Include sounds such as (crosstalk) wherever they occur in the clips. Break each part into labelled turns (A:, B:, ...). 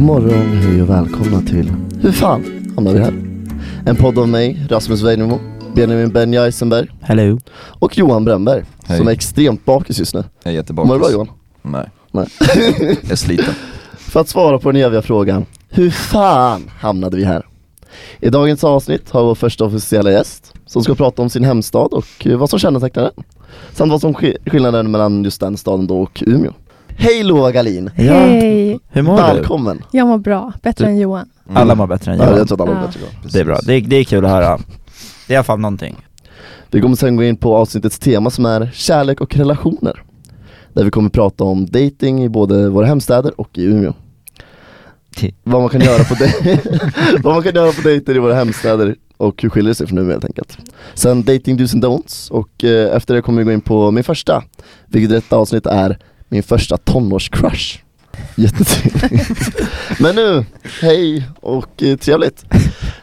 A: morgon, hej och välkomna till Hur fan hamnar vi här? En podd av mig, Rasmus Weinemo, Benjamin Benja Eisenberg
B: Hello.
A: och Johan Brännberg
C: Hej.
A: som är extremt bakis just nu.
C: Jag är jättebakis.
A: Mår du bra Johan?
C: Nej.
A: Nej.
C: (laughs) Jag är (laughs) sliten.
A: För att svara på den eviga frågan, hur fan hamnade vi här? I dagens avsnitt har vi vår första officiella gäst som ska prata om sin hemstad och eh, vad som kännetecknar den. Samt vad som sk- skillnaden mellan just den staden då och Umeå. Hej Lova Galin!
D: Hej!
B: Hur mår du?
A: Välkommen!
D: Jag mår bra, bättre
B: Du-
D: än Johan.
C: Mm.
B: Alla mår bättre än
A: Ja, jag
B: jag.
A: tror att alla
D: Ja.
A: vet idag.
C: Precis.
B: Det är bra. Det är, det är kul att höra. Det är i alla fall någonting.
A: Vi kommer sen gå in på avsnittets tema som är kärlek och relationer. Där vi kommer prata om dating i både våra hemstäder och i Umeå.
B: Ti.
A: Vad man kan göra på, de- (laughs) vad man kan göra på dejter i våra hemstäder och hur skiljer det sig från Umeå helt enkelt. Sen dating do's and don'ts och eh, efter det kommer vi gå in på min första, vilket i detta avsnitt är min första tonårscrush. Jättetrevligt. Men nu, hej och eh, trevligt.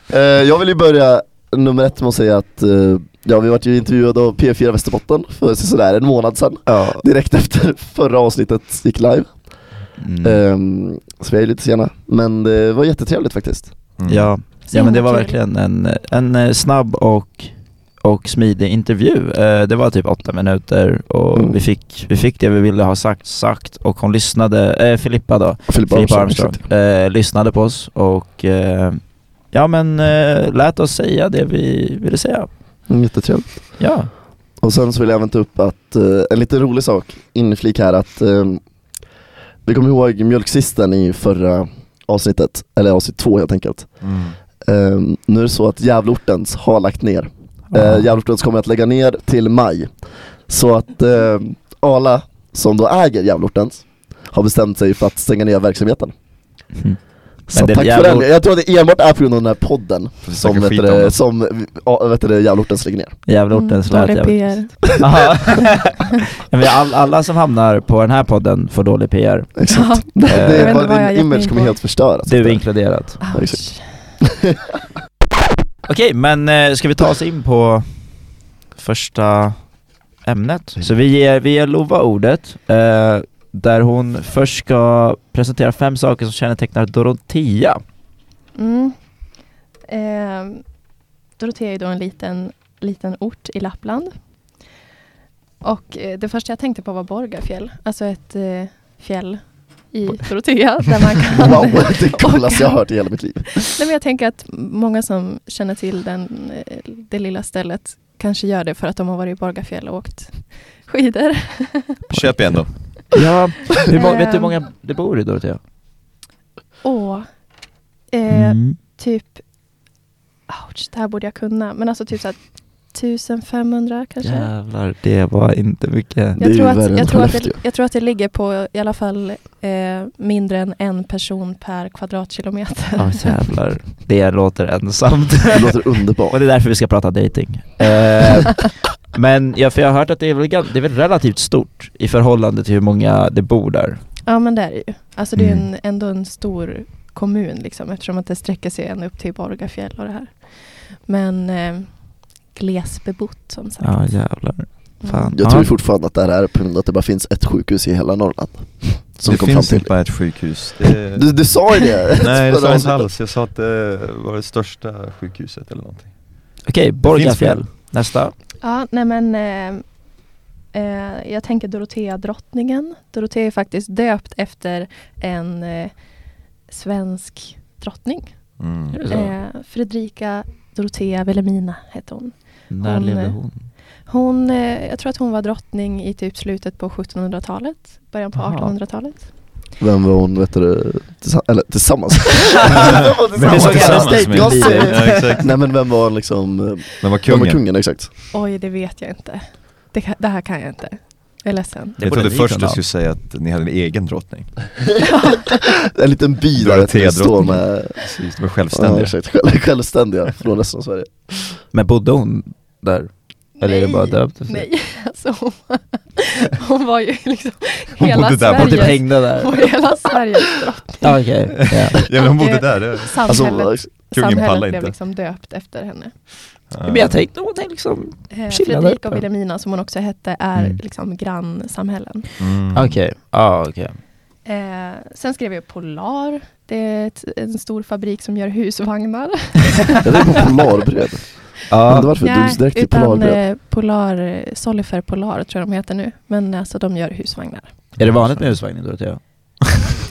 A: Eh, jag vill ju börja nummer ett med att säga att eh, ja, vi vart ju intervjuade av P4 Västerbotten för sådär en månad sedan.
B: Ja.
A: Direkt efter (laughs) förra avsnittet gick live.
B: Eh, Mm.
A: Ehm, så vi är ju lite sena. Men det var jättetrevligt faktiskt.
C: Mm.
B: Ja. ja,
D: Svinna
B: men det var
D: kul.
B: verkligen en, en eh, snabb och, och smidig intervju. Eh, Det var typ åtta minuter och
A: Mm.
B: vi, fick, vi fick det vi ville ha sagt, sagt och hon lyssnade, eh, Filippa då,
A: Filippa
B: Filippa Armstrong, eh, lyssnade på oss och eh, ja men eh, lät oss säga det vi ville säga.
A: Mm, jättetrevligt.
B: Ja.
A: Och sen så vill jag även ta upp att, eh, en liten rolig sak, inflik här att ehm, vi kommer ihåg mjölksisten i förra avsnittet, eller avsnitt två helt enkelt.
C: Mm.
A: Ehm, nu är det så att Gävleortens har lagt ner Eh, Gävleortens kommer att lägga ner till maj. Så att eh, Arla, som då äger Gävleortens, har bestämt sig för att stänga ner verksamheten.
B: Mm.
A: Så
B: det är
A: tack för
B: Gävleort-
A: den. Jag tror att det enbart är på grund av den här podden
C: Får vi
A: som,
C: snacka
A: vet
C: skit
A: du,
C: om det?
A: det, som ja, vet du, det, Gävleortens lägger ner.
B: Gävleortens
D: Mm,
B: lät
D: dålig
B: jävligt-
D: PR. (laughs)
B: Ja. Ja, men all, alla som hamnar på den här podden får dålig PR.
A: Exakt.
D: Ja.
B: Jag
A: det
B: vet
A: är
D: inte
A: bara,
D: vad
A: din
D: jag gett mig
A: image
D: in
A: kommer
D: på.
A: helt förstöras.
B: Du inkluderat.
A: Ja,
D: Ouch.
A: exakt.
B: Okej, men eh, ska vi ta oss in på första ämnet? Så vi ger, vi ger Lova ordet, eh, där hon först ska presentera fem saker som kännetecknar Dorotea.
D: Mm. Eh, Dorotea är då en liten, liten ort i Lappland. Och eh, det första jag tänkte på var Borgafjäll, alltså ett eh, fjäll i Dorotea där man kan...
A: Wow, (laughs) det coolaste jag har hört i hela mitt liv.
D: Nej, men jag tänker att många som känner till den, eh, det lilla stället kanske gör det för att de har varit i Borgafjäll och åkt skidor.
C: Köp igen då.
B: Ja, hur må- vet du hur
D: Ehm.
B: många det bor i Dorotea?
D: Åh, eh,
B: Mm.
D: typ, ouch, det här borde jag kunna, men alltså typ så här 1500 kanske?
B: Jävlar, det var inte mycket.
A: Det är
D: Jag,
A: ju
D: tror
A: värre
D: att,
A: än
D: jag, tror att det,
A: Skellefteå.
D: jag tror att det ligger på i alla fall eh, mindre än en person per kvadratkilometer.
B: Ja, jävlar. Det låter (laughs) ensamt.
A: Det låter
B: Och
A: underbart.
B: det är därför vi ska prata dating.
D: (laughs)
B: Eh, men ja, för jag har hört att det är, väl, gan- det är väl relativt stort i förhållande till hur många det bor där.
D: (laughs) ja men det är det ju. Alltså det är ju
B: Mm.
D: en, ändå en stor kommun liksom eftersom att det sträcker sig ända upp till Borgafjäll och det här. Men eh, glesbebott som sagt.
B: Ja jävlar. Fan.
A: Jag tror
B: Ja.
A: fortfarande att det här är på grund av att det bara finns ett sjukhus i hela Norrland. Som
C: det
A: kom fram
C: finns inte
A: till.
C: bara ett sjukhus. Det... (laughs)
A: Du, du sa ju det!
C: Nej det
A: Förra
C: sa
A: (laughs)
C: jag inte
A: avsnittet.
C: alls. Jag sa att det var det största sjukhuset eller någonting.
B: Okej, Borgafjäll. Nästa.
D: Ja, nej men eh, eh, jag tänker Dorotea-drottningen. Dorotea är faktiskt döpt efter en eh, svensk drottning.
C: Mm.
B: Är det så?
D: Eh, Fredrika Dorotea Wilhelmina hette hon.
B: När
D: hon,
B: levde
D: eh,
B: hon?
D: hon eh, jag tror att hon var drottning i typ slutet på 1700-talet, början på
B: Aha.
D: 1800-talet.
A: Vem var hon, vet du, tillsammans? Eller tillsammans? (laughs)
C: Men det är så tillsammans med
A: Jag
C: en
A: ser-
C: bil. Ja, exakt.
A: Nej men vem var hon liksom, eh,
C: Men vad
A: vem var
C: kungen.
A: kungen exakt?
D: Oj, det vet jag inte. Det, ka- det här kan jag inte. Jag är ledsen.
C: Jag
B: borde
C: trodde
B: ni
C: först
B: kunna.
C: du skulle säga att ni hade en egen drottning.
A: En liten by där
C: Dorotea
A: det står
C: drottning.
A: med
C: Precis, de var
A: ja,
C: självständiga.
A: exakt, själv- självständiga från resten av Sverige
B: Men bodde hon där? Eller är det bara döpt efter?
D: Nej, (laughs) alltså hon, hon var ju liksom
C: Hon
D: hela
C: bodde där,
B: Hon typ
C: Yes.
D: Sveriges,
B: hängde där?
D: hon var hela Sveriges drottning.
B: Ja, Okej.
D: (laughs)
B: Ja.
C: Ja men hon bodde
D: Och,
C: där. Det...
A: Alltså,
D: Samhället,
C: kungen
D: samhället
C: pallar
D: blev
C: inte.
D: liksom döpt efter henne.
B: (laughs) Men jag tänkte hon är liksom...
D: Eh,
B: Chilla
D: Fredrika
B: där.
D: och Vilhelmina som hon också hette är
B: Mm.
D: liksom grannsamhällen.
C: Mm.
B: Ah, Okej. Ja okej.
D: Eh, sen skrev jag Polar. Det är ett, en stor fabrik som gör husvagnar.
A: Jag tänkte på Polarbröd. Undrar varför du gick direkt till
D: utan
A: Polarbröd.
D: eh, Polar, Solifer Polar tror jag de heter nu. Men alltså de gör husvagnar.
B: Är det vanligt med husvagnen Dorotea?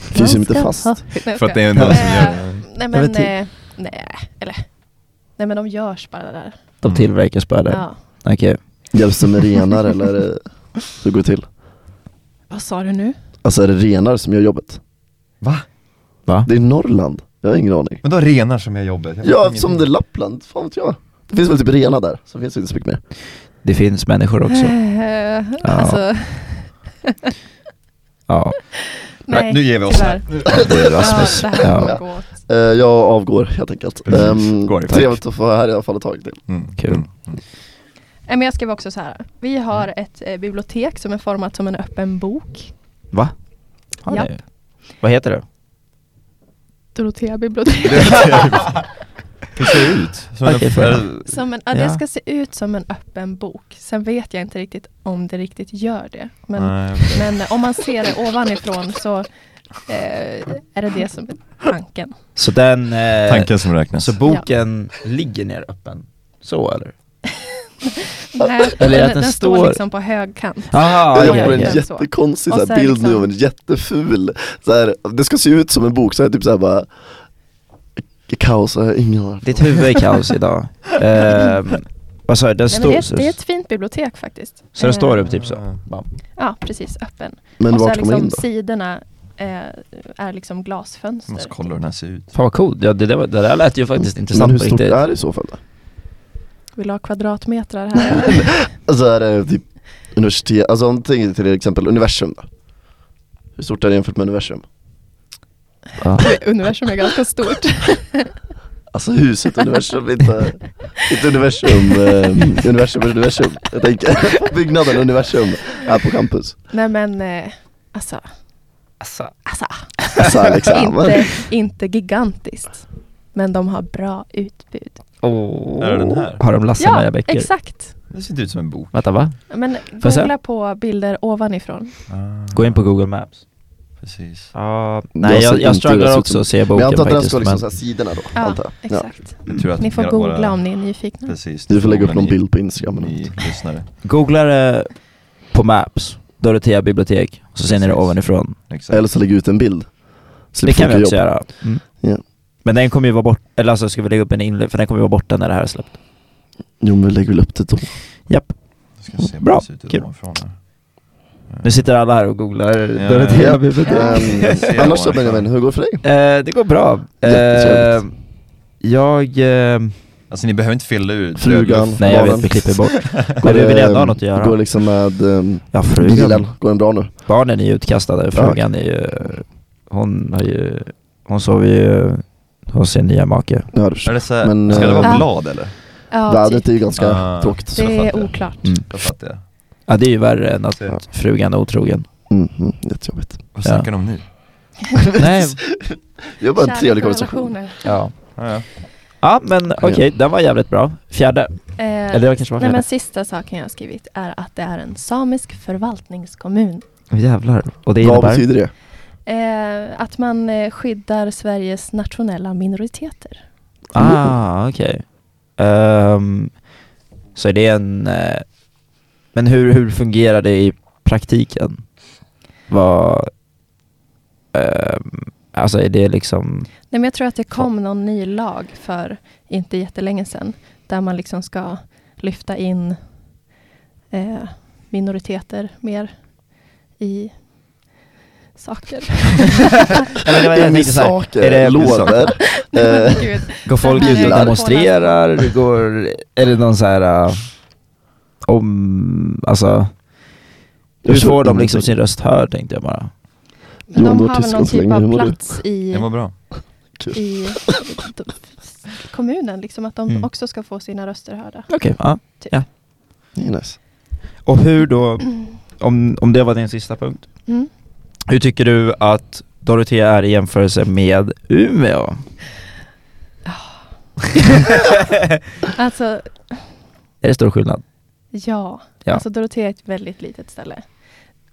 A: Finns ju inte
D: Ganska-
A: fast.
D: Ja, nej,
E: För att det är
D: jag
E: någon som
D: Eh,
E: gör det.
D: skojar. Nej men,
B: vet inte.
D: eh, nej, eller. Nej men de görs bara där.
B: De
E: Mm.
B: tillverkas bara där?
D: Ja.
B: Okej.
A: Hjälps det med renar eller är det- hur går det till?
D: Vad sa du nu?
A: Alltså är det renar som gör jobbet?
C: Va?
B: Va?
A: Det är Norrland, jag har ingen aning.
C: Men då renar som jag jobbet? Jag
A: Ja,
C: vet
A: eftersom det
C: ingenting.
A: är Lappland, fan vet jag. Det finns väl typ renar där, så finns det inte så mycket mer.
B: Det finns människor också.
D: (laughs) Eh,
B: Ja.
D: Alltså,
B: Ja.
D: nej.
C: Nu ger vi oss
D: tyvärr.
C: här.
B: Det är
D: Ja,
B: Rasmus.
D: det här
B: Ja.
D: kommer gå åt.
A: Eh, jag avgår helt enkelt.
E: Precis.
A: Ehm,
E: Går det, tack.
A: trevligt att få vara här i alla fall ett tag till.
E: Mm.
B: Kul.
E: Mm.
D: Nej, men jag skrev också så här. Vi har
B: Mm.
D: ett eh, bibliotek som är format som en öppen bok.
B: Va? Har
D: Japp.
B: ni? Vad heter det? (laughs)
D: Dorotea bibliotek. (laughs)
C: Hur ser det ut? Som en-
B: Okej, får jag-
C: eller-
D: Som en, ja, Det
B: Ja.
D: ska se ut som en öppen bok. Sen vet jag inte riktigt om det riktigt gör det. Men,
C: Nej, okej.
D: men eh, om man ser det ovanifrån så eh, är det det som är tanken.
B: Så den... Eh,
E: Tanken som räknas.
B: Så boken ligger ner öppen? Så eller?
D: Nej,
B: Eller
D: den,
B: att den
D: den står
B: står-
D: liksom på högkant.
B: Jaha,
A: jag
D: ja,
A: har en
D: ja.
A: jättekonstig
D: Och
A: så här
D: sen
A: bild nu
D: liksom-
A: av en jätteful, så här, det ska se ut som en bok, så här, typ såhär bara Kaos, jag har ingen aning.
B: Ditt huvud är kaos idag. Ehm, Vad sa du? Den
D: Nej, men det,
B: står...
D: är ett, det är
B: Så,
D: ett fint bibliotek faktiskt.
B: så den
D: Eh,
B: står upp typ så?
C: Ah.
B: Bam.
D: Ja, precis. Öppen.
A: Men
D: och så är
A: vart kommer man
D: liksom
A: in då?
D: sidorna eh, är liksom glasfönster.
C: Måste kolla hur den här ser ut.
B: Fan vad coolt, ja, det, där var- det där lät ju faktiskt
A: Men
B: intressant
A: hur
B: på
A: stort
B: riktigt.
A: är det i så fall då?
D: Vill du ha kvadratmetrar
A: (laughs)
D: här?
A: Alltså är det typ universitet, alltså om du tänker till exempel universum då? Hur stort är det jämfört med universum?
B: Ja.
D: Universum är ganska stort.
A: Alltså huset universum,
D: (laughs)
A: inte, inte universum, eh, universum universum Jag
D: (laughs)
A: tänker (laughs) byggnaden universum här på campus
D: Nej men, eh, alltså, alltså
A: Alltså liksom
D: (laughs) inte, inte gigantiskt. Men de har bra utbud.
B: Åh.
C: Är det den här?
B: Har de Lasse
D: ja,
B: Maja Becker?
D: exakt.
C: Det ser inte ut som en bok.
B: Vänta va?
D: Men
B: jag se?
D: googla på bilder ovanifrån.
C: Ah,
B: Gå in på google maps.
C: Precis.
B: Ja, nej
A: Jag ser
B: jag, jag
A: inte det
B: strugglar
A: som-
B: också att se
A: Men jag
B: boken
A: antar att den
B: faktiskt.
A: ska liksom
B: Men
A: så här sidorna då,
D: Ja,
A: antar jag
D: exakt.
C: Jag tror att
D: Ni får
C: hela
D: googla
C: våra-
D: om ni är nyfikna.
C: Precis.
A: Du får lägga upp
C: Men
A: någon
C: ni-
A: bild på instagram eller
C: Ni
A: något
C: lyssnare.
B: googlar det på maps, Dorotea bibliotek, så ser ni det
C: Precis.
B: ovanifrån.
C: Exakt.
A: Eller så lägger ut en bild
B: Det
A: Slipper
B: kan vi
A: folk
B: också
A: jobba.
B: göra. Mm.
A: Ja.
B: Men den kommer ju vara borta, eller alltså ska vi lägga upp en inlägg, för den kommer ju vara borta när det här är släppt.
A: Jo men vi lägger väl upp det då
B: Japp.
C: Jag ska se
B: Bra,
C: Bra. Ser ut
B: kul.
C: ovanifrån här.
B: Nu sitter alla här och googlar
C: Ja.
A: (laughs)
B: Dorotea bibliotek.
D: Ja.
A: um, Annars så Benjamin, hur går det för dig?
B: (laughs) Eh, det går bra. Eh,
A: Jättetrevligt.
B: jag... Eh,
C: Alltså ni behöver inte fylla ut
A: Frugan,
C: rödluft.
B: nej jag
A: barnen.
B: vet, vi klipper (laughs) bort. Ehm, Men vi vill
A: det,
B: ändå ha något att göra.
A: Går det liksom med um,
B: Ja,
A: bilen,
B: frugan.
A: går den bra nu?
B: Barnen är ju utkastade. Frugan är ju... Hon har ju... Hon sover ju hos sin nya make. Mm.
A: Ja, du
C: Är det så här,
A: Men,
C: ska det vara
D: eh,
C: blad eller?
D: Ja,
A: Vädret
D: typ.
A: är ju ganska
C: Ah.
A: tråkigt.
D: Det
C: Jag
D: är
C: fattar.
D: oklart.
A: Mm.
C: Då fattar jag.
B: Mm. Ja, det är ju värre än att
C: Ja.
B: frugan är (laughs) otrogen.
A: Mm, mm, jättejobbigt.
C: Vad
B: Ja.
C: snackar ni om nu?
B: Nej.
A: Det var bara en
D: Kärlek
A: trevlig
D: och
A: konversation.
D: relationer.
B: Ja.
C: Ja, ja.
B: Ja, men okej, den var jävligt bra. Fjärde.
D: Eh,
B: Eller det var kanske var
D: Nej men
B: fjärde.
D: sista saken jag har skrivit är att det är en samisk förvaltningskommun.
B: Jävlar. Och det
A: Vad
B: innebär...
A: betyder det?
D: Eh, att man eh, skyddar Sveriges nationella minoriteter.
B: Ah, okej. Ehm, så är det en... eh, men hur, hur fungerar det i praktiken? Vad... ehm, alltså är det liksom...
D: Nej, men jag tror att det kom någon ny lag för inte jättelänge sedan. Där man liksom ska lyfta in eh, minoriteter mer i saker. (laughs)
B: Eller det var
A: In i
B: är
A: saker,
B: det-
A: lådor. Eh,
D: Gud.
B: Går folk
D: Det här
B: ut
A: är-
B: och demonstrerar? Går, är det någon så här... eh, om... Alltså... Hur
A: Jag tror
B: får de liksom
A: ingenting.
B: sin röst hörd tänkte jag bara.
D: Men
A: Jon,
D: de
A: du
D: har väl
A: tyst
D: någon
A: än så
D: typ
A: länge. Hur
D: av
A: mår du?
D: plats i,
C: Det var
A: (laughs)
C: bra.
D: i d- kommunen. Liksom att de
B: Mm.
D: också ska få sina röster hörda.
B: Okej, ja.
A: Det är nice.
B: Och hur då, om, om det var din sista punkt,
D: Mm.
B: hur tycker du att Dorotea är i jämförelse med Umeå?
D: Alltså,
B: (laughs) Är det stor skillnad?
D: Ja,
B: Ja.
D: alltså Dorotea är ett väldigt litet ställe.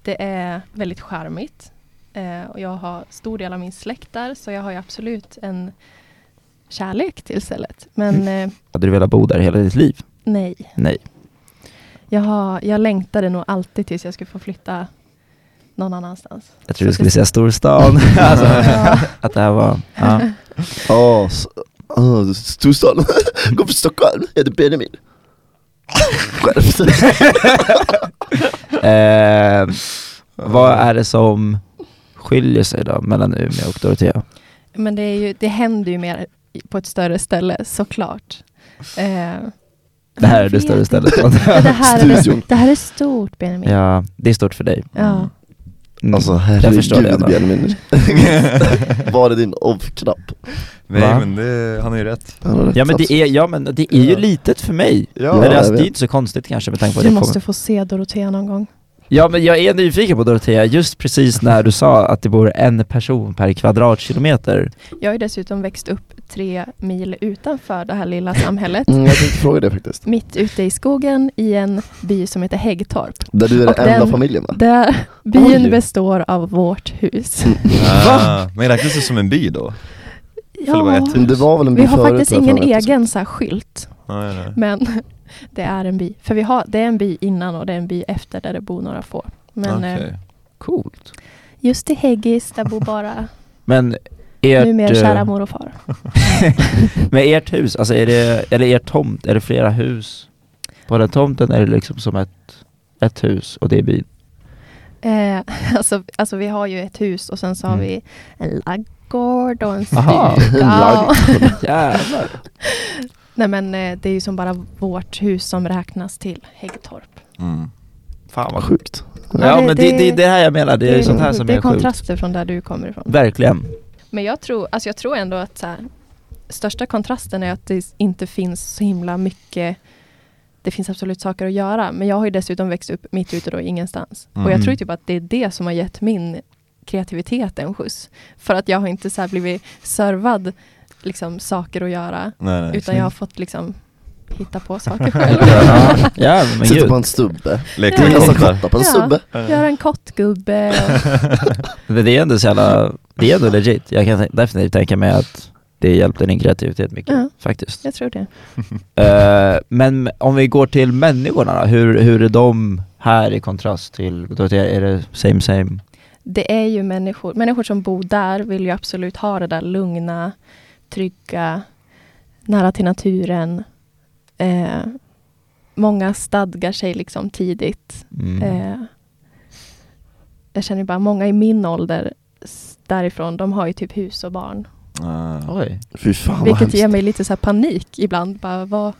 D: Det är väldigt charmigt. Eh, och jag har stor del av min släkt där, så jag har ju absolut en kärlek till stället. Men eh,
B: Hade du velat bo där hela ditt liv?
D: nej,
B: Nej.
D: jag, har, jag längtade nog alltid tills jag skulle få flytta någon annanstans.
B: Jag trodde du skulle säga storstan. (laughs) alltså, att det här var... Ja.
A: Ja, s- ah, storstaden. (laughs) Gå för Stockholm, jag heter Benjamin. Skärp dig.
B: Eh, vad är det som skiljer sig då mellan Umeå och Dorotea?
D: Men det, är ju, det händer ju mer i- på ett större ställe, såklart. Eh,
B: Det här är
D: jag
B: det
D: vet
B: större
D: inte.
B: stället.
D: Ja, det, här är,
A: Studion.
D: det här är stort Benjamin.
B: ja, det är stort för dig.
D: Ja.
B: Mm.
A: (laughs) Alltså
B: jag förstår det
A: herregud
B: ändå.
A: Benjamin. Var är din off-knapp?
C: Nej
B: Va?
C: men det, han är ju rätt.
A: Han har rätt
B: Ja men, det
A: plats.
B: är, ja men det är ju
C: Ja.
B: litet för mig.
C: Ja,
B: men alltså,
A: jag
B: det är
A: vet.
B: inte så konstigt kanske med tanke på att
D: Du
B: jag
D: måste
B: kommer-
D: få se Dorotea någon gång.
B: Ja men jag är nyfiken på Dorotea, just precis när du sa att det bor en person per kvadratkilometer.
D: Jag har ju dessutom växt upp tre mil utanför det här lilla samhället.
A: Mm, jag tänkte fråga det faktiskt.
D: Mitt ute i skogen i en by som heter Häggtorp.
A: Där du är
D: Och
A: den enda
D: den-
A: familjen
D: (laughs)
A: va?
D: Där byn
A: Oj.
D: består av vårt hus.
B: Mm.
C: Ah, men räknas det som en by då? Eller vad
D: Ja,
C: heter
A: Men Det var väl en
D: vi
A: by
D: har
A: förut,
D: faktiskt
A: har jag
D: ingen
A: för mig,
D: egen så här skylt,
C: Nej, nej.
D: men (laughs) det är en by. För vi har, det är en by innan och det är en by efter där det bor några få. Men eh,
C: Okej.
B: Coolt.
D: just i Häggis, där bor bara
B: Men (laughs) ert,
D: numera
B: eh,
D: kära mor och far.
B: men ert hus, alltså är det, eller er tomt, är det flera hus? På den tomten är det liksom som ett, ett hus och det är byn.
D: Eh, (laughs) alltså, alltså vi har ju ett hus och sen så har
B: Mm.
D: vi en laggård och en
B: Aha.
D: stuga.
A: Laggård.
B: Jävlar.
D: (laughs) Nej men eh, det är ju som bara vårt hus som räknas till Häggtorp.
C: Mm.
B: Fan vad
A: Vad
B: sjukt.
A: sjukt.
B: Ja,
D: Ja, det-
B: men det,
D: det-
B: det, det här jag menar, det, är sånt här som
D: det
B: är,
D: är
B: sjukt.
D: kontraster från där du kommer ifrån.
B: Verkligen.
D: Men jag tror, alltså jag tror ändå att så här, största kontrasten är att det inte finns så himla mycket det finns absolut saker att göra, men jag har ju dessutom växt upp mitt ute då i ingenstans. Och jag
B: Mm.
D: tror typ att det är det som har gett min kreativitet en skjuts. För att jag har inte så här blivit servad liksom, saker att göra,
C: Nej, nej.
D: utan
C: (laughs)
D: jag har fått liksom
B: (laughs)
D: hitta på saker själv.
B: ja, ja, men
A: Sitter
B: gud.
A: på en stubbe.
C: Leker
D: Ja.
C: med
A: Alltså
C: kottar.
A: kotta på en
D: Ja.
A: stubbe.
D: Göra en kottgubbe och,
B: Men det är ändå så jävla, det är ändå legit. Jag kan tän- definitivt tänka mig att det hjälpte din kreativitet mycket,
D: Ja.
B: faktiskt.
D: jag tror det.
B: Eh, men om vi går till människorna då, hur, hur är de här i kontrast till Dorotea? Är det same same?
D: det är ju människor, människor som bor där vill ju absolut ha det där lugna, trygga, nära till naturen. Eh, många stadgar sig liksom tidigt.
B: Mm.
D: Eh, jag känner bara många i min ålder s- därifrån, de har ju typ hus och barn.
C: (laughs) Ah.
B: Oj.
A: Fy fan vad
D: vilket
A: hemskt.
D: ger mig lite så här panik ibland. Bara, vad,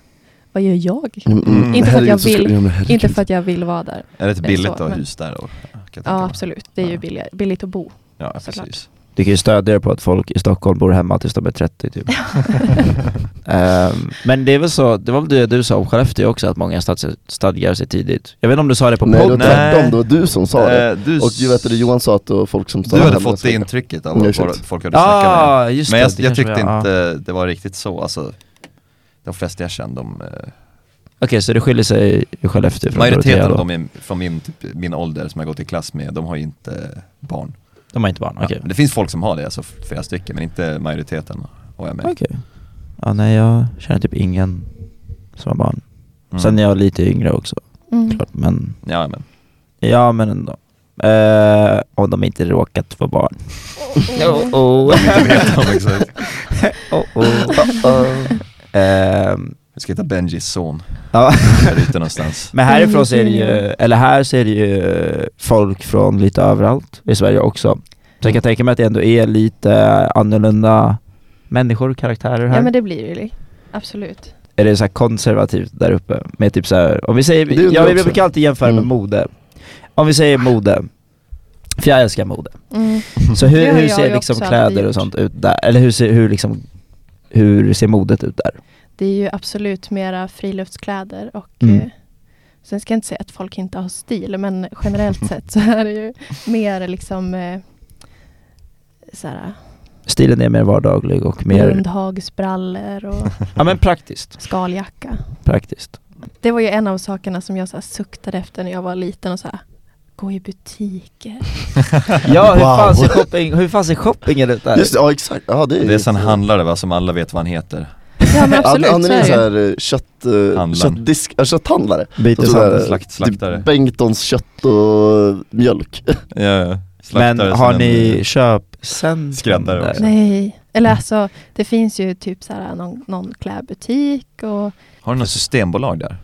D: vad gör jag?
A: Mm, mm.
C: Inte för att
A: Herregud,
D: jag
A: så skulle
D: vill.
A: ja, men herregud.
D: Inte för att jag vill vara där.
C: Är det inte billigt
D: så,
C: att ha
D: men-
C: hus där då? Kan jag tänka
D: Ja,
C: mig.
D: absolut. Det är ju
C: Ja.
D: billigt, billigt att bo.
C: Ja, precis.
D: Såklart.
B: Du kan ju stödja dig på att folk i Stockholm bor hemma tills de är 30 typ. Ehm, men det är väl så, det var väl det du sa om Skellefteå också, att många stads- stadgar sig tidigt. Jag vet inte om du sa det på
A: Nej, det var
B: podden?
C: Nej.
A: tvärtom. Det var du som sa det.
C: Eh, du,
A: Och du vet det, Johan sa att det var folk som sa
C: du hade
A: hemma
C: fått
A: ska-
C: det intrycket av
A: Ja,
C: vad
A: exakt.
C: folk- folk hade snackat med.
B: Ja, ah, just
C: Men
B: det.
C: jag,
B: det
C: jag
B: kanske
C: tyckte
B: var- ja.
C: inte det var riktigt så, alltså de flesta jag kände, de, eh,
B: Okej, så det skiljer sig i Skellefteå från
C: majoriteten
B: Dorotea
C: av
B: då?
C: dem i- från min, typ, min ålder som jag gått i klass med, de har ju inte barn.
B: De har inte barn,
C: Ja,
B: okej.
C: men Det finns folk som har det, alltså flera stycken, men inte majoriteten har jag med.
B: Okej. Ja, nej jag känner typ ingen som har barn.
C: Mm.
B: Sen är jag lite yngre också,
D: Mm.
B: klart, men
C: Ja, men.
B: ja men ändå. Eh, om de inte råkat få barn. (laughs) Oh, (laughs) oh.
C: Jag vet om, exakt.
B: oh, Ehm,
C: Jag ska hitta Benjis son,
B: ja. (laughs)
C: jag är ute någonstans.
B: Men härifrån så är det ju, eller här ser det ju folk från lite överallt i Sverige också. Så jag kan tänka mig att det ändå är lite annorlunda människor, karaktärer här.
D: Ja, men det blir det ju. Absolut.
B: är det så här konservativt där uppe med typ så här, om vi
A: Det
B: säger,
A: undrar
B: ja, vi
A: jag också.
B: brukar alltid jämföra med
A: Mm.
B: mode. Om vi säger mode, för jag älskar mode.
D: Mm.
B: Så
D: Det
B: hur,
D: har
B: hur
D: jag
B: ser
D: ju
B: liksom
D: också alltid
B: kläder och
D: gjort.
B: sånt ut där? Eller hur ser, hur liksom, hur ser modet ut där?
D: Det är ju absolut mera friluftskläder och
B: Mm.
D: eh, sen ska jag inte säga att folk inte har stil men (laughs) generellt sett så är det ju mer liksom eh, så här,
B: Stilen är mer vardaglig och mer,
D: Lundhagsbrallor (laughs) och
B: ja men praktiskt.
D: skaljacka.
B: Praktiskt.
D: Det var ju en av sakerna som jag så här, suktade efter när jag var liten och så här, gå i butiker.
B: (laughs) Ja, hur fan
A: Wow.
B: ser shopping, hur fan ser shoppingen ut där?
A: Just det, ja exakt. Ja, det är,
C: Det är sån handlare va, som alla vet vad han heter.
D: (laughs) Ja
A: Han,
D: men absolut,
A: han
D: så
A: är en sån
D: är det.
A: här eh, kött, eh,
C: Handlaren.
A: köttdisk, ja, kötthandlare.
C: Byteshandel.
A: Så
C: Slakt-
A: typ
C: slaktare.
A: Bengtons kött och mjölk.
C: Ja, ja. Slaktare
B: Men
C: som
B: har
C: en-
E: eh,
C: eh,
B: ni köpcentrum
C: Skräddare
B: där?
C: också.
D: Nej, eller alltså det finns ju typ så här någon, någon klädbutik och
C: Har ni något systembolag där?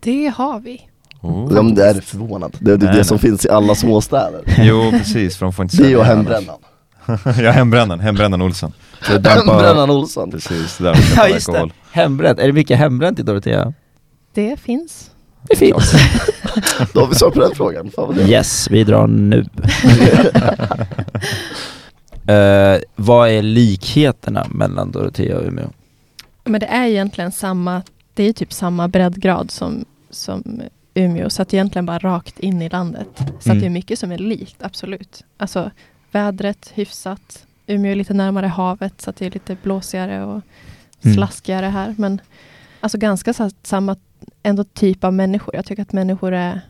D: det har vi.
C: Oh.
A: Ja, men det är förvånad. Det är det,
C: Nej,
A: det som
C: nej.
A: finns i alla småstäder.
C: Jo precis, för de får inte
A: (laughs) Det och
C: sälja
A: hembrännan.
C: annars. (laughs) ja, hembrännan, hembrännan Olsson. Så dampa-
A: Hembrännan Olsson.
C: Precis, där de
B: Ja
C: köper
B: just det,
C: alkohol.
B: hembränt. Är det mycket hembränt i Dorotea?
D: Det finns.
B: Det finns.
A: Då har vi svar på den frågan. Fan vad det är.
B: Yes, vi drar nu. (laughs) Eh, vad är likheterna mellan Dorotea och Umeå?
D: Men det är egentligen samma, det är ju typ samma breddgrad som, som Umeå, så att egentligen bara rakt in i landet. Så
B: Mm.
D: att det är mycket som är likt, absolut. Alltså vädret hyfsat, Umeå är lite närmare havet så att det är lite blåsigare och
B: Mm.
D: slaskigare här. Men alltså ganska så, samma ändå typ av människor. Jag tycker att människor är,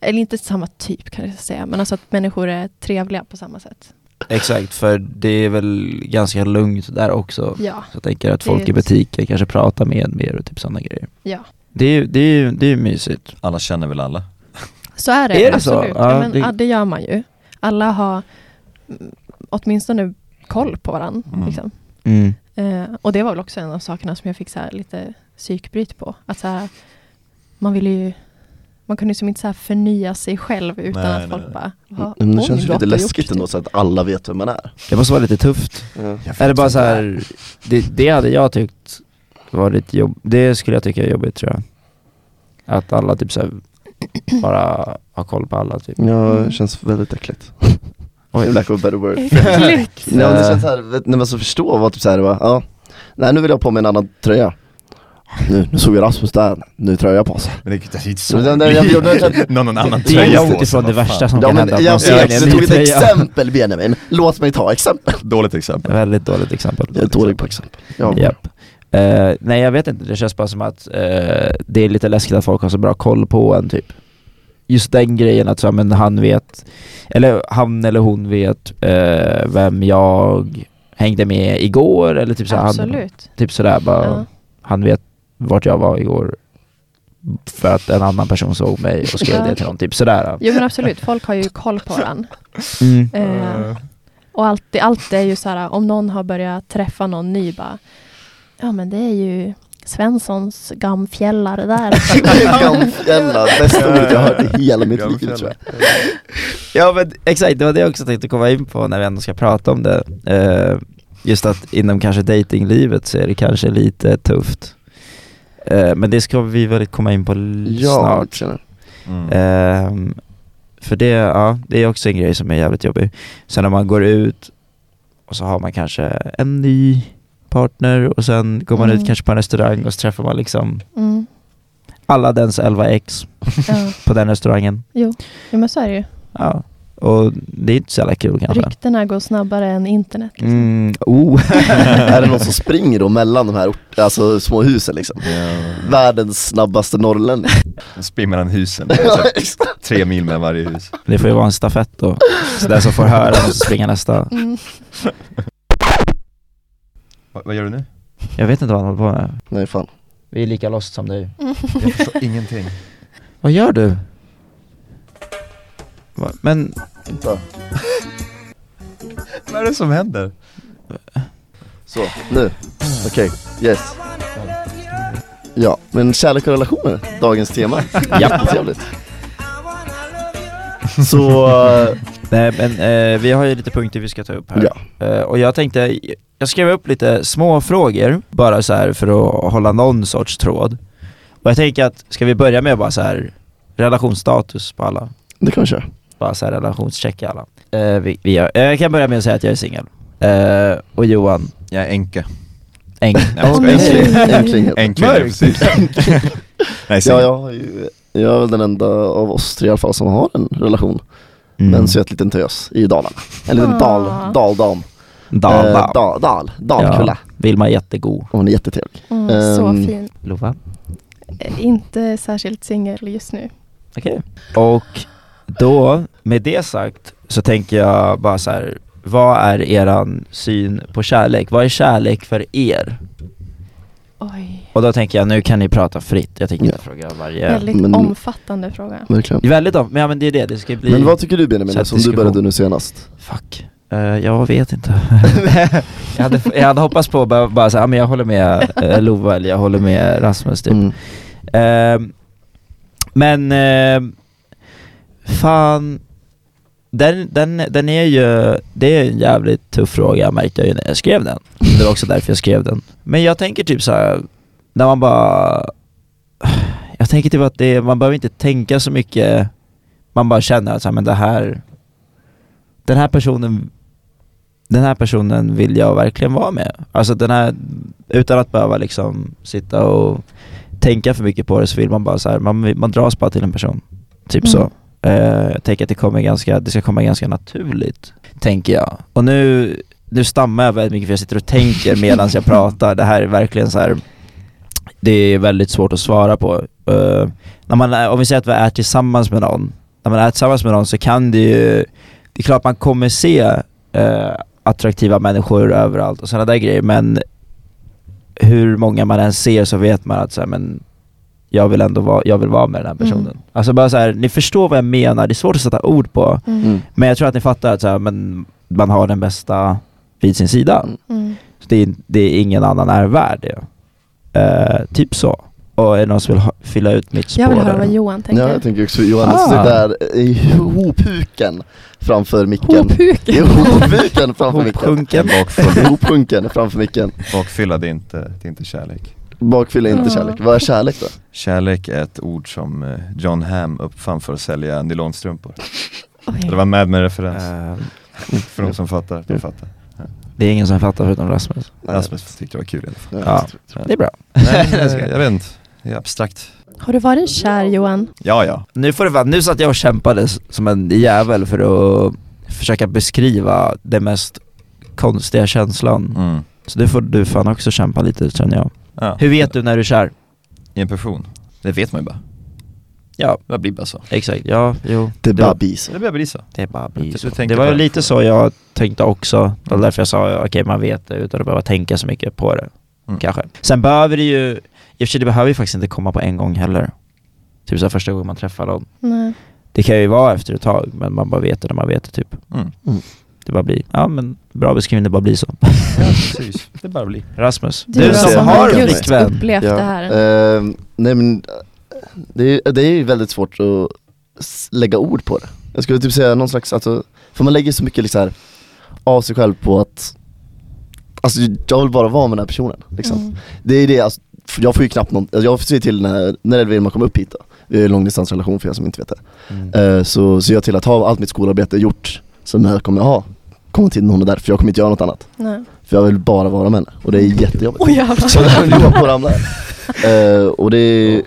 D: eller inte samma typ kan jag säga, men alltså att människor är trevliga på samma sätt.
B: Exakt, för det är väl ganska lugnt där också.
D: Ja,
B: Så jag tänker att
D: Det är
B: folk i
D: ju-
B: butiker kanske pratar med mer och typ sådana grejer.
D: ja.
B: Det är ju det är, ju- det är ju mysigt.
C: Alla känner väl alla?
D: Så är det,
B: Är det så?
D: absolut.
B: Ja,
D: Ja, men,
B: det-
D: det... Ja, det gör man ju. Alla har mm, åtminstone koll på varandra.
C: Mm.
D: Liksom. Eh, och det var väl också en av sakerna som jag fick så här lite psykbryt på. Att så här, man ville ju man kunde ju som inte så här förnya sig själv utan
C: Nej,
D: att
C: nej,
D: folk
C: nej.
D: bara
A: Mm,
D: "Vad
A: Men det
D: har
A: känns
D: ni
A: ju lite
D: gjort?"
A: läskigt
D: (laughs)
A: ändå (laughs) så att alla vet vem man är.
B: Det måste vara lite tufft. Eller bara så här, det, det hade jag tyckt var lite jobb. Det skulle jag tycka är jobbigt tror jag. Att alla typ så här bara har koll på alla typ.
A: Ja,
D: Mm.
A: känns väldigt äckligt.
B: Oj.
A: Lack of a better word.
D: Äckligt.
A: Nej men det känns såhär, vet- när man så förstår vad typ såhär, va, ja Nej nu vill jag ha på mig en annan tröja Nu, nu såg jag Rasmus där, nu tror jag jag på sig
C: Men det det är inte
A: Men den där- jag gjorde-
C: (laughs)
B: (laughs)
C: Någon, någon annan
B: Det är
C: tröja på
B: långt
C: sig,
B: ifrån det
C: vad fan.
B: värsta som
A: Ja
B: kan
A: men
B: hända.
A: jag
C: ser
A: ser,
C: en
A: du tog ett
B: tröja. (laughs)
A: exempel Benjamin, låt mig ta exempel
C: Dåligt exempel.
B: Väldigt dåligt exempel.
A: Jag är dålig på exempel ja.
B: Japp. Eh, nej jag vet inte, det känns bara som att eh, det är lite läskigt att folk har så bra koll på en typ. Just den grejen att så, här, men han vet, eller han eller hon vet eh, vem jag hängde med igår eller typ så här, han,
D: Absolut.
B: typ sådär bara,
D: Ja.
B: han vet vart jag var igår för att en annan person såg mig och skrev
D: Ja.
B: det till någon, typ sådär.
D: Jo men absolut, folk har ju koll på varandra.
B: Mm.
D: Eh, Och allt, det- allt är ju så här, om någon har börjat träffa någon ny bara, ja men det är ju Svenssons gamfjällare där.
A: Gamfjälla, bästa ordet jag har hört i hela mitt liv tror jag
B: Ja men exakt, det var det jag också tänkte komma in på när vi ändå ska prata om det. Eh, just att inom kanske datinglivet så är det kanske lite tufft. Eh, men det ska vi väl komma in på l-
A: Ja,
B: snart.
A: känner.
C: Mm.
B: Ehm, för det, ja, det är också en grej som är jävligt jobbig. Sen när man går ut och så har man kanske en ny partner och sen går man ut
D: Mm.
B: kanske på en restaurang och så träffar man liksom
D: Mm,
B: alla dens 11 ex
D: ja.
B: på den restaurangen.
D: ja men så är det ju.
B: Ja. Och det är inte så jävla kul kanske.
D: Ryktena går snabbare än internet. Liksom.
B: Mm, oh.
A: Är det någon som springer då mellan de här ort- alltså, små husen liksom? Världens snabbaste
B: (laughs)
A: norrlänning
C: Ja. Spinn mellan (laughs) husen. Det är så här Tre mil mellan varje hus.
B: Det får ju vara en stafett då. Så den som får höra måste springa nästa.
D: Mm.
C: Va, vad gör du nu?
B: Jag vet inte vad han håller på med.
A: Nej fan
B: Vi är lika lost som du.
C: Jag
D: (laughs)
C: förstår ingenting.
B: Vad gör du? Va- Men
A: Vänta.
C: (laughs) Vad är det som händer?
A: Så, nu. Okej, yes. Ja, men kärlek och relationer, dagens tema.
B: Ja.
A: Trevligt.
B: (laughs)
A: Så, eh,
B: Nej men eh, vi har ju lite punkter vi ska ta upp här.
A: ja.
B: Eh, och jag tänkte, jag skrev upp lite små frågor bara så här för att hålla någon sorts tråd. Och jag tänker att, ska vi börja med bara så här relationsstatus på alla?
A: Det kan vi köra.
B: Bara så här relationschecka alla. Eh, vi, vi gör, jag kan börja med att säga att jag är singel. Eh, och Johan,
C: Jag är enka.
B: Eng. (laughs)
C: Nej, jag
D: Åh,
C: skojar.
D: nej.
A: Äntligen, äntligen. heter det.
C: Enkling, ja, (laughs)
B: Mörk.
C: precis. Nej,
A: Ja,
C: singel.
A: jag har ju, jag är väl den enda av oss tre i alla fall som har en relation
B: Mm.
A: med en söt liten tös i Dalarna. En liten dal,
D: Ah.
A: daldam.
B: Dala.
A: Eh, da, dal, dalkulla.
B: Vilma är jättegod.
A: Hon är jättetrevlig.
D: Mm, så
A: Ehm.
D: fin.
B: Lova.
D: Eh, Inte särskilt singel just nu.
B: Okej. Och Då, med det sagt, så tänker jag bara så här. vad är eran syn på kärlek? Vad är kärlek för er?
D: Oj,
B: Och då tänker jag, nu kan ni prata fritt, jag tänker inte
A: Ja.
B: fråga varje...
D: väldigt
A: men-
D: omfattande fråga.
A: Verkligen.
B: Det är väldigt om, men ja men det är det, det ska bli...
A: Men vad tycker du Benjamin,
B: Så här
A: som du började
B: diskussion.
A: nu senast?
B: Fuck. Eh, jag vet inte.
A: (laughs)
B: jag, hade, jag hade hoppats på att bara, bara säga, ah, men jag håller med eh, Lova eller jag håller med Rasmus typ.
A: Mm.
B: Ehm, men ehm, fan, den, den, den är ju, det är en jävligt tuff fråga märkte jag ju när jag skrev den. Det var också därför jag skrev den. Men jag tänker typ så här, när man bara, jag tänker typ att det, man behöver inte tänka så mycket, man bara känner att så här, men det här, den här personen den här personen vill jag verkligen vara med. Alltså den här, utan att behöva liksom sitta och tänka för mycket på det så vill man bara så här, man, man dras bara till en person. Typ
D: Mm.
B: så. Eh, jag tänker att det kommer ganska, det ska komma ganska naturligt, tänker jag. Och nu, nu stammar jag väldigt mycket för jag sitter och tänker medan jag pratar. Det här är verkligen så här, det är väldigt svårt att svara på. Eh, när man, är- om vi säger att vi är tillsammans med någon, när man är tillsammans med någon så kan det ju, det är klart man kommer se eh, attraktiva människor överallt och sådana där grejer men hur många man än ser så vet man att så här, men jag vill ändå vara, jag vill vara med den här personen.
D: Mm.
B: Alltså bara så här, ni förstår vad jag menar, det är svårt att sätta ord på.
D: Mm.
A: Mm.
D: Mm.
B: Men jag tror att ni fattar att så här, men man har den bästa vid sin sida.
A: Mm.
B: Så det, är, det är ingen annan är värd det. Eh, typ så. Och är det någon som vill ha, fylla ut mitt spår?
D: Jag vill höra
B: där?
D: vad Johan tänker.
A: Ja, jag tänker också Johannes
B: Ah.
A: sitter där i hophuken framför micken.
D: Hophuken.
A: Jo, hophuken framför micken.
B: Hopunken.
A: Hophunken framför micken.
C: Bakfylla, det är, inte, det är inte kärlek.
A: Bakfylla är inte
D: Ja.
A: kärlek. Vad är kärlek då?
C: Kärlek är ett ord som eh, John Hamm uppfann för att sälja nylonstrumpor. Det
D: (laughs) Oj.
C: var Mad Men-referens,
B: Eh,
C: för de som fattar, de fattar.
B: det är ingen som fattar förutom Rasmus.
C: Rasmus tyckte det var kul i alla fall.
B: Ja. Det är bra.
C: Nej,
B: (laughs)
C: eh, jag vet inte, det är abstrakt.
D: Har du varit kär Johan?
C: Ja, ja.
B: Nu får det vara, nu satt jag och kämpade s- som en jävel för att försöka beskriva den mest konstiga känslan.
C: Mm.
B: Så det får du fan också kämpa lite känner jag.
C: ja.
B: Hur vet du när du är kär?
C: I en person, det vet man ju bara.
B: Ja,
C: Det blir bara så.
B: exakt. Ja, jo.
A: Det är
B: Det var-
A: bara bis.
C: Det blir bli så.
B: Det är bara
C: Du-
B: blir
C: du
B: så.
C: tänker
B: Det var
C: på
B: ju
C: det.
B: lite så jag tänkte också. Det var därför jag sa okej, man vet det utan att behöva tänka så mycket på det.
C: Mm.
B: Kanske. Sen behöver det ju, i och för sig det behöver ju faktiskt inte komma på en gång heller. Typ såhär första gången man träffar någon.
D: Nej.
B: Det kan ju vara efter ett tag, men man bara vet det när man vet det typ.
C: Mm.
B: Det bara blir, ja men bra beskrivning, det bara blir så. (laughs)
C: Ja, precis. Det bara blir.
B: Rasmus,
D: Du,
B: du,
A: Rasmus,
B: som
A: jag
B: har
A: har
B: en
A: just
B: flickvän.
D: upplevt det här.
A: Ehm, nej men, det är, det är ju väldigt svårt att s- lägga ord på det. Jag skulle typ säga någon slags, alltså, för man lägger så mycket liksom här, av sig själv på att, alltså jag vill bara vara med den här personen. Liksom.
D: Mm.
A: Det är det, alltså, f- jag får ju knappt någon, alltså, jag ser till när, när Elvira och man kommer upp hit då. Vi har ju långdistansrelation för er som inte vet det.
C: Mm.
A: Eh, så ser jag till att ha allt mitt skolarbete gjort som jag kommer ha, kommer till när hon är där, för jag kommer inte göra något annat.
D: Nej.
A: För jag vill bara vara med henne och det är jättejobbigt.
D: (laughs) Oj jävlar.
A: Så jag höll ju på att ramla. Eh, och det är,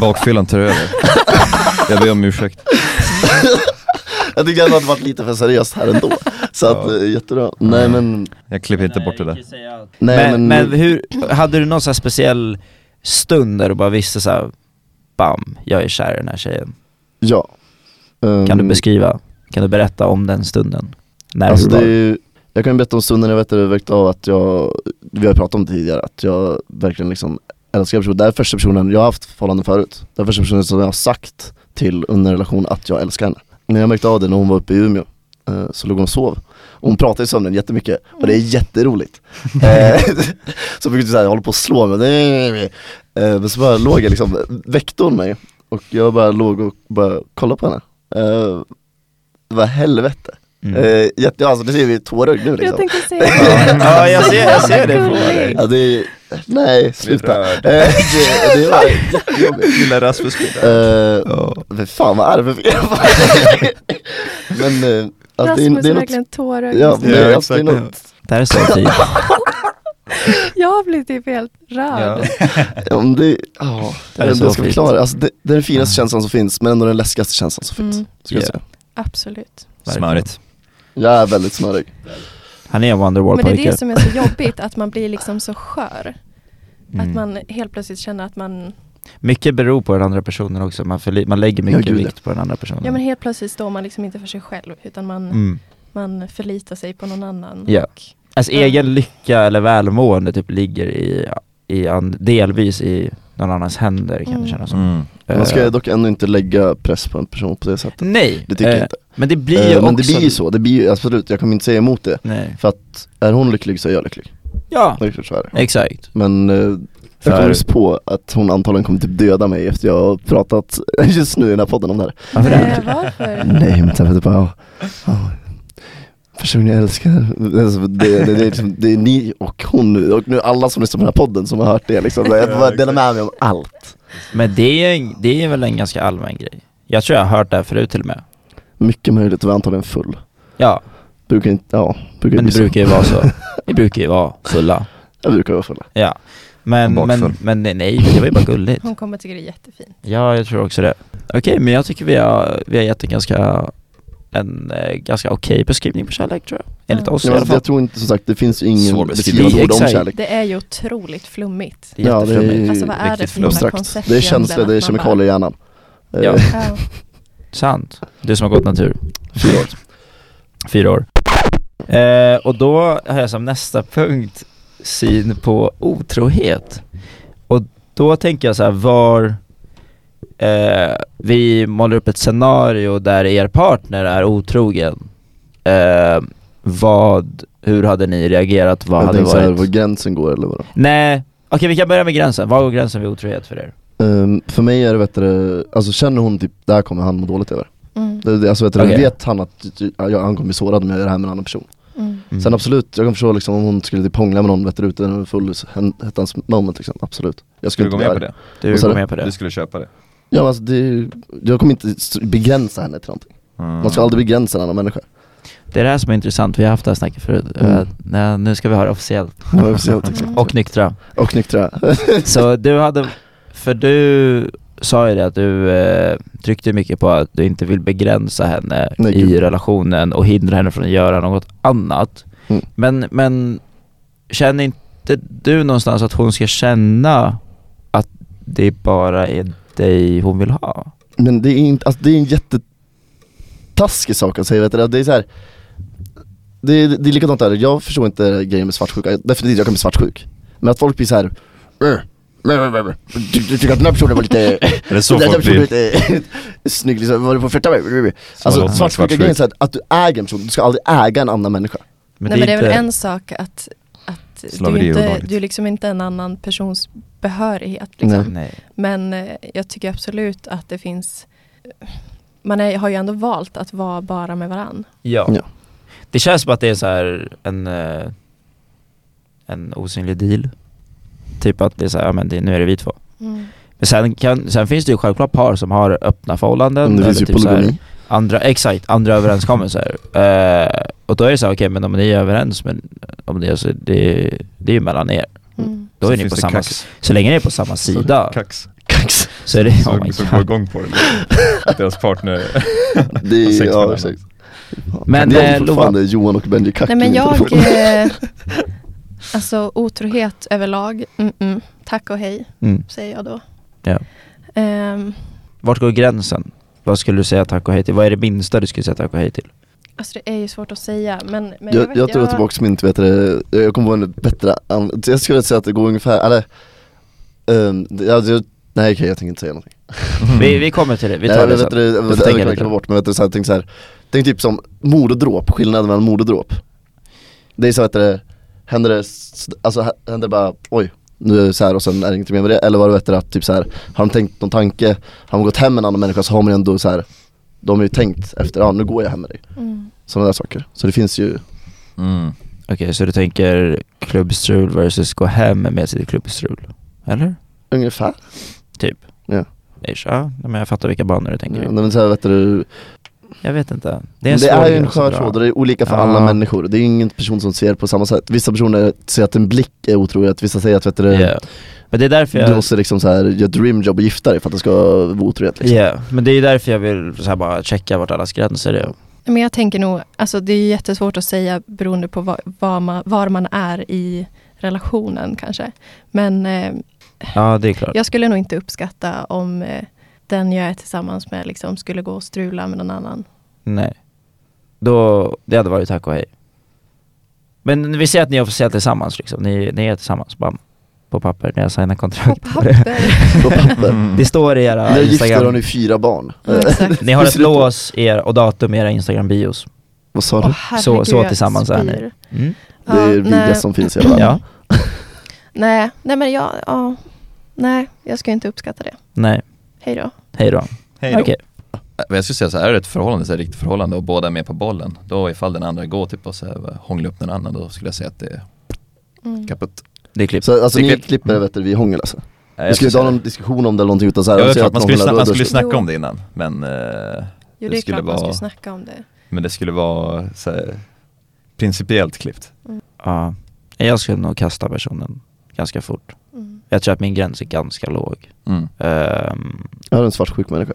C: Bakfyllan tar över. Jag ber om ursäkt.
A: jag tycker ändå att det varit lite för seriöst här ändå. Så att, eh, jättebra. Nej men,
C: Jag klipper inte bort det där.
A: nej men,
B: Men, men hur, hade du någon så här speciell stund där du bara visste så här, bam, jag är kär i den här tjejen.
A: ja. Um,
B: Kan du beskriva, kan du berätta om den stunden? När
A: Alltså
B: du
A: det är ju, jag kan ju berätta om stunden jag vet att jag väckte av att jag, vi har pratat om det tidigare, att jag verkligen liksom älskar personen. Det här är första personen, jag har haft förhållanden förut, det här är första personen som jag har sagt till under en relation att jag älskar henne. Men jag märkte av det när hon var uppe i Umeå, eh, så låg hon och sov. Och hon pratade i sömnen jättemycket och det är jätteroligt. Eh, (laughs) så fick jag såhär, hålla på och slå mig. Eh, Men så bara låg jag liksom, väckte hon mig och jag bara låg och bara kollade på henne. Eh, Vad helvete.
B: Mm.
A: Eh, jätte, alltså det ser vi tårögd nu
D: Jag
A: liksom.
D: tänkte säga
B: Ja. Ja, jag ser- jag ser det på dig.
A: Ja, det är, nej sluta.
C: rörd.
A: Eh, det, det var jättejobbigt.
C: Lilla Rasmus blir där.
A: Eh,
C: Ja.
A: fy fan vad arg jag
B: (laughs)
A: Men eh, alltså, det, är,
D: Rasmus
A: det
D: är
A: är något,
D: verkligen tårögd.
A: ja, men,
C: Ja,
A: alltså, det är
C: exakt.
A: något,
B: Det här
A: (laughs)
B: är så typ.
D: (laughs) Jag blir typ helt rörd.
C: Ja.
A: ja, men det, ja, jag
B: Det är
A: vet inte
B: så
A: jag ska
B: fint.
A: förklara. Alltså, det, det är den finaste känslan som finns men ändå den läskigaste känslan som finns.
D: Mm,
A: Ska jag
B: Ja.
A: säga.
D: absolut.
C: Smörigt.
A: Jag är väldigt smörig.
B: Han är en
D: Men det är
B: Wonderwall-pojke.
D: det som är så jobbigt, att man blir liksom så skör.
B: Mm.
D: Att man helt plötsligt känner att man
B: Mycket beror på den andra personen också, man, förli- man lägger
A: Ja,
B: mycket
A: gud, ja.
B: vikt på den andra personen.
D: Ja men helt plötsligt står man liksom inte för sig själv utan man,
B: mm.
D: man förlitar sig på någon annan.
B: Ja.
D: Och,
B: Alltså
D: Ja.
B: egen lycka eller välmående typ ligger i, i an, delvis i någon annans händer kan
D: Mm.
B: det kännas som.
C: Mm.
A: Man ska
B: Eh,
A: dock ändå inte lägga press på en person på det sättet.
B: Nej!
A: Det tycker jag
B: eh,
A: inte.
B: Men det blir ju
A: Eh,
B: också...
A: men det blir ju så, det blir ju, absolut, jag kommer inte säga emot det.
B: Nej.
A: För att är hon lycklig så är jag lycklig.
B: Ja,
A: Riktigt så är det.
B: exakt.
A: Men eh,
B: För-
A: jag kom på att hon antagligen kommer typ döda mig efter jag har pratat (laughs) just nu i den här podden om det här.
B: Varför det?
D: Eh, varför?
A: Nej men sen för att bara, ja, ja, personen jag älskar, alltså, det, det, det, är liksom, det är ni och hon nu, och nu alla som lyssnar på den här podden som har hört det
D: (laughs)
A: liksom, jag bara delar med mig om allt.
B: Men det är, det är väl en ganska allmän grej. Jag tror jag har hört det här förut till och med.
A: Mycket möjligt, jag var antagligen full.
B: Ja,
A: Brukar inte, ja, brukar
B: men
A: inte
B: det brukar ju vara (laughs) så. Vi brukar ju vara fulla.
A: Jag brukar vara full.
B: Ja. Men,
C: Och bakfull.
B: men, men nej, nej, det var ju bara gulligt.
D: Hon kommer tycka det är jättefint.
B: Ja, jag tror också det. Okej, men jag tycker vi har, vi har gett en ganska, en eh, ganska okej beskrivning på kärlek tror jag. Enligt
D: Ja.
B: oss
A: Ja,
B: i
A: men
B: alla
A: alltså,
B: fall.
A: jag tror inte, som sagt, det finns ju ingen
C: Svår beskrivning.
A: beskrivande ord om
B: Exakt.
A: kärlek.
D: Det är ju otroligt flummigt.
B: Det är
A: Ja, det är-
B: jätteflummigt.
D: Alltså vad är det
C: riktigt
D: för jävla
A: Abstrakt.
D: koncept
A: Det är
D: egentligen
A: känslor, det är
D: att man bara-
A: kemikalier i hjärnan.
B: Ja.
A: Eh,
D: Ja.
B: Sant. Du som har gått natur. Fyra år. Fyra år. Eh, och då har jag som nästa punkt syn på otrohet. Och då tänker jag så här, var eh, vi målar upp ett scenario där er partner är otrogen. Eh, vad, hur hade ni reagerat? Vad
A: jag
B: hade
A: tänkte såhär, var
B: varit?
A: gränsen går eller vadå?
B: Nej, okej vi kan börja med gränsen. Var går gränsen vid otrohet för er?
A: Ehm, för mig är det bättre, alltså känner hon typ, det här kommer han må dåligt över.
D: Mm.
A: Det, det, alltså vet, du,
B: Okej.
A: vet han att ja, han kommer bli sårad om jag gör det här med en annan person.
D: Mm.
A: Sen absolut, jag kan förstå liksom om hon skulle typ hångla med någon vet du, ute när hon är full, så hen- hettans moment liksom, absolut. Jag
C: Skulle
A: skulle
C: du gå med
A: inte
C: på
A: göra
C: det?
B: Du
A: Vad sa
B: går
A: du?
B: med på det?
C: Du skulle köpa det?
A: Ja men alltså det, är ju- jag kommer inte s- begränsa henne till någonting.
C: Mm.
A: Man ska aldrig begränsa en
C: (laughs)
A: annan människa.
B: Det är det här som är intressant, vi har haft det här snacket förut.
A: Mm.
B: Eh, nej, nu ska vi höra officiellt.
A: Ja, officiellt, liksom.
D: Mm.
B: Och nyktra.
A: Och nyktra.
B: (laughs) Så du hade, för du sa ju det att du eh, tryckte mycket på att du inte vill begränsa henne
A: Nej,
B: i
A: gud.
B: relationen och hindra henne från att göra något annat.
A: Mm.
B: Men, men känner inte du någonstans att hon ska känna att det bara är dig hon vill ha?
A: Men det är, inte, alltså det är en jättetaskig sak att säga vet du. Det är så här. Det, är- det är likadant där, jag förstår inte grejen med svartsjuka, definitivt jag kan bli svartsjuk Men att folk blir "Äh, såhär du, du tycker att den här personen var lite,
C: Är det (laughs) så
A: (laughs) den här
C: folk
A: personen var
C: blir?
A: lite (laughs) snygg liksom, var du på att flirta med?
C: låter
A: Alltså
C: man
A: svartsjuka
C: svartsjuk.
A: grejen är såhär att du äger en person, du ska aldrig äga en annan människa
D: Nej men det är väl
B: inte-
D: en sak att, att du, är
C: Slaveri är
D: inte,
C: olagligt.
D: du är liksom inte en annan persons behörighet. Liksom.
A: Nej.
B: Nej.
D: Men eh, jag tycker absolut att det finns man är, har ju ändå valt att vara bara med varann.
B: Ja.
A: Ja.
B: Det känns som att det är så här en, eh, en osynlig deal. Typ att det är så här, ja men det, nu är det vi två.
D: Mm,
A: Mm.
B: Men sen, kan, sen finns det ju självklart par som har öppna förhållanden.
A: Men Mm, Det finns
B: eller
A: ju
B: typ så här
A: polygoni,
B: andra, exakt, andra
A: (laughs)
B: överenskommelser. Eh, och då är det så här, okej men om ni är överens, men om ni, alltså, det, det är ju mellan er.
D: Mm.
B: Då
C: Så
B: är ni
C: finns
B: på
C: det
B: samma,
C: kax.
B: så länge ni är på samma sida
C: Kax
A: kax
B: så är det,
C: som,
B: oh my
C: som
B: God.
C: går igång på det Att (laughs) Deras partner
A: Det
C: Har sex
A: är,
C: med
A: ja
C: varandra.
A: exakt
B: Men,
A: Det är
B: eh,
A: fortfarande Johan och Benji kack
D: Nej
A: i
D: men
A: min
D: jag,
A: telefon.
D: eh, alltså otrohet överlag, mm -mm. tack och hej
B: mm.
D: säger jag då.
B: Ja.
D: Ehm,
B: Vart går gränsen? Vad skulle du säga tack och hej till? Vad är det minsta du skulle säga tack och hej till?
D: alltså det är ju svårt att säga men, men
A: jag, jag tror
D: jag-
A: tillbaka min, vet du, jag kommer vara en bättre, an- jag skulle säga att det går ungefär, eller ehm, det- jag, jag, Nej okej jag tänker inte säga någonting
B: Vi, vi kommer till det, vi tar
A: Mm. Nej,
B: det
A: men
B: sen.
A: vet du,
B: får
A: vet du,
B: tänka
A: jag kan
B: lite.
A: klippa bort men vet du, så här, jag tänkte såhär Tänk typ som mord och dråp, skillnaden mellan mord och dråp Det är så att det händer det, s- alltså hä- händer det bara oj nu är det så här och sen är det inget mer med det, eller vad det heter att typ så här Har de tänkt någon tanke, har de gått hem med en annan människa så har man ju ändå så här De har ju tänkt efter, ja nu går jag hem med dig
D: Mm.
A: Sådana där saker, så det finns ju
C: mm.
B: Okej, så du tänker klubbstrul versus gå hem med sitt klubbstrul? Eller?
A: ungefär
B: Typ?
A: Ja.
B: Ish, ja, nej, men jag fattar vilka banor du tänker
A: Ja,
B: i.
A: nej, men så här, vet du,
B: Jag vet inte.
A: det är,
B: en
A: det
B: svår
A: är ju en
B: gräns att
A: skör
B: dra.
A: tråd och det är olika för
B: Ja.
A: alla människor. Det är ju ingen person som ser på samma sätt. Vissa personer ser att en blick är otrohet, vissa säger att vet du,
B: Ja. Men det är därför
A: du
B: jag...
A: måste liksom så här, göra dreamjob och gifta dig för att det ska vara otrohet liksom.
B: Ja, men det är därför jag vill så här bara checka vart allas gränser är.
D: Men jag tänker nog, alltså det är jättesvårt att säga beroende på var, var, man, var man är i relationen kanske. Men eh,
B: Ja, det är klart.
D: Jag skulle nog inte uppskatta om eh, den jag är tillsammans med liksom skulle gå och strula med någon annan.
B: Nej. Då, det hade varit tack och hej. Men vi säger att ni är officiellt tillsammans liksom, ni, ni är tillsammans, bam. På papper, när jag signar
D: På
B: kontrakt.
D: papper.
A: På (laughs) papper.
B: (laughs)
C: Mm.
B: Det står i
A: När
B: era
A: du gifter har
B: Instagram,
A: ni fyra barn.
D: Ja, exakt.
A: (laughs)
B: ni har ett lås i er och datum i era Instagram-bios.
A: Vad sa
D: Åh,
A: du?
D: herregud,
B: Så- så
D: jag
B: tillsammans är ni.
D: spyr.
B: Mm.
A: Det är videos
D: Ah, nej,
A: som finns i alla
B: Ja,
D: nej, nej, men jag, ja, nej, jag skulle inte uppskatta det.
B: nej,
D: Hej då.
B: hej då.
C: Hej då.
B: Okej.
C: Äh, Jag skulle säga så här, är det ett förhållande, så här, riktigt förhållande och båda är med på bollen, då ifall den andra går typ och så här, hånglar upp någon annan, då skulle jag säga att det är
D: Mm.
C: kaputt.
B: Det är klippt.
A: Så alltså
C: Det
A: ni
C: klipp-
A: klipper vet du, vi hångel alltså?
C: Jag
A: Vi skulle
C: skulle
A: inte ha
C: säga-
A: någon diskussion om det eller någonting utan
C: Ja,
A: såhär,
C: det är klart, man skulle, sna- man skulle
D: slut.
C: snacka om det innan, men, eh,
D: Jo,
C: Det
D: det
C: skulle
D: är klart man
C: vara-
D: skulle snacka om det.
C: men det skulle vara så här, principiellt klippt.
B: Ja. Jag skulle nog kasta personen ganska fort.
D: Mm.
B: Jag tror att min gräns är ganska låg.
C: Mm.
B: Ehm,
A: Jag är en svartsjuk människa.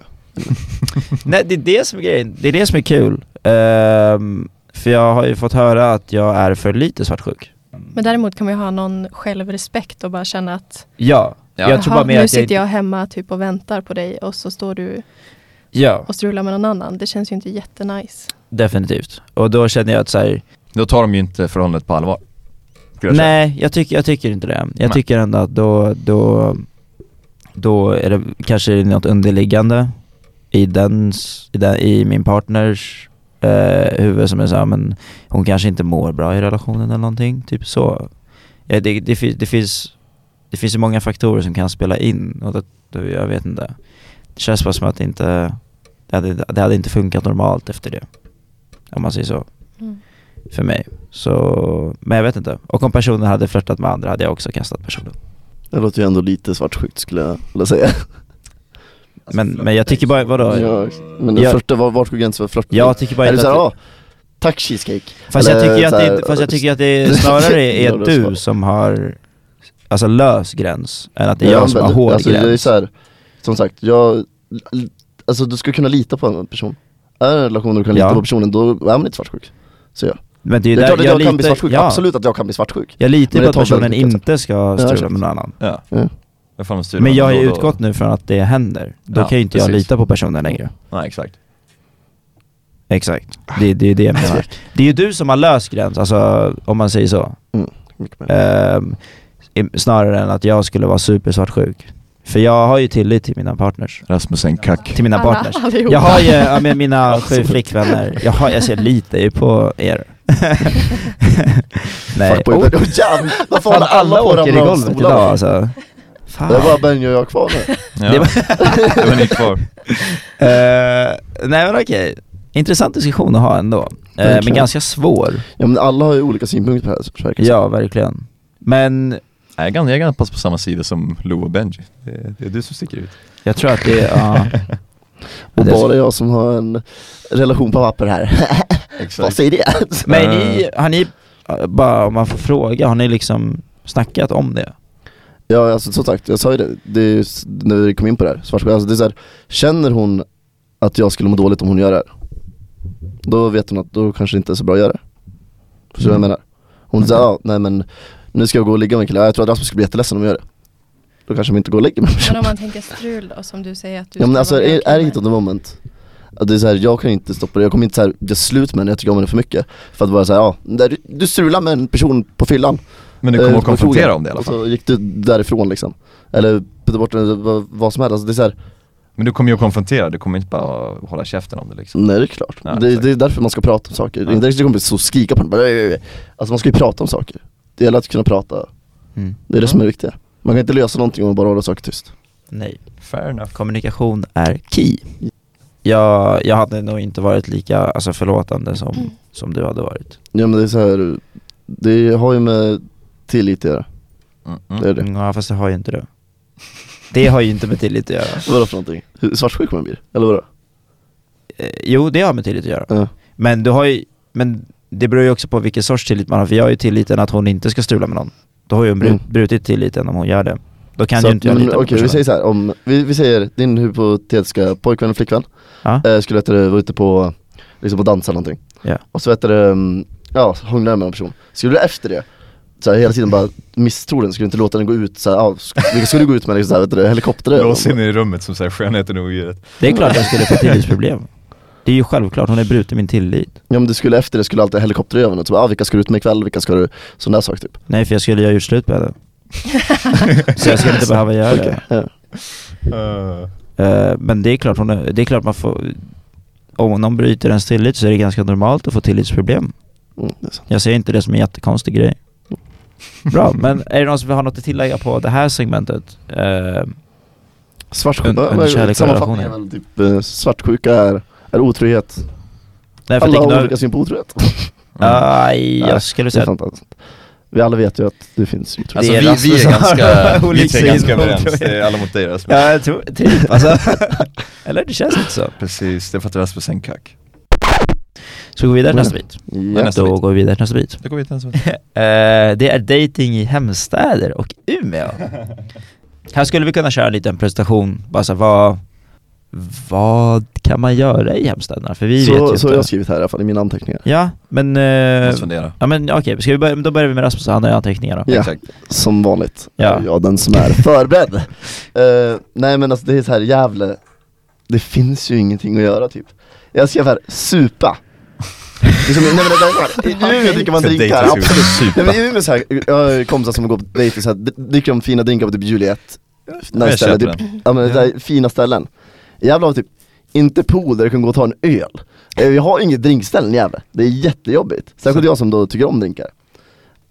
B: (laughs) Nej det är det som är grejen, det är det som är kul. Ehm, för jag har ju fått höra att jag är för lite svartsjuk.
D: Men däremot kan man ju ha någon självrespekt och bara känna att
B: Ja,
C: Ja.
B: jag tror
D: "Jaha,
B: bara mer
D: nu
B: att jag,
D: sitter jag hemma typ och väntar på dig och så står du
B: Ja,
D: och strular med någon annan. Det känns ju inte jättenice.
B: definitivt. Och då känner jag att så här,
C: Då tar de ju inte förhållandet på allvar. skulle jag säga.
B: nej jag, tycker jag tycker inte det. Jag
C: Nej.
B: tycker ändå att då, då, då är det kanske är något underliggande i, dens, i, den, i min partners eh, huvud som är såhär, men hon kanske inte mår bra i relationen eller någonting, typ så. Ja, det, det, fin- det finns det finns ju många faktorer som kan spela in och det, det, jag vet inte. Det känns bara som att det inte, det hade, det hade inte funkat normalt efter det. Om man säger så.
D: Mm.
B: för mig. Så, men jag vet inte. Och om personen hade flörtat med andra hade jag också kastat personen.
A: Det låter ju ändå lite svartsjukt skulle jag vilja säga.
B: Men, men jag tycker bara, vadå?
A: Alltså, Ja, men det
B: Ja.
A: flörta, var, vart går gränsen för flört?
B: Jag tycker bara
A: är det
B: inte
A: såhär,
B: att,
A: ah, tack cheesecake?
B: fast, jag
A: eller
B: tycker att
A: så här-
B: det, fast jag tycker att
A: (laughs)
B: det är snarare
A: Ja,
B: är
A: det är
B: du
A: smart.
B: som har alltså lös gräns än att det är
A: Ja,
B: jag som
A: men
B: har
A: det-
B: hård
A: alltså, Det är
B: gräns.
A: så här, som sagt, jag, alltså du ska kunna lita på en annan person. Är det en relation där du kan lita
B: Ja.
A: på personen, då är man inte svartsjuk. Så ja.
B: Men det är
A: Det
B: ju
A: är
B: där
A: klart att jag, kan bli
B: litar-
A: svartsjuk,
B: ja,
A: absolut att jag kan bli svartsjuk.
B: Jag
A: Men
B: litar på
A: det
B: att
A: tar
B: personen
A: väldigt mycket
B: inte ska
A: jag
B: strula
A: köper.
B: med någon annan.
C: Ja.
A: Mm.
C: Jag får de styra
B: Men jag har
C: dem
B: ju
C: då och då.
B: utgått nu från att det händer. Då
C: Ja,
B: kan ju inte jag
C: precis.
B: lita på personen längre.
C: Nej exakt.
B: Exakt. Det, det är ju det jag menar. Det är ju du som har lös gräns, alltså om man säger så.
A: Mycket mer.
B: Ehm, i- snarare än att jag skulle vara supersvartsjuk. För jag har ju tillit till mina partners.
C: Rasmus är en kack.
B: Till mina
D: Alla-
B: partners.
D: allihopa.
B: Jag har ju, ja,
D: (laughs)
B: men mina sju flickvänner, jag, har, jag ser lite ju på er. Nej.
A: Fuckboy,
B: Oh,
A: men- oh, (laughs) jävlar, varför håller alla på att
B: åker i
A: ramla av
B: golvet idag
A: stolarna?
B: alltså.
A: Det är
B: Fan.
A: bara Benny och jag kvar nu.
C: Ja.
B: Det
C: Det
B: var-
C: var, det var ni kvar.
B: (laughs) Eh, nej men okej, intressant diskussion att ha ändå. Eh, men
A: Verkligen.
B: ganska svår.
A: Ja men alla har ju olika synpunkter på det här så verkar det som.
B: Ja, verkligen. Men
C: Nej, jag kan, jag kan passa på samma sida som Lou och Benji. Det, det är du som sticker ut.
B: jag tror att det är, ja.
A: Och
B: Det är så-
A: bara jag som har en relation på papper här. (laughs) Vad säger det?
B: Men är ni, har ni, eh, bara om man får fråga, har ni liksom snackat om det?
A: Ja alltså som sagt, jag sa ju det, det är, ju s- när vi kom in på det här, svartsjuka, alltså det är så här, känner hon att jag skulle må dåligt om hon gör det här? Då vet hon att då kanske det inte är så bra att göra det. Förstår du vad jag menar? Hon säger ja, nej men nu ska jag gå och ligga med en kille, Ja, jag tror att Rasmus skulle bli jätteledsen om jag gör det. Då kanske vi inte går och lägger med
D: Men om
A: personen.
D: man tänker strul då, som du säger att du
A: Ja men
D: ska
A: alltså
D: vara
A: är, är det
D: med
A: inte the moment? Att det är så här, jag kan inte stoppa det, jag kommer inte så här, göra slut med henne, jag tycker om henne för mycket. För att bara säga ja, där du, du strular med en person på fyllan.
C: Men du kommer
A: Eh,
C: att
A: på krogen.
C: konfrontera om det i alla fall.
A: Och så Alltså, gick du därifrån liksom. Eller putta bort den, vad, vad som helst. Alltså, det är så här,
C: Men du kommer ju att konfrontera, du kommer inte bara hålla käften om det liksom.
A: nej det är klart.
C: Ja,
A: det,
C: exakt.
A: det är därför man ska prata om saker. Det är inte därför det kommer bli så skrika på den. bara, "Nej, nej, nej." Alltså man ska ju prata om saker. Det gäller att kunna prata. Det är det som är det viktiga. Man kan inte lösa någonting om man bara håller saker tyst.
B: Nej.
C: Fair enough.
B: Kommunikation är key. Jag, jag hade nog inte varit lika alltså, förlåtande som, som du hade varit.
A: Ja men det är så här, det har ju med tillit att göra.
C: Mm,
A: Det
C: mm.
A: är det.
B: Ja fast det har ju inte du. Det har ju inte med tillit att göra.
A: Vadå för någonting? Hur svartsjuk man blir? Eller vadå?
B: Eh, Jo det har med tillit att göra.
A: Ja.
B: Men du har ju, men det beror ju också på vilken sorts tillit man har. För jag har ju tilliten att hon inte ska strula med någon. Då har ju hon bru-
A: Mm.
B: brutit tilliten om hon gör det. Då kan
A: Så
B: ju
A: att-
B: inte jag
A: men
B: lita på
A: Okej vi
B: personen.
A: säger så här, om, vi, vi säger din hypotetiska pojkvän eller flickvän
B: Ja.
A: eh, skulle vet du, vara ute på, liksom och dansa eller någonting.
B: Ja.
A: Och så vet du, mm, ja, hångla med en person. Skulle du efter det så här, hela tiden bara misstror den, skulle inte låta den gå ut såhär, ah, sk- vilka skulle du gå ut med liksom, så här, vet du, det, helikoptrar?
E: Lås in i rummet som säger skönheten och odjuret.
B: Det är klart jag skulle få tillitsproblem. Det är ju självklart, hon har brutit min tillit.
A: Ja men du skulle efter det skulle alltid helikoptrar över den, typ, ah, vilka ska du ut med ikväll, vilka ska du, sån där sak typ
B: Nej för jag skulle ju ha gjort slut med henne. Så jag skulle inte behöva göra det.
A: ja.
E: Eh,
B: Eh, men det är klart, hon är, det är klart man får... Om någon bryter ens tillit så är det ganska normalt att få tillitsproblem.
A: mm, det är sant.
B: Jag ser inte det som en jättekonstig grej. Bra, men är det någon som har något att tillägga på det här segmentet? Eh,
A: Svartsjuka,
B: Under- under
A: men
B: kärlek och
A: sammanfattningen är
B: relationer.
A: väl typ eh, svartsjuka är, är otrohet,
B: nej, för
A: alla
B: jag
A: har
B: tänker-
A: olika syn på otrohet
B: Aj,
A: Nej,
B: jag skulle
A: Det är
B: säga...
A: sant, alltså. Vi alla vet ju att det finns otrohet
C: Alltså
B: Det är
C: vi, vi
B: Rasmus
C: är
B: som
C: ganska...
B: har
E: Vi
B: olika
E: tre är ganska
B: syn på
E: överens,
B: odjuret.
E: det är alla mot dig Rasmus.
B: Ja, jag tror, typ alltså. Eller det känns inte så.
E: Precis, det är för att Rasmus är en kack.
B: Så går vi vidare till nästa bit.
A: Ja.
C: Nästa
B: Då
C: bit.
B: går vi vidare till nästa bit.
C: Då går vi till nästa.
B: Eh, det är dating i hemstäder och Umeå. Här skulle vi kunna köra en liten presentation, bara så här, vad, vad kan man göra i hemstäderna? För vi vet ju
A: Så, så
B: inte.
A: jag har skrivit här i alla fall i mina anteckningar
B: Ja, men... eh,
C: Måste fundera.
B: ja men okej, ska vi börja, då börjar vi med Rasmus, han har ju anteckningar då.
A: Ja.
C: Exakt.
A: Som vanligt,
B: Ja.
A: ja. jag den som är förberedd. Eh, nej men alltså det är så här Gävle, det finns ju ingenting att göra typ. Jag skrev här, supa. Liksom, nej, men det där, I Umeå dricker man
E: Så
A: drinkar,
E: dejtar vi.
A: absolut. Nej, men
E: Supa.
A: I Umeå så här, jag har kompisar som går på dejter så här, d- dricker de fina drinkar på typ Juliet, nice
C: Jag
A: ställe,
C: köper
A: typ, ja, men, så här, fina ställen. Jävla har typ, inte pool där du kan gå och ta en öl. Eh, Vi har inget drinkställen i Gävle, det är jättejobbigt. Särskilt jag som då tycker om drinkar.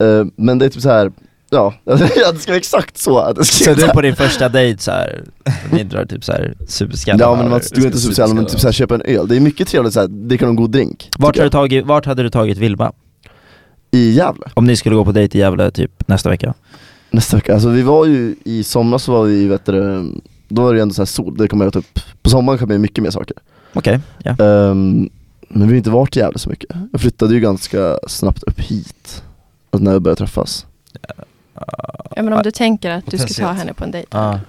A: Eh, men det är typ så här. Ja, (laughs) det ska vara exakt så att det
B: Så
A: ska
B: du är på din första dejt såhär, ni drar typ såhär superskallar?
A: Ja men man
C: det
A: tror inte
C: ska-
A: så men
C: ska-
A: typ såhär köpa en öl, det är mycket trevligt såhär, det kan en god drink
B: vart,
A: tycker
B: hade du
A: jag.
B: tagit, vart hade du tagit Vilma?
A: I Gävle,
B: Om ni skulle gå på dejt i Gävle typ nästa vecka?
A: nästa vecka, alltså vi var ju i somras så var vi vet du, då var det ju ändå såhär sol, det kommer jag ta upp På sommaren kommer jag göra mycket mer saker
B: Okej, ja.
A: Ehm, Men vi har inte varit i Gävle så mycket, jag flyttade ju ganska snabbt upp hit Alltså när vi började träffas
D: Ja, men om du tänker att du ska ta
C: Potentiellt.
D: henne på en dejt.
B: Ja.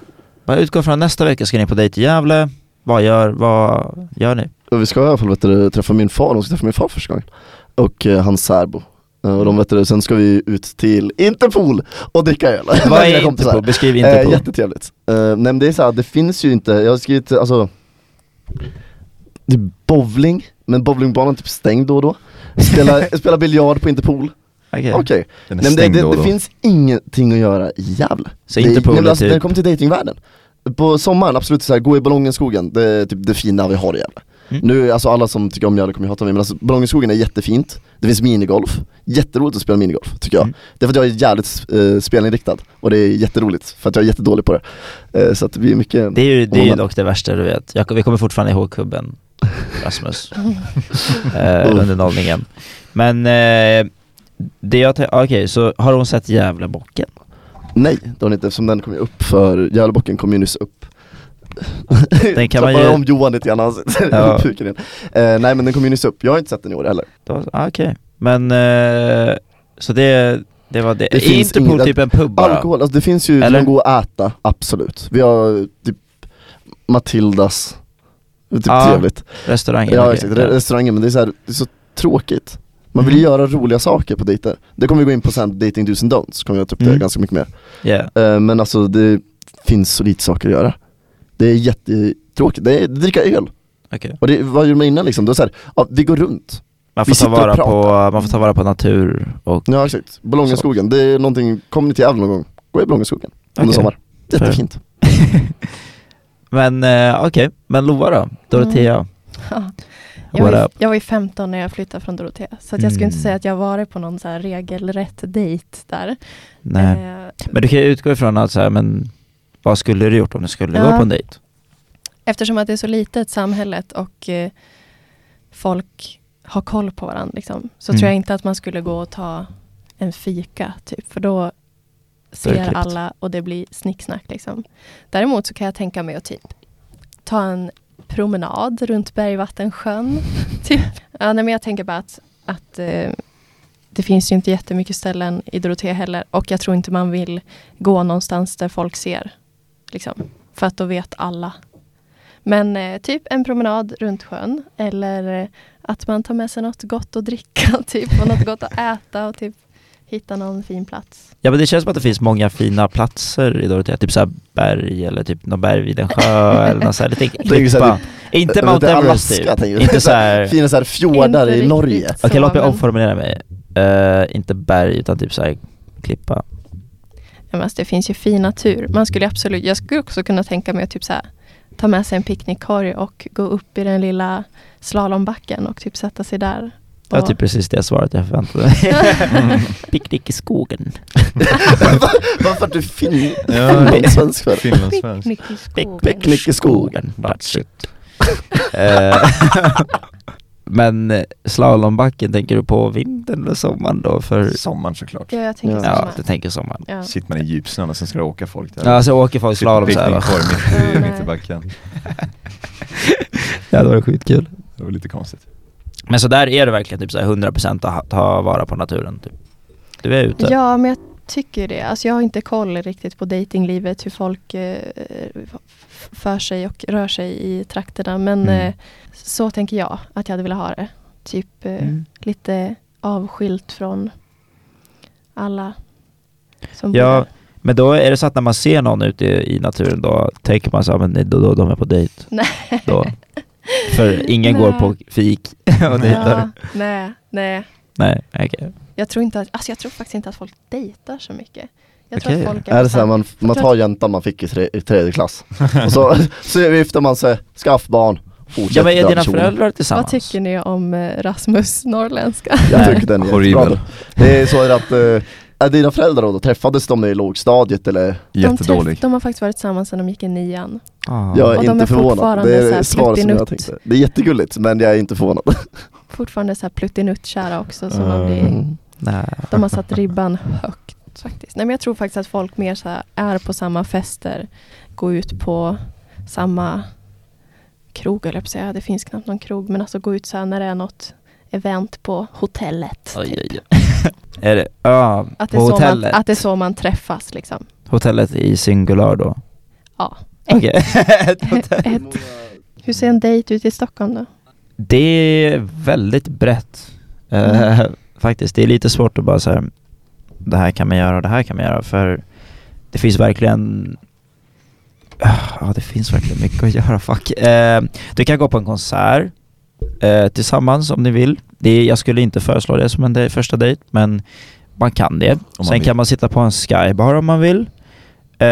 B: Bara utgå från nästa vecka ska ni på dejt i Gävle. Vad gör, vad
A: (laughs)
B: gör ni?
A: Och vi ska i alla fall vet du, träffa min far, de ska träffa min far första gången Och eh, hans särbo Eh, och de vet du, sen ska vi ut till Interpol och dricka öl Med (laughs)
B: Vad
A: mina
B: är
A: kompisar.
B: Interpol? Beskriv
A: Eh,
B: Interpol.
A: jättetrevligt. Eh, nej men det är såhär, det finns ju inte, jag har skrivit alltså Det är bowling, men bowlingbanan är typ stängd då och då
B: (laughs)
A: Spela, spela biljard på Interpol,
B: Okej.
A: okej
E: Den är
A: Nej men det,
E: stängd
A: det,
E: då och
A: det
E: då.
A: finns ingenting att göra i Gävle
B: Så
A: Det är-
B: Interpol
A: nej, men
B: är
A: alltså, När det
B: typ,
A: kommer till datingvärlden På sommaren, absolut såhär, gå i ballongenskogen, det är typ det fina vi har i Gävle
B: Mm.
A: Nu, alltså alla som tycker om Gävle kommer ju hata mig men alltså ballongenskogen är jättefint Det finns minigolf, jätteroligt att spela minigolf tycker jag
B: Mm.
A: Det är för att jag är jävligt eh, spelinriktad och det är jätteroligt för att jag är jättedålig på det Eh, Så att det blir mycket
B: det är ju, det är ju dock det värsta du vet. Jag, vi kommer fortfarande
A: (laughs)
B: ihåg kubben, Rasmus, eh, under nollningen. Men eh, det jag tän- okej så har hon sett Gävlebocken?
A: Nej, det har ni inte eftersom den kom ju upp för Gävlebocken kom ju nyss upp (laughs)
B: Den kan man
A: Tappade
B: ju-
A: om Johan lite grann, han sitter
B: Ja.
A: i (laughs) puken igen eh, Nej men den kom ju nyss upp, jag har inte sett den i år heller
B: Då- ah, Okej, men eh, så det, det var det.
A: Det
B: är
A: finns
B: Interpol
A: inget-
B: typ en pub bara?
A: Alkohol, alltså det finns ju,
B: Eller?
A: Eller? gå och äta, absolut. Vi har typ Matildas, det är typ
B: Ja,
A: trevligt.
B: Restaurangen?
A: Ja
B: okej.
A: exakt, Re- restauranger men det är, så här, det är så tråkigt. Man vill ju
B: Mm.
A: göra roliga saker på dejter. Det kommer vi gå in på sen, dating do's and don'ts, kommer jag ta upp det
B: Mm.
A: ganska mycket mer.
B: Yeah.
A: Eh, men alltså det finns så lite saker att göra. Det är jättetråkigt, det är dricka öl.
B: okej.
A: Och det, vad gjorde man innan liksom? Det var såhär, ja, vi går runt.
B: Man,
A: Vi
B: får ta
A: sitter och
B: vara på,
A: pratar.
B: man får ta vara på natur och...
A: Ja exakt, Ballongenskogen, det är någonting, kom ni till Gävle någon gång, gå i Ballongenskogen under
B: Okej.
A: sommar.
B: Fair.
A: Jättefint.
B: (laughs) Men eh, okej, men Lova då? Dorotea?
D: (laughs)
A: Mm.
D: Ja. Jag,
B: What
D: var ju,
B: up?
D: jag var ju 15 när jag flyttade från Dorotea, så att jag skulle
B: Mm.
D: inte säga att jag varit på någon så här regelrätt dejt där.
B: Nej.
D: Eh,
B: Men du kan ju utgå ifrån att så här, men vad skulle du gjort om du skulle
D: Ja.
B: gå på en dejt?
D: Eftersom att det är så litet samhället och eh, folk har koll på varandra liksom, så
B: Mm.
D: tror jag inte att man skulle gå och ta en fika typ, för då
B: är det
D: ser
B: klippt.
D: alla och det blir snicksnack liksom. Däremot så kan jag tänka mig att typ ta en promenad runt Bergvattensjön. (laughs) typ. ja, nej, men jag tänker bara att, att eh, det finns ju inte jättemycket ställen i Dorotea heller och jag tror inte man vill gå någonstans där folk ser. Liksom, för att då vet alla. Men eh, typ en promenad runt sjön (laughs) eller eh, att man tar med sig något gott att dricka typ, och något gott att äta och typ hitta någon fin plats.
B: Ja men det känns som att det finns många fina platser i Dorotea, typ såhär berg eller typ någon berg vid
A: (laughs)
B: en sjö eller någon såhär liten
A: Tänker så här
B: klippa. Inte
A: lite
B: Mount Everest
A: Alaska,
B: typ.
A: tänker jag.
B: Inte
A: (laughs)
B: såhär...
A: Fina så här fjordar
D: Inte
A: i
D: riktigt
A: Norge.
D: (laughs) så,
B: Okej låt mig
D: men-
B: omformulera mig. Eh, inte berg utan typ såhär klippa.
D: Ja, men alltså, det finns ju fin natur. Man skulle absolut, jag skulle också kunna tänka mig att typ så här, ta med sig en picknickkorg och gå upp i den lilla slalombacken och typ sätta sig där.
B: Det var
D: (laughs) och-
B: typ precis det svaret jag förväntade mig. Picknick i skogen.
A: (laughs) Varför att du är fin?
E: Ja.
A: Svensk för?
E: Finlandssvensk.
D: Picknick i skogen.
A: Picknick i skogen.
B: That's it. Eh, (laughs) men eh, slalombacken, tänker du på vintern eller sommaren då? För,
E: Sommaren såklart.
D: Ja, jag tänker
A: Ja.
D: ja.
B: ja, du tänker sommaren.
D: Ja.
E: Sitter man i djupsnön och sen ska det åka folk där.
B: Ja, alltså åker folk slalom såhär va?
E: Picknickkorg mitt, i-
D: Ja, nej.
E: mitt i backen.
B: (laughs) Ja, det var skitkul.
E: Det var lite konstigt.
B: Men så där är det verkligen typ såhär 100% att ha- ta vara på naturen typ. Du är ute.
D: Ja, men jag tycker det. Alltså jag har inte koll riktigt på datinglivet, hur folk eh, f- för sig och rör sig i trakterna. Men
B: Mm.
D: eh, så tänker jag att jag hade velat ha det. Typ eh,
B: Mm.
D: lite avskilt från alla som bor
B: Ja,
D: där.
B: men då är det så att när man ser någon ute i i naturen då tänker man så här, men nej, då, då de är på dejt.
D: Nej.
B: Då. För ingen går
D: Nej.
B: på fik (laughs) och dejtar.
D: Ja, nej, nej.
B: Nej, okej.
D: Jag tror, inte att, alltså jag tror faktiskt inte att folk dejtar så mycket. Jag tror
B: Okej.
D: att folk
A: Är det så här,
D: nästan-
A: man, man tar jäntan man fick i, tre, i tredje klass, och så, så gifter man sig, skaff barn, fortsätt
B: Ja men är
A: den
B: dina
A: personen.
B: föräldrar tillsammans?
D: Vad tycker ni om eh, Rasmus norrländska?
A: Jag
B: Nej.
A: tycker den är
E: Horribel.
A: jättebra. Det är så att, eh, är dina föräldrar då, då, träffades de i lågstadiet eller?
D: De, träff,
E: Jättedålig.
D: de har faktiskt varit tillsammans sedan de gick i nian.
B: Ah.
A: Jag är
D: Och de
A: inte
D: är
A: förvånad.
D: fortfarande
A: Det
D: så
A: är
D: här
A: svaret som jag
D: pluttinutt.
A: tänkte. Det är jättegulligt men jag är inte förvånad.
D: Fortfarande så här pluttinuttkära också. Så man blir,
A: Mm.
B: Nej.
D: de har satt ribban högt faktiskt. Nej, men jag tror faktiskt att folk mer så här är på samma fester, går ut på samma krog, eller jag på att säga. Det finns knappt någon krog, men alltså gå ut så här när det är något event på hotellet.
B: Oj,
D: typ.
B: oj, oj. Är det, ja,
D: Att det,
B: på
D: är så man,
B: hotellet?
D: att det är så man träffas liksom.
B: Hotellet i singular då?
D: Ja.
B: Okej. (laughs)
A: (laughs)
D: Ett. Hur ser en dejt ut i Stockholm då?
B: Det är väldigt brett. Eh,
E: Mm.
B: (laughs) faktiskt, det är lite svårt att bara säga det här kan man göra och det här kan man göra för det finns verkligen Ja, det finns verkligen mycket att göra, fuck. Eh, du kan gå på en konsert eh, tillsammans om ni vill. Det är, jag skulle inte föreslå det som en dej- första dejt, men man kan det.
E: man
B: Sen
E: vill.
B: kan man sitta på en skybar om man vill. Eh,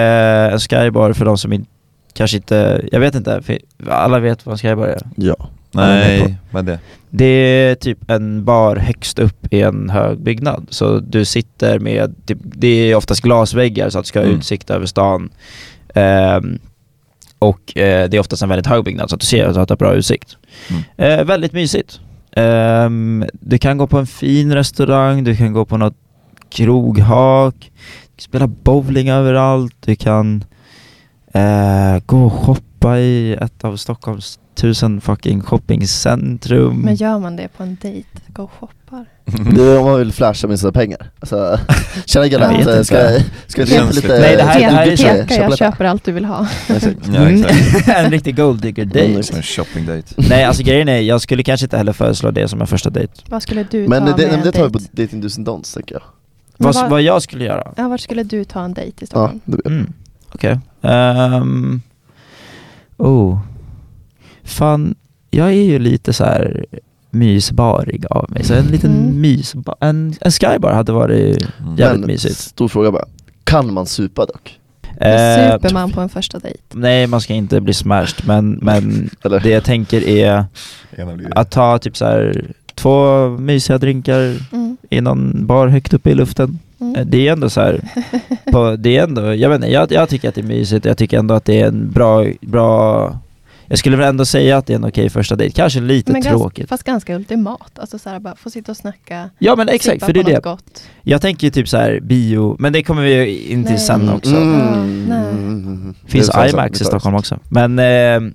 B: en skybar för de som in, kanske inte, jag vet inte, för alla vet vad en skybar är.
A: Ja.
E: Nej, vad är det?
B: Det är typ en bar högst upp i en hög byggnad. Så du sitter med, typ, det är oftast glasväggar så att du ska ha
E: Mm.
B: utsikt över stan. Ehm, och eh, det är oftast en väldigt hög byggnad så att du ser så att du har bra utsikt. Eh, väldigt mysigt. Ehm, du kan gå på en fin restaurang, du kan gå på något kroghak, du kan spela bowling överallt, du kan eh, gå och shoppa i ett av Stockholms tusen fucking shoppingcentrum.
D: Men gör man det på en dejt? Gå och shoppar?
E: Mm.
A: Det är om man vill flasha med sina pengar. Alltså, (laughs) tjäna
B: Jag
A: galant,
B: vet
A: eh, ska
B: inte.
A: jag ska jag leta
E: Känns
A: lite?
E: lite- Nej, det här-
A: eh,
B: det här är
A: du- du-
B: så-
A: du-
D: Peka, jag
A: köpa
D: köper allt du vill ha.
A: lite.
E: Ja, exakt.
B: Mm. (laughs) en riktig golddigger
A: Mm,
B: date.
E: Som en shoppingdejt.
B: Nej alltså grejen är, jag skulle kanske inte heller föreslå det som en första dejt.
D: Vad skulle du
A: Men eh,
D: ta
A: det,
D: med
A: det,
D: en
A: det tar vi på
D: dejt?
A: Dating Do's and Don'ts tänker jag.
D: Men
B: Vad,
D: vad-
B: vad jag skulle göra?
D: Ja, vart skulle du ta en dejt i
A: Ja,
D: Stockholm?
A: det,
B: Mm. Okej. Ehm, oh. Fan, jag är ju lite så här mysbarig av mig. Så en liten
D: Mm.
B: mysbar, en, en skybar hade varit eh,
E: Mm.
B: jävligt mysigt.
A: stor fråga bara. Kan man supa dock?
D: Vad
B: Eh,
D: super man på en första dejt?
B: nej, man ska inte bli smashed men, men
A: Eller?
B: det jag tänker är
E: Gärna blir det.
B: att ta typ så här två mysiga drinkar
D: Mm.
B: i någon bar högt uppe i luften. Eh,
D: Mm.
B: Det är ändå så här, på, det är ändå, jag vet inte, jag, jag tycker att det är mysigt, jag tycker ändå att det är en bra, bra jag skulle väl ändå säga att det är en okej första dejt, kanske lite
D: Men gans-
B: tråkigt.
D: Fast ganska ultimat. Alltså så här, bara få sitta och snacka.
B: Ja men exakt,
D: sippa
B: för det är
D: på
B: det.
D: något Gott.
B: Jag tänker ju typ så här bio, men det kommer vi ju in till
D: Nej.
B: sen också.
D: Mm. Ja, nej.
B: Finns
A: Mm. Det är fan
B: IMAX
A: så-
B: i Stockholm också. Men, eh,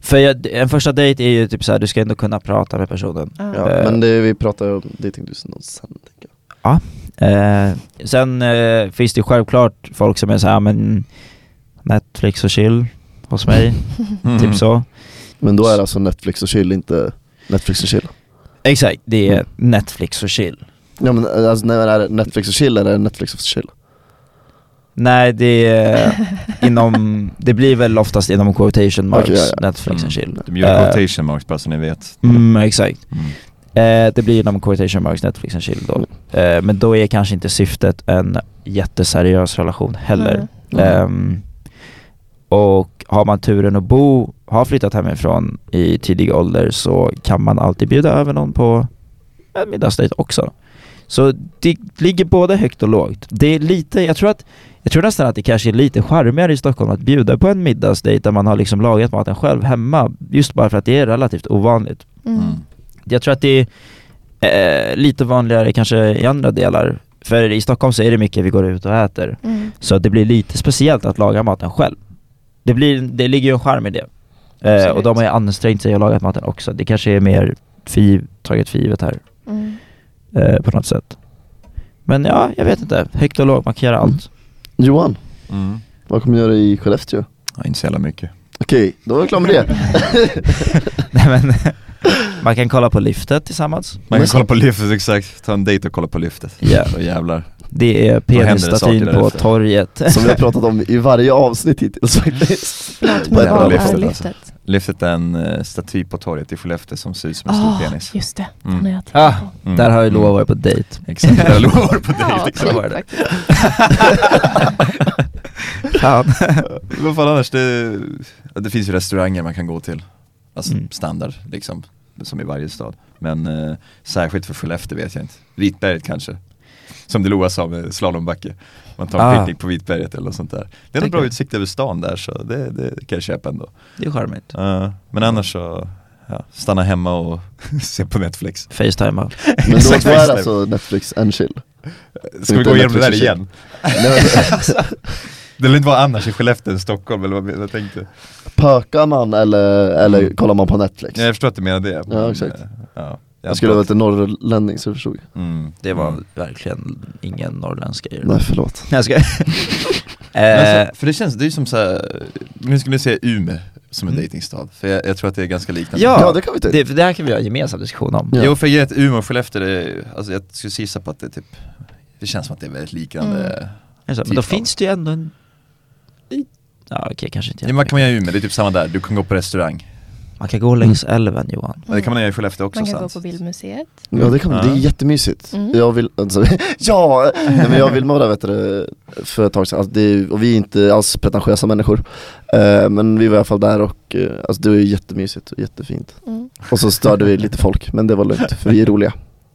B: för jag, en första dejt är ju typ så här, du ska ändå kunna prata med personen.
D: Ja.
A: Ja,
B: Eh.
A: men det, vi pratar ju om Dating Do's and Don'ts sen. tänker jag.
B: Eh, sen eh, finns det ju självklart folk som är så här, men Netflix och chill
A: (laughs)
B: hos mig, typ så.
A: Men då är alltså Netflix och chill inte Netflix och chill.
B: Exakt, det är Netflix och chill.
A: Ja men eh, alltså när är det Netflix och chill eller är det Netflix och chill?
B: Nej
A: (laughs)
B: det är inom, det blir väl oftast inom quotation marks,
A: Okej, ja, Mm. ja.
B: Netflix and chill
E: De gjorde
B: Eh,
E: quotation marks bara så ni vet.
B: Mm, exakt.
E: Mm.
B: Eh, det blir inom quotation marks, Netflix and chill då.
A: Mm.
B: Eh, men då är kanske inte syftet en jätteseriös relation heller.
D: Mm.
B: Ehm, och har man turen att bo, har flyttat hemifrån i tidig ålder så kan man alltid bjuda över någon på en middagsdejt också. Så det ligger både högt och lågt. Det är lite, jag tror att jag tror nästan att det kanske är lite charmigare i Stockholm att bjuda på en middagsdejt där man har liksom lagat maten själv hemma, just bara för att det är relativt ovanligt.
D: Mm.
E: Mm.
B: Jag tror att det är eh, lite vanligare kanske i andra delar, för i Stockholm så är det mycket vi går ut och äter.
D: Mm.
B: Så att det blir lite speciellt att laga maten själv. Det, blir, det ligger ju en charm i det. Eh,
D: Absolut.
B: och de har ju ansträngt sig och lagat maten också. Det kanske är mer för giv, taget för givet här
D: Mm.
B: eh, på något sätt. Men ja, jag vet inte. Högt och lågt, man kan göra allt.
A: Johan,
E: Mm.
A: vad kommer du göra i Skellefteå?
E: Ja, inte så jävla mycket.
A: Okej, då var vi klara med (laughs) det.
B: (laughs) Nej, men, (laughs) man kan kolla på lyftet tillsammans.
E: Man
A: Men-
E: kan kolla på lyftet exakt, ta en dejt och kolla på lyftet.
B: Ja.
E: Då jävlar.
B: Det är
E: händer det
B: penisstatyn
E: saker där
B: på
E: efter.
B: torget.
A: Som vi har pratat om i varje avsnitt hittills faktiskt.
D: (laughs) Förlåt,
A: Vad
D: men
A: är
D: vad
E: lyftet,
D: är
E: alltså?
D: lyftet?
E: Lyftet är en eh, staty på torget i Skellefteå som ser ut som en
D: Ah,
E: stor penis.
D: just det.
E: Mm.
D: Den har jag tänkt
B: Ah.
D: på.
E: Mm.
B: (laughs) Där har ju Loa
E: Mm.
B: varit på dejt. (laughs)
E: Exakt, där lovar på dejt.
D: (laughs) Ja,
E: exakt.
B: så var det.
D: faktiskt.
B: (laughs)
E: (laughs)
B: Fan. (laughs)
E: Vad fan annars, det, det finns ju restauranger man kan gå till. Alltså
B: Mm.
E: standard liksom, som i varje stad. Men eh, särskilt för Skellefteå vet jag inte. Vitberget kanske. Som det Loa sa med slalombacke. Man tar en
B: Ah.
E: picknick på Vitberget eller något sånt där. Det är en
B: Tänker.
E: bra utsikt över stan där så det, det kan jag köpa ändå.
B: Det är charmigt.
E: Eh, men annars så, ja, stanna hemma och (laughs) se på Netflix.
B: Facetimea.
A: Men då,
E: Exakt,
A: då är det
E: just det.
A: alltså Netflix and chill.
E: Ska vi
A: Inte
E: gå igenom det
A: Netflix
E: där
A: och chill.
E: igen?
A: Nej, men,
E: Det lär inte vara annars i Skellefteå än Stockholm eller vad, vad tänkte du?
A: Pökar man eller, eller
E: Mm.
A: kollar man på Netflix?
E: Ja, jag förstår att du menar det. men,
A: exakt.
E: eh, Ja,
A: Jag skulle vara lite norrlänning så du förstod
E: Mm.
B: Det var
E: Mm.
B: verkligen ingen norrländsk grej.
A: Nej förlåt
B: Nej jag (laughs) skojar.
E: Men
B: eh,
E: alltså, för det känns, det är ju som såhär, nu skulle jag säga Umeå som en
B: Mm.
E: dejtingstad, för jag, jag tror att det är ganska liknande
B: Ja.
A: Ja det kan vi ta
B: det, det här kan vi ha en gemensam diskussion om.
A: typ. Ja.
E: Jo för jag vet, Umeå och Skellefteå, det, är- alltså jag skulle gissa på att det typ, det känns som att det är väldigt liknande
D: Mm.
B: Alltså, men
E: Typ
B: då
E: av.
B: finns det ju ändå en... i- Ja okej, kanske inte
E: Ja, man kan man göra i Umeå, det är typ samma där, du kan gå på restaurang
B: man kan gå längs
A: Mm.
B: älven Johan.
E: Men Det kan man göra i Skellefteå också
D: Man kan gå
E: sant?
D: på bildmuseet.
A: Ja det kan vi, det är
E: Ja.
A: jättemysigt
D: Mm.
A: Jag vill, (laughs) alltså, ja! Nej, men jag vill vara vet du, för ett tag sedan, alltså, det är, och vi är inte alls pretentiösa människor Eh, Men vi var i alla fall där och, eh, alltså det var ju jättemysigt och jättefint
D: Mm.
A: Och så störde vi lite folk, men det var lugnt för vi är roliga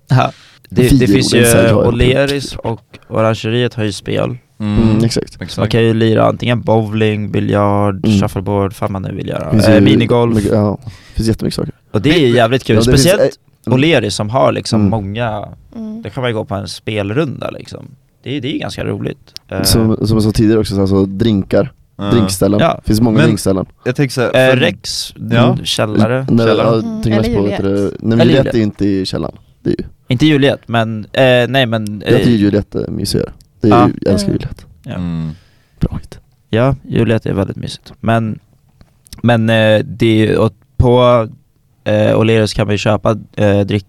B: Ja. Det,
A: Vi
B: det
A: är
B: finns
A: roliga, så
B: ju
A: jag har-
B: O'Learys och Orangeriet har ju spel.
A: Mm, exakt
E: Exakt.
B: Så man kan ju lira antingen bowling, biljard,
A: Mm.
B: shuffleboard, fan man nu vill göra.
A: Finns
B: Eh,
A: ju-
B: minigolf.
A: Ja, det finns jättemycket saker
B: Och det är ju jävligt kul.
A: Ja, det finns-
B: Speciellt
A: Mm.
B: O'Learys som har liksom
A: Mm.
B: många,
D: Mm.
B: där kan man ju gå på en spelrunda liksom. Det, är- det är ju ganska roligt. Eh,
A: Som, som jag sa tidigare också, så alltså drinkar,
E: Ja.
A: drinkställen,
B: Ja.
A: finns många
E: Men-
A: drinkställen
E: Jag tänker såhär,
B: Eh,
E: för-
B: Rex,
E: Ja.
B: källare.
A: Nej,
E: Källaren.
A: jag tänker mest
D: Mm, Eller
A: på, vet du,
D: Juliet.
A: nej men
B: Eller
A: Juliet
B: Juliet.
A: är ju inte i källaren Det är ju,
B: Inte Juliet, men, eh, nej men...
A: jag
B: eh,
A: tycker Juliet är mysigare Det är
B: Ja.
A: ju, jag älskar
D: Mm.
A: Juliet,
B: Ja.
E: mm.
A: bra hit
B: Ja, Juliet är väldigt mysigt. Men, men eh, det är ju, och på eh, O'Learys kan man ju köpa eh, drick,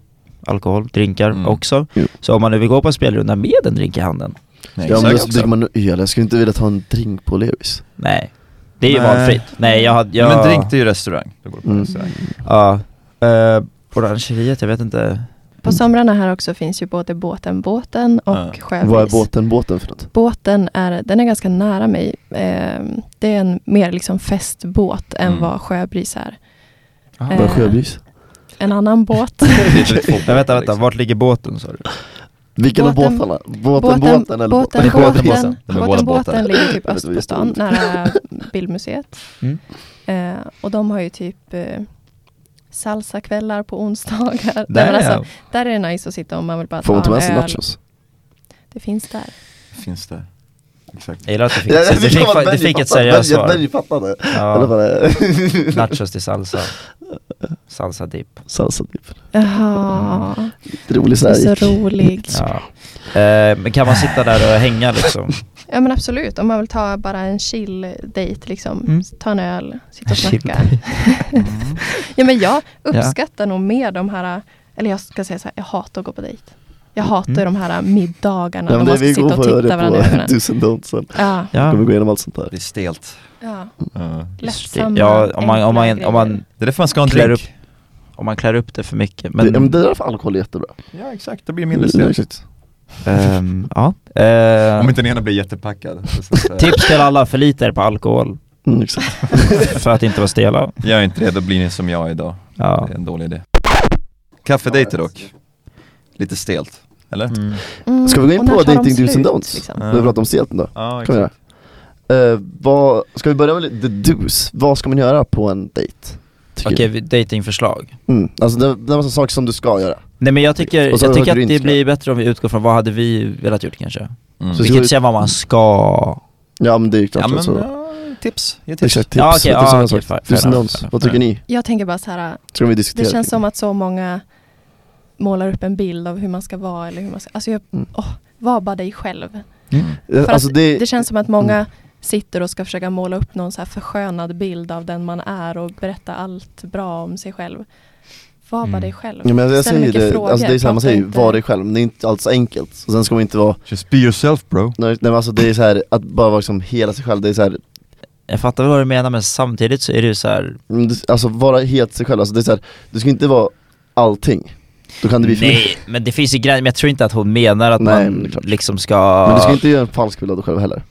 B: alkohol, drinkar
E: Mm.
B: också.
A: Jo.
B: Så om man nu vill gå på en spelrunda med en drink i handen,
E: Nej,
A: Ja men
E: exakt.
A: då dricker man öl, jag skulle inte vilja ta en drink på Levis
B: nej. Det är ju
E: Nej.
B: valfritt. Nej, jag hade... Jag,
E: Men drink det är ju restaurang, då går du på
A: Mm. (laughs)
E: restaurang
B: Ja. Eh, Orangeriet, jag vet inte.
D: På somrarna här också finns ju både båten Båten och
E: Ja.
D: Sjövis.
A: Vad är båten, båten för något?
D: Båten är, den är ganska nära mig. Eh, det är en mer liksom festbåt än
E: Mm.
D: vad Sjöbris är. Ah.
B: Aha.
D: Eh,
A: Vad är sjöbris?
D: En annan båt.
E: Det är ett litet folk-
B: Men vänta, vänta,
E: liksom.
B: vart ligger båten sa du?
D: Mm.
A: Vilken av
D: båten-
A: båtarna? (laughs) Båten, båten, eller båten?
D: båten,
E: båten,
D: båten, båten,
E: båten. De är båda båtar.
D: båten ligger typ
A: Jag vet
D: öst
A: vad vi
D: på stan,
A: står. (laughs)
D: nära bildmuseet.
B: Mm.
D: Eh, och de har ju typ eh, salsakvällar på onsdagar. Nej,
B: Där
D: men
B: är
D: alltså,
B: jag.
D: där är det nice att sitta om man vill bara
A: Får man ta
D: ta
A: med
D: en
A: sig (laughs)
D: öl.
A: nachos?
D: Det finns där.
E: Finns det? Exakt
B: Jag gillar att du fick, ett- du fick, fa- du fick ett seriöst svar.
A: Benny fattade! Eller
B: Ja,
A: vad det är?
B: nachos till salsa. Salsa dipp.
A: (laughs) Salsa typ. dipp,
D: Jaha,
A: rolig
D: du är så
A: såhär
D: rolig.
B: Ja. Eh, men kan man sitta där och hänga
D: (laughs)
B: liksom?
D: Ja men absolut, om man vill ta bara en chill date liksom.
B: Mm.
D: Ta en öl, sitta och
B: Chill
D: snacka. ja men jag
B: Ja.
E: Mm.
D: uppskattar nog mer de här, eller jag ska säga så här, jag hatar att gå på dejt. Jag hatar ju
B: Mm.
D: de här middagarna
A: Ja, men
D: när man
A: det
D: ska
A: vi
D: sitta
A: går på
D: och
A: att
D: titta
A: göra
D: varandra i
A: det på (laughs)
D: ögonen.
A: tusen don'tsen.
D: Ja,
A: Vi
B: Ja.
A: kommer gå igenom allt sånt där.
E: Det är stelt.
D: ja.
E: Ja.
D: Lättsamma,
B: ja, om man, om, man,
D: enkla
B: om, man,
C: Det är därför man ska ha en
B: Klär
C: drink.
B: om man klär upp det för mycket.
A: Men,
B: Men,
A: det, men det är därför alkohol är jättebra.
E: Ja exakt, då blir det
A: mindre
E: mindre
A: stelt.
E: stelt.
B: ehm, ja. Eh,
E: Om inte den ena blir jättepackad.
A: Typ.
E: (laughs)
B: Tips till alla, förlita er på alkohol
A: Mm, exakt.
B: för att inte vara stela.
C: Gör inte det, då blir ni som jag idag.
B: Ja.
C: Det är en dålig idé. Kaffedejter dock. Lite stelt. Eller?
B: Mm.
D: Mm,
A: Ska vi gå in
D: och när
A: på
D: tar de
A: dating do's and
D: slut,
A: don'ts?
D: liksom?
A: Vi har pratat om seten då.
E: Ja,
A: Kan vi göra.
E: exakt.
A: Eh, vad, ska vi börja med lite- the do's? Vad ska man göra på en dejt? tycker
B: Okej, vi- datingförslag.
A: jag? Mm. Alltså det, det är en massa saker som du ska göra.
B: Nej men jag tycker,
A: Och så
B: jag
A: vad
B: tycker
A: du
B: att
A: inte
B: det
A: ska göra.
B: blir bättre om vi utgår från vad hade vi velat gjort kanske?
C: Mm.
A: Så
B: Vi
A: ska
B: kan
A: vi-
B: inte säga vad man ska...
A: Ja men det är ju klart
C: Ja men,
A: så.
C: ja, tips. Ge tips.
A: Exakt, tips.
B: Ja, okej,
A: tips och
B: ja,
A: sådana saker.
B: okej, fair
A: Do's and
B: enough,
A: don'ts.
B: fair
A: Vad tycker ni?
D: Jag tänker bara så här,
A: Ska vi
D: det
A: diskutera?
D: känns som att så många målar upp en bild av hur man ska vara eller hur man ska, alltså jag,
A: Mm.
D: åh, var bara dig själv.
C: Mm.
A: Eh,
D: För
A: alltså
D: att
A: det, Mm.
D: Det känns som att många sitter och ska försöka måla upp någon så här förskönad bild av den man är och berätta allt bra om sig själv. Var bara
B: Mm.
D: dig själv.
A: Ja, men jag
D: Ställ
A: säger
D: mycket
A: det,
D: frågor,
A: alltså det är så här, man
D: prata
A: säger ju,
D: inte-
A: var dig själv, men det är inte alls så enkelt. Och sen ska man inte vara,
E: Just be yourself bro.
A: nej men alltså det är så här att bara vara liksom hela sig själv, det är så här,
B: Jag fattar vad du menar men samtidigt så är det ju så här.
A: mm, du- alltså vara helt sig själv, alltså det är så här, du ska inte vara allting. Då kan det bli för mycket.
B: Nej men det finns ju grejer, men jag tror inte att hon menar att
A: Nej, men
B: man
A: det är klart.
B: liksom ska...
A: Men du ska inte göra en falsk bild av dig själv heller.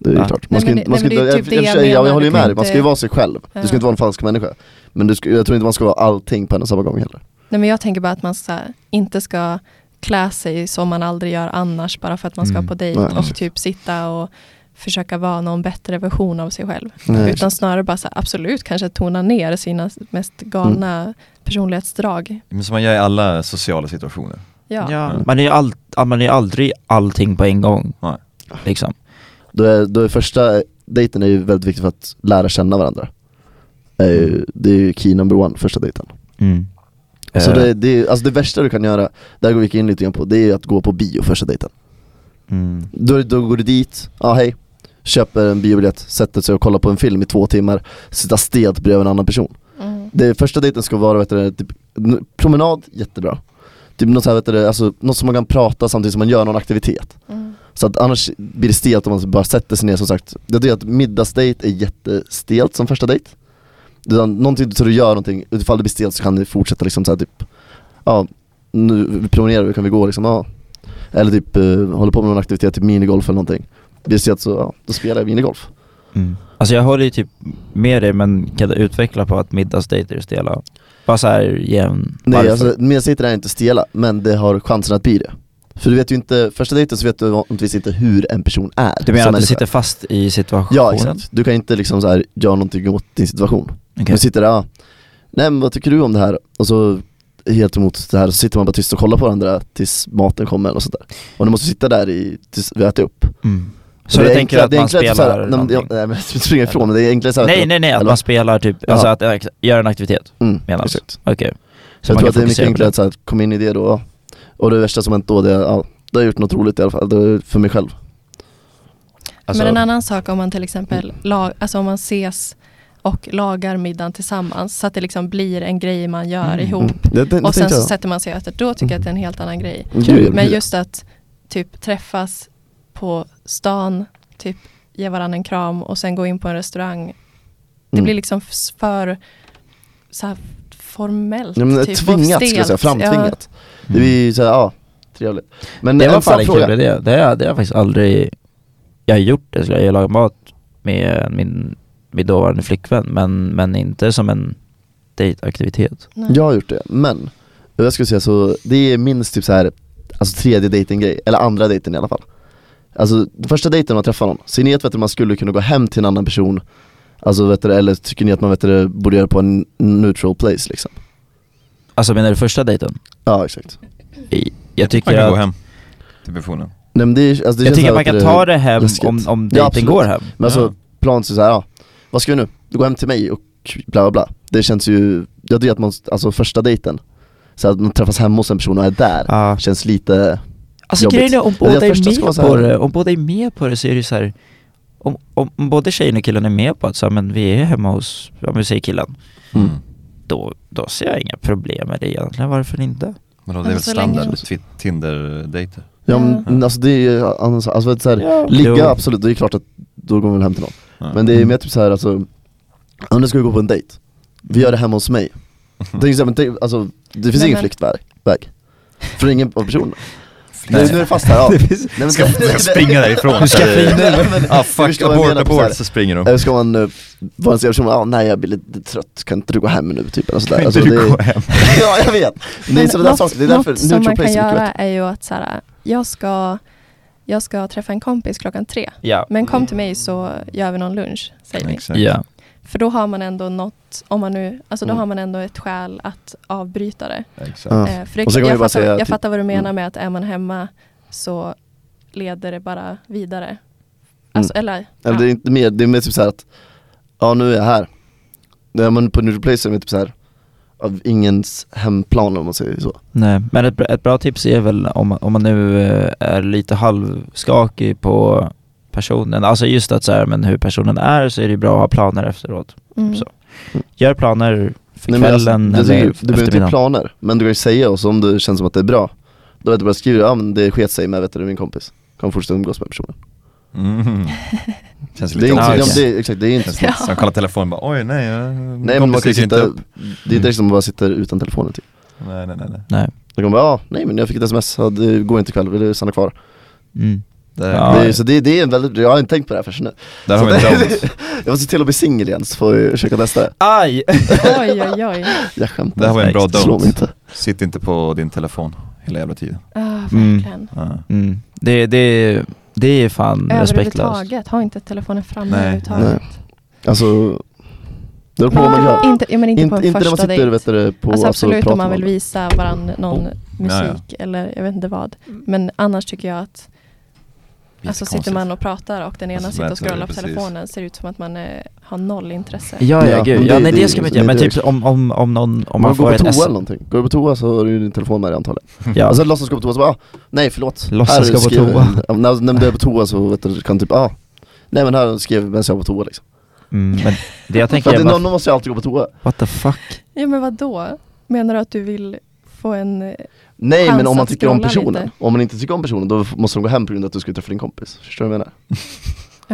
A: Det är ju
B: Nej.
A: klart. Man
D: Nej,
A: ska
D: men
A: inte,
D: det-
A: man
D: nej,
A: ska
D: men
A: inte,
D: det är
A: jag,
D: typ det
A: i och
D: jag
A: för sig, jag
D: menar,
A: håller ju
D: du
A: med
D: kan
A: dig, man ska ju
D: inte-
A: vara sig själv. Du ska
D: Ja.
A: inte vara en falsk människa. Men du ska, jag tror inte man ska vara allting på en och samma gång heller.
D: Nej, men jag tänker bara att man så här, inte ska klä sig som man aldrig gör annars bara för att man ska
B: Mm.
D: på dejt
A: Nej,
D: och
A: precis.
D: typ sitta och försöka vara någon bättre version av sig själv.
A: Nej.
D: Utan snarare bara så här, absolut kanske tona ner sina mest galna
A: Mm.
D: personlighetsdrag.
E: Men som man gör i alla sociala situationer.
D: Ja.
B: Ja. Man är ju all, man är aldrig allting på en gång.
E: Nej.
B: Liksom.
A: Då är, då är första dejten är ju väldigt viktig för att lära känna varandra. Det är ju- Det är ju key number one, första dejten.
B: Mm.
A: Så
B: Eh,
A: det, det, är- alltså det värsta du kan göra, där går vi in lite grann på, det är ju att gå på bio första dejten.
B: mm.
A: Då, då går du dit, ja ah, hej, köper en biobiljett, sätter sig och kollar på en film i två timmar, sitta stelt bredvid en annan person.
D: Mm.
A: Det första dejten ska vara, vet du, typ, n- promenad, jättebra. Typ något, så här, vet du, alltså, något som man kan prata samtidigt som man gör någon aktivitet.
D: Mm.
A: Så att annars blir det stelt om man bara sätter sig ner som sagt. Jag tycker att middagsdejt är jättestelt som första dejt. Utan någonting så du gör någonting, ifall det blir stelt så kan du fortsätta liksom så här typ Ja, nu promenerar vi, kan vi gå liksom? Ja. Eller typ eh, håller på med någon aktivitet, typ minigolf eller någonting. Blir det stelt så, ja, då spelar jag minigolf.
B: Mm. Alltså jag håller ju typ med dig men kan du utveckla på att middagsdejter är stela? Bara såhär jämn...
A: Nej
B: varför?
A: alltså middagsdejter är inte stela, men det har chansen att bli det. För du vet ju inte, första dejten så vet du vanligtvis inte hur en person är.
B: du menar
A: som
B: att du
A: människa.
B: sitter fast i situationen?
A: Ja exakt, du kan inte liksom så här göra någonting åt din situation.
B: Okej.
A: Man sitter där, ja, nej men vad tycker du om det här? Och så helt emot det här, så sitter man bara tyst och kollar på varandra tills maten kommer och sådär. Och du måste sitta där i, tills vi äter upp.
B: Mm. Så
A: Och
B: du
A: är
B: tänker
A: enklare-
B: att man
A: det är enklare
B: spelar
A: så här, nej, men-
B: någonting?
A: ja, nej men jag springer ifrån, men det är enklare såhär
B: Nej nej nej, att
A: Eller?
B: man spelar typ,
A: Ja.
B: alltså att äh, gör en aktivitet
A: mm,
B: menar
A: exakt.
B: Okej.
A: Så jag tror
B: man kan
A: att det är mycket
B: fokusera på
A: enklare att så här, komma in i det då. ja. Och det värsta som hänt då, det är, ja, då har jag gjort något roligt i alla fall, det är för mig själv.
E: Alltså-
D: Men en annan sak om man till exempel lag, alltså om man ses och lagar middagen tillsammans så att det liksom blir en grej man gör
B: Mm.
D: ihop.
A: Mm. Det, det, det
D: Och sen
A: tänkte
D: så
A: jag.
D: sätter man sig och äter. Då tycker jag att det är en helt annan grej.
B: Mm.
A: Kul.
D: Men just att typ träffas på stan, typ ge varandra en kram och sen gå in på en restaurang. Det
A: Mm.
D: blir liksom f- för så här formellt.
A: Ja, men
D: typ, och
A: tvingat skulle jag säga,
D: stelt.
A: framtvingat.
B: Mm.
A: Det blir ju såhär, ja, trevligt. Men
B: Det var
A: en snabb
B: fan en
A: fråga.
B: kul idé, det har det har jag faktiskt aldrig Jag har gjort det, skulle jag lagat mat med min, min dåvarande flickvän men, men inte som en dejtaktivitet
D: Ja.
A: Jag har gjort det, men jag skulle säga så, det är minst typ så här, alltså tredje dejtinggrej, eller andra dejten i alla fall. Alltså första dejten man träffar någon, ser ni att vet du, man skulle kunna gå hem till en annan person, alltså vet du, eller tycker ni att man vet du, borde göra på en neutral place liksom?
B: Alltså menar du första dejten?
A: Ja exakt.
B: I- Jag
E: Man
B: tycker
E: kan gå
B: att,
E: hem till personen.
A: Nej, men det är, alltså, det
B: jag
A: känns
B: tycker
A: så
B: att man
A: här,
B: kan
A: vet du,
B: ta det hem
A: läskigt.
B: om, om
A: Ja,
B: dejten
A: absolut.
B: går hem
A: Men alltså
E: Ja.
A: planen så här, ja, vad ska vi nu? Du går hem till mig och bla bla bla. Det känns ju, jag tycker att man, alltså första dejten, så att man träffas hemma hos en person och är där,
B: Ja.
A: känns lite,
B: Alltså
A: jobbigt.
B: grejen är om
A: Men
B: båda
A: jag
B: är
A: förstår ska vara
B: med
A: så här-
B: på det, om båda är med på det så är det ju så här. Om, om, om både tjejen och killen är med på att så här, men vi är hemma hos, ja men vi säger killen,
A: Mm.
B: då, då ser jag inga problem med det egentligen, varför inte?
C: Men då, det är väl
D: Alltså, länge
C: standard,
D: som-
C: twi- Tinder-dejter?
A: Ja men alltså det är ju, alltså, alltså vet du så här,
B: Ja.
A: ligga
B: Jo.
A: absolut, det är klart att då går man väl hem till någon.
E: Ja. Mm.
A: Men det
E: (laughs)
A: är mer typ så här, alltså, om nu ska vi gå på en dejt, vi gör det hemma hos
E: Mm.
A: mig. Tänk så här, men tänk, alltså, det finns
D: Nej,
A: ingen
D: men-
A: flyktväg, väg. För ingen av
E: (laughs)
A: personerna. Nu, nu är det fast här, ja. Nej, men,
E: Ska, ska springa därifrån?
A: (laughs) Du ska fly nu.
E: Ah
A: Du
E: fuck,
A: förstår vad jag
E: abort,
A: menar på så här.
E: abort, så springer de.
A: Eller ska man eh, vara en sån person, ah, nej jag blir lite trött, kan inte du gå hem nu? Typ eller sådär.
E: Kan
A: Alltså,
E: inte du
A: det,
E: gå hem?
A: (laughs) ja jag vet. Men det är
D: Men
A: sådana där
D: något-
A: saker, det är därför
D: något som
A: neutral
D: man kan
A: place är mycket
D: göra
A: bättre.
D: är ju att så här, jag, ska, jag ska träffa en kompis klockan tre,
B: Ja.
D: men kom
A: Mm.
D: till mig så gör vi någon lunch, säger vi.
E: Exakt.
B: Ja.
D: För då har man ändå något, om man nu, alltså då
A: Mm.
D: har man ändå ett skäl att avbryta det.
E: Exakt.
A: Ja.
D: Eh, för det
A: Och sen kan man ju bara
D: jag, fattar,
A: säga
D: jag
A: typ-
D: fattar vad du menar
A: Mm.
D: med att är man hemma så leder det bara vidare. Alltså, eller,
A: Mm. Eller
D: ja.
A: det är inte mer, det är mer typ såhär att, ja nu är jag här. När man på neutral place är det typ såhär, av ingens hemplan om man säger så.
B: Nej, men ett, bra- ett bra tips är väl om, om man nu eh, är lite halvskakig på personen, alltså just att så här, men hur personen är så är det ju bra att ha planer efteråt.
D: Mm.
B: så. Gör planer för
A: Nej, men alltså,
B: kvällen
A: det-
B: eller
A: du, du behöver inte ha
B: eftermiddagen.
A: planer, men du kan ju säga och så om det känns som att det är bra, då vet du bara skriver ja men det sket sig men vet du, det är min kompis. Kommer fortsätta umgås med personen.
E: Mm. Känns
A: Det är
E: lite
A: inte,
B: Ja,
A: ja,
E: obvious.
A: men
B: okej.
A: det är, exakt, det är inte
D: Ja.
E: Så han kollar telefonen och bara oj nej, jag,
A: Nej men man kan ju sitta,
E: upp.
A: det är inte liksom bara sitter utan telefonen typ.
E: Nej nej nej. nej.
B: Mm. Nej.
A: Då kan man bara, ja nej men jag fick ett sms, ja, det går inte ikväll, vill du stanna kvar?
B: Mm.
E: Där,
B: Ja.
A: det är, så det, det är en väldigt, jag har inte tänkt på det här förrän nu.
E: där har vi
A: Så
E: en
A: det- (laughs)
E: don't.
A: Jag måste se till att bli singel igen så får vi försöka testa det.
B: Aj!
D: Oj, oj, oj.
A: Jag skämtar.
E: Där har vi en bra
A: Slå mig
E: don't.
A: inte.
E: Sitt inte på din telefon hela jävla tiden.
D: Ah,
B: Mm.
D: verkligen.
E: Ja.
B: Mm. Det, det, det är fan respektlöst.
D: Överhuvudtaget, ha inte telefonen framme
E: Nej.
D: överhuvudtaget.
A: Alltså, det beror på vad man gör.
D: Inte, ja, men inte på
A: Inte,
D: en
A: inte när
D: första
A: man sitter
D: dejt.
A: vet du, på,
D: alltså absolut
A: pratar
D: om man
A: med
D: vill
A: varandra.
D: visa varandra någon musik eller jag vet inte vad. Men annars tycker jag att alltså, sitter
E: Jättekonstigt.
D: man och pratar och den ena
E: Alltså,
D: sitter och
E: vänta,
D: scrollar på
E: precis.
D: telefonen ser det ut som att man eh, har noll intresse.
B: Ja, ja,
A: Ja,
B: gud.
A: men
B: Ja,
A: det-
B: nej
A: det-
B: det ska man inte göra, men typ om, om, om någon, om man
A: man går
B: får
A: på
B: ett
A: toa
B: S...
A: eller någonting, går du på toa så har du ju din telefon med dig antagligen.
B: Ja.
A: Alltså låtsas gå på toa så bara, ah, nej förlåt.
B: Låtsas
A: Här
B: gå på
A: skrev-
B: toa.
A: Ja, När, när du är på toa så vet du, kan typ, ah, nej men här skrev jag medan jag var på toa liksom.
B: Mm, men det jag tänker
A: För att
B: är
A: det,
B: bara,
A: någon någon måste ju alltid gå på toa.
B: what the fuck?
D: Ja men vad då? Menar du att du vill få en... eh,
A: Nej
D: Chans
A: men om man
D: att
A: tycker om
D: scrolla
A: personen,
D: lite.
A: om man inte tycker om personen då f- måste de gå hem på grund av att du ska träffa din kompis. Förstår du vad jag menar?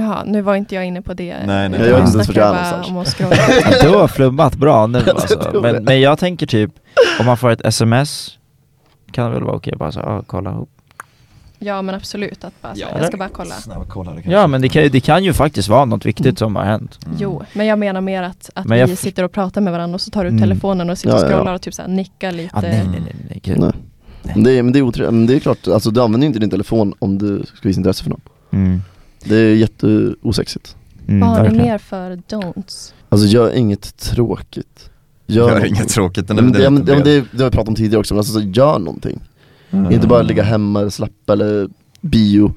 D: Jaha, nu var inte jag inne på det.
E: Nej, nej.
D: Utan
E: Jag gör
D: nu
E: inte
A: ens
D: snackar jag
A: vart jag är
D: bara
A: någonstans.
D: om
A: (laughs)
D: att scrolla.
B: Ja, du har flummat bra nu alltså.
A: tror det.
B: men, men jag tänker typ, om man får ett sms, kan det väl vara okej bara så, ah, kolla ihop.
D: Ja men absolut, att bara, så här,
E: Ja.
D: jag ska bara kolla.
A: Mm.
E: Snabba kollare kanske.
B: Ja men det kan, ju- det kan ju faktiskt vara något viktigt som har hänt.
E: Mm.
D: Jo, men jag menar mer att, att
B: Men jag
D: vi
B: först-
D: sitter och pratar med varandra och så tar du upp
B: Mm.
D: telefonen och sitter
A: Ja,
D: och
A: ja, ja.
D: scrollar och typ så här nickar lite.
B: Ja, nej nej nej, nej gud.
A: Nej. Men Det, är- men det är otrevligt, men det är klart, alltså du använder ju inte din telefon om du ska visa intresse för någon.
B: Mm.
A: Det är jätteosexigt.
B: Mm,
D: Vad har ni
B: verkligen.
D: mer för don'ts?
A: Alltså gör inget tråkigt.
E: Gör
A: någonting.
E: inget tråkigt. Den
A: Nej, men det, ja, men, ja, men
E: lite
A: det, det har vi pratat om tidigare också, men alltså så gör någonting.
B: Mm.
E: mer-
A: Inte bara ligga hemma eller slappa eller bio.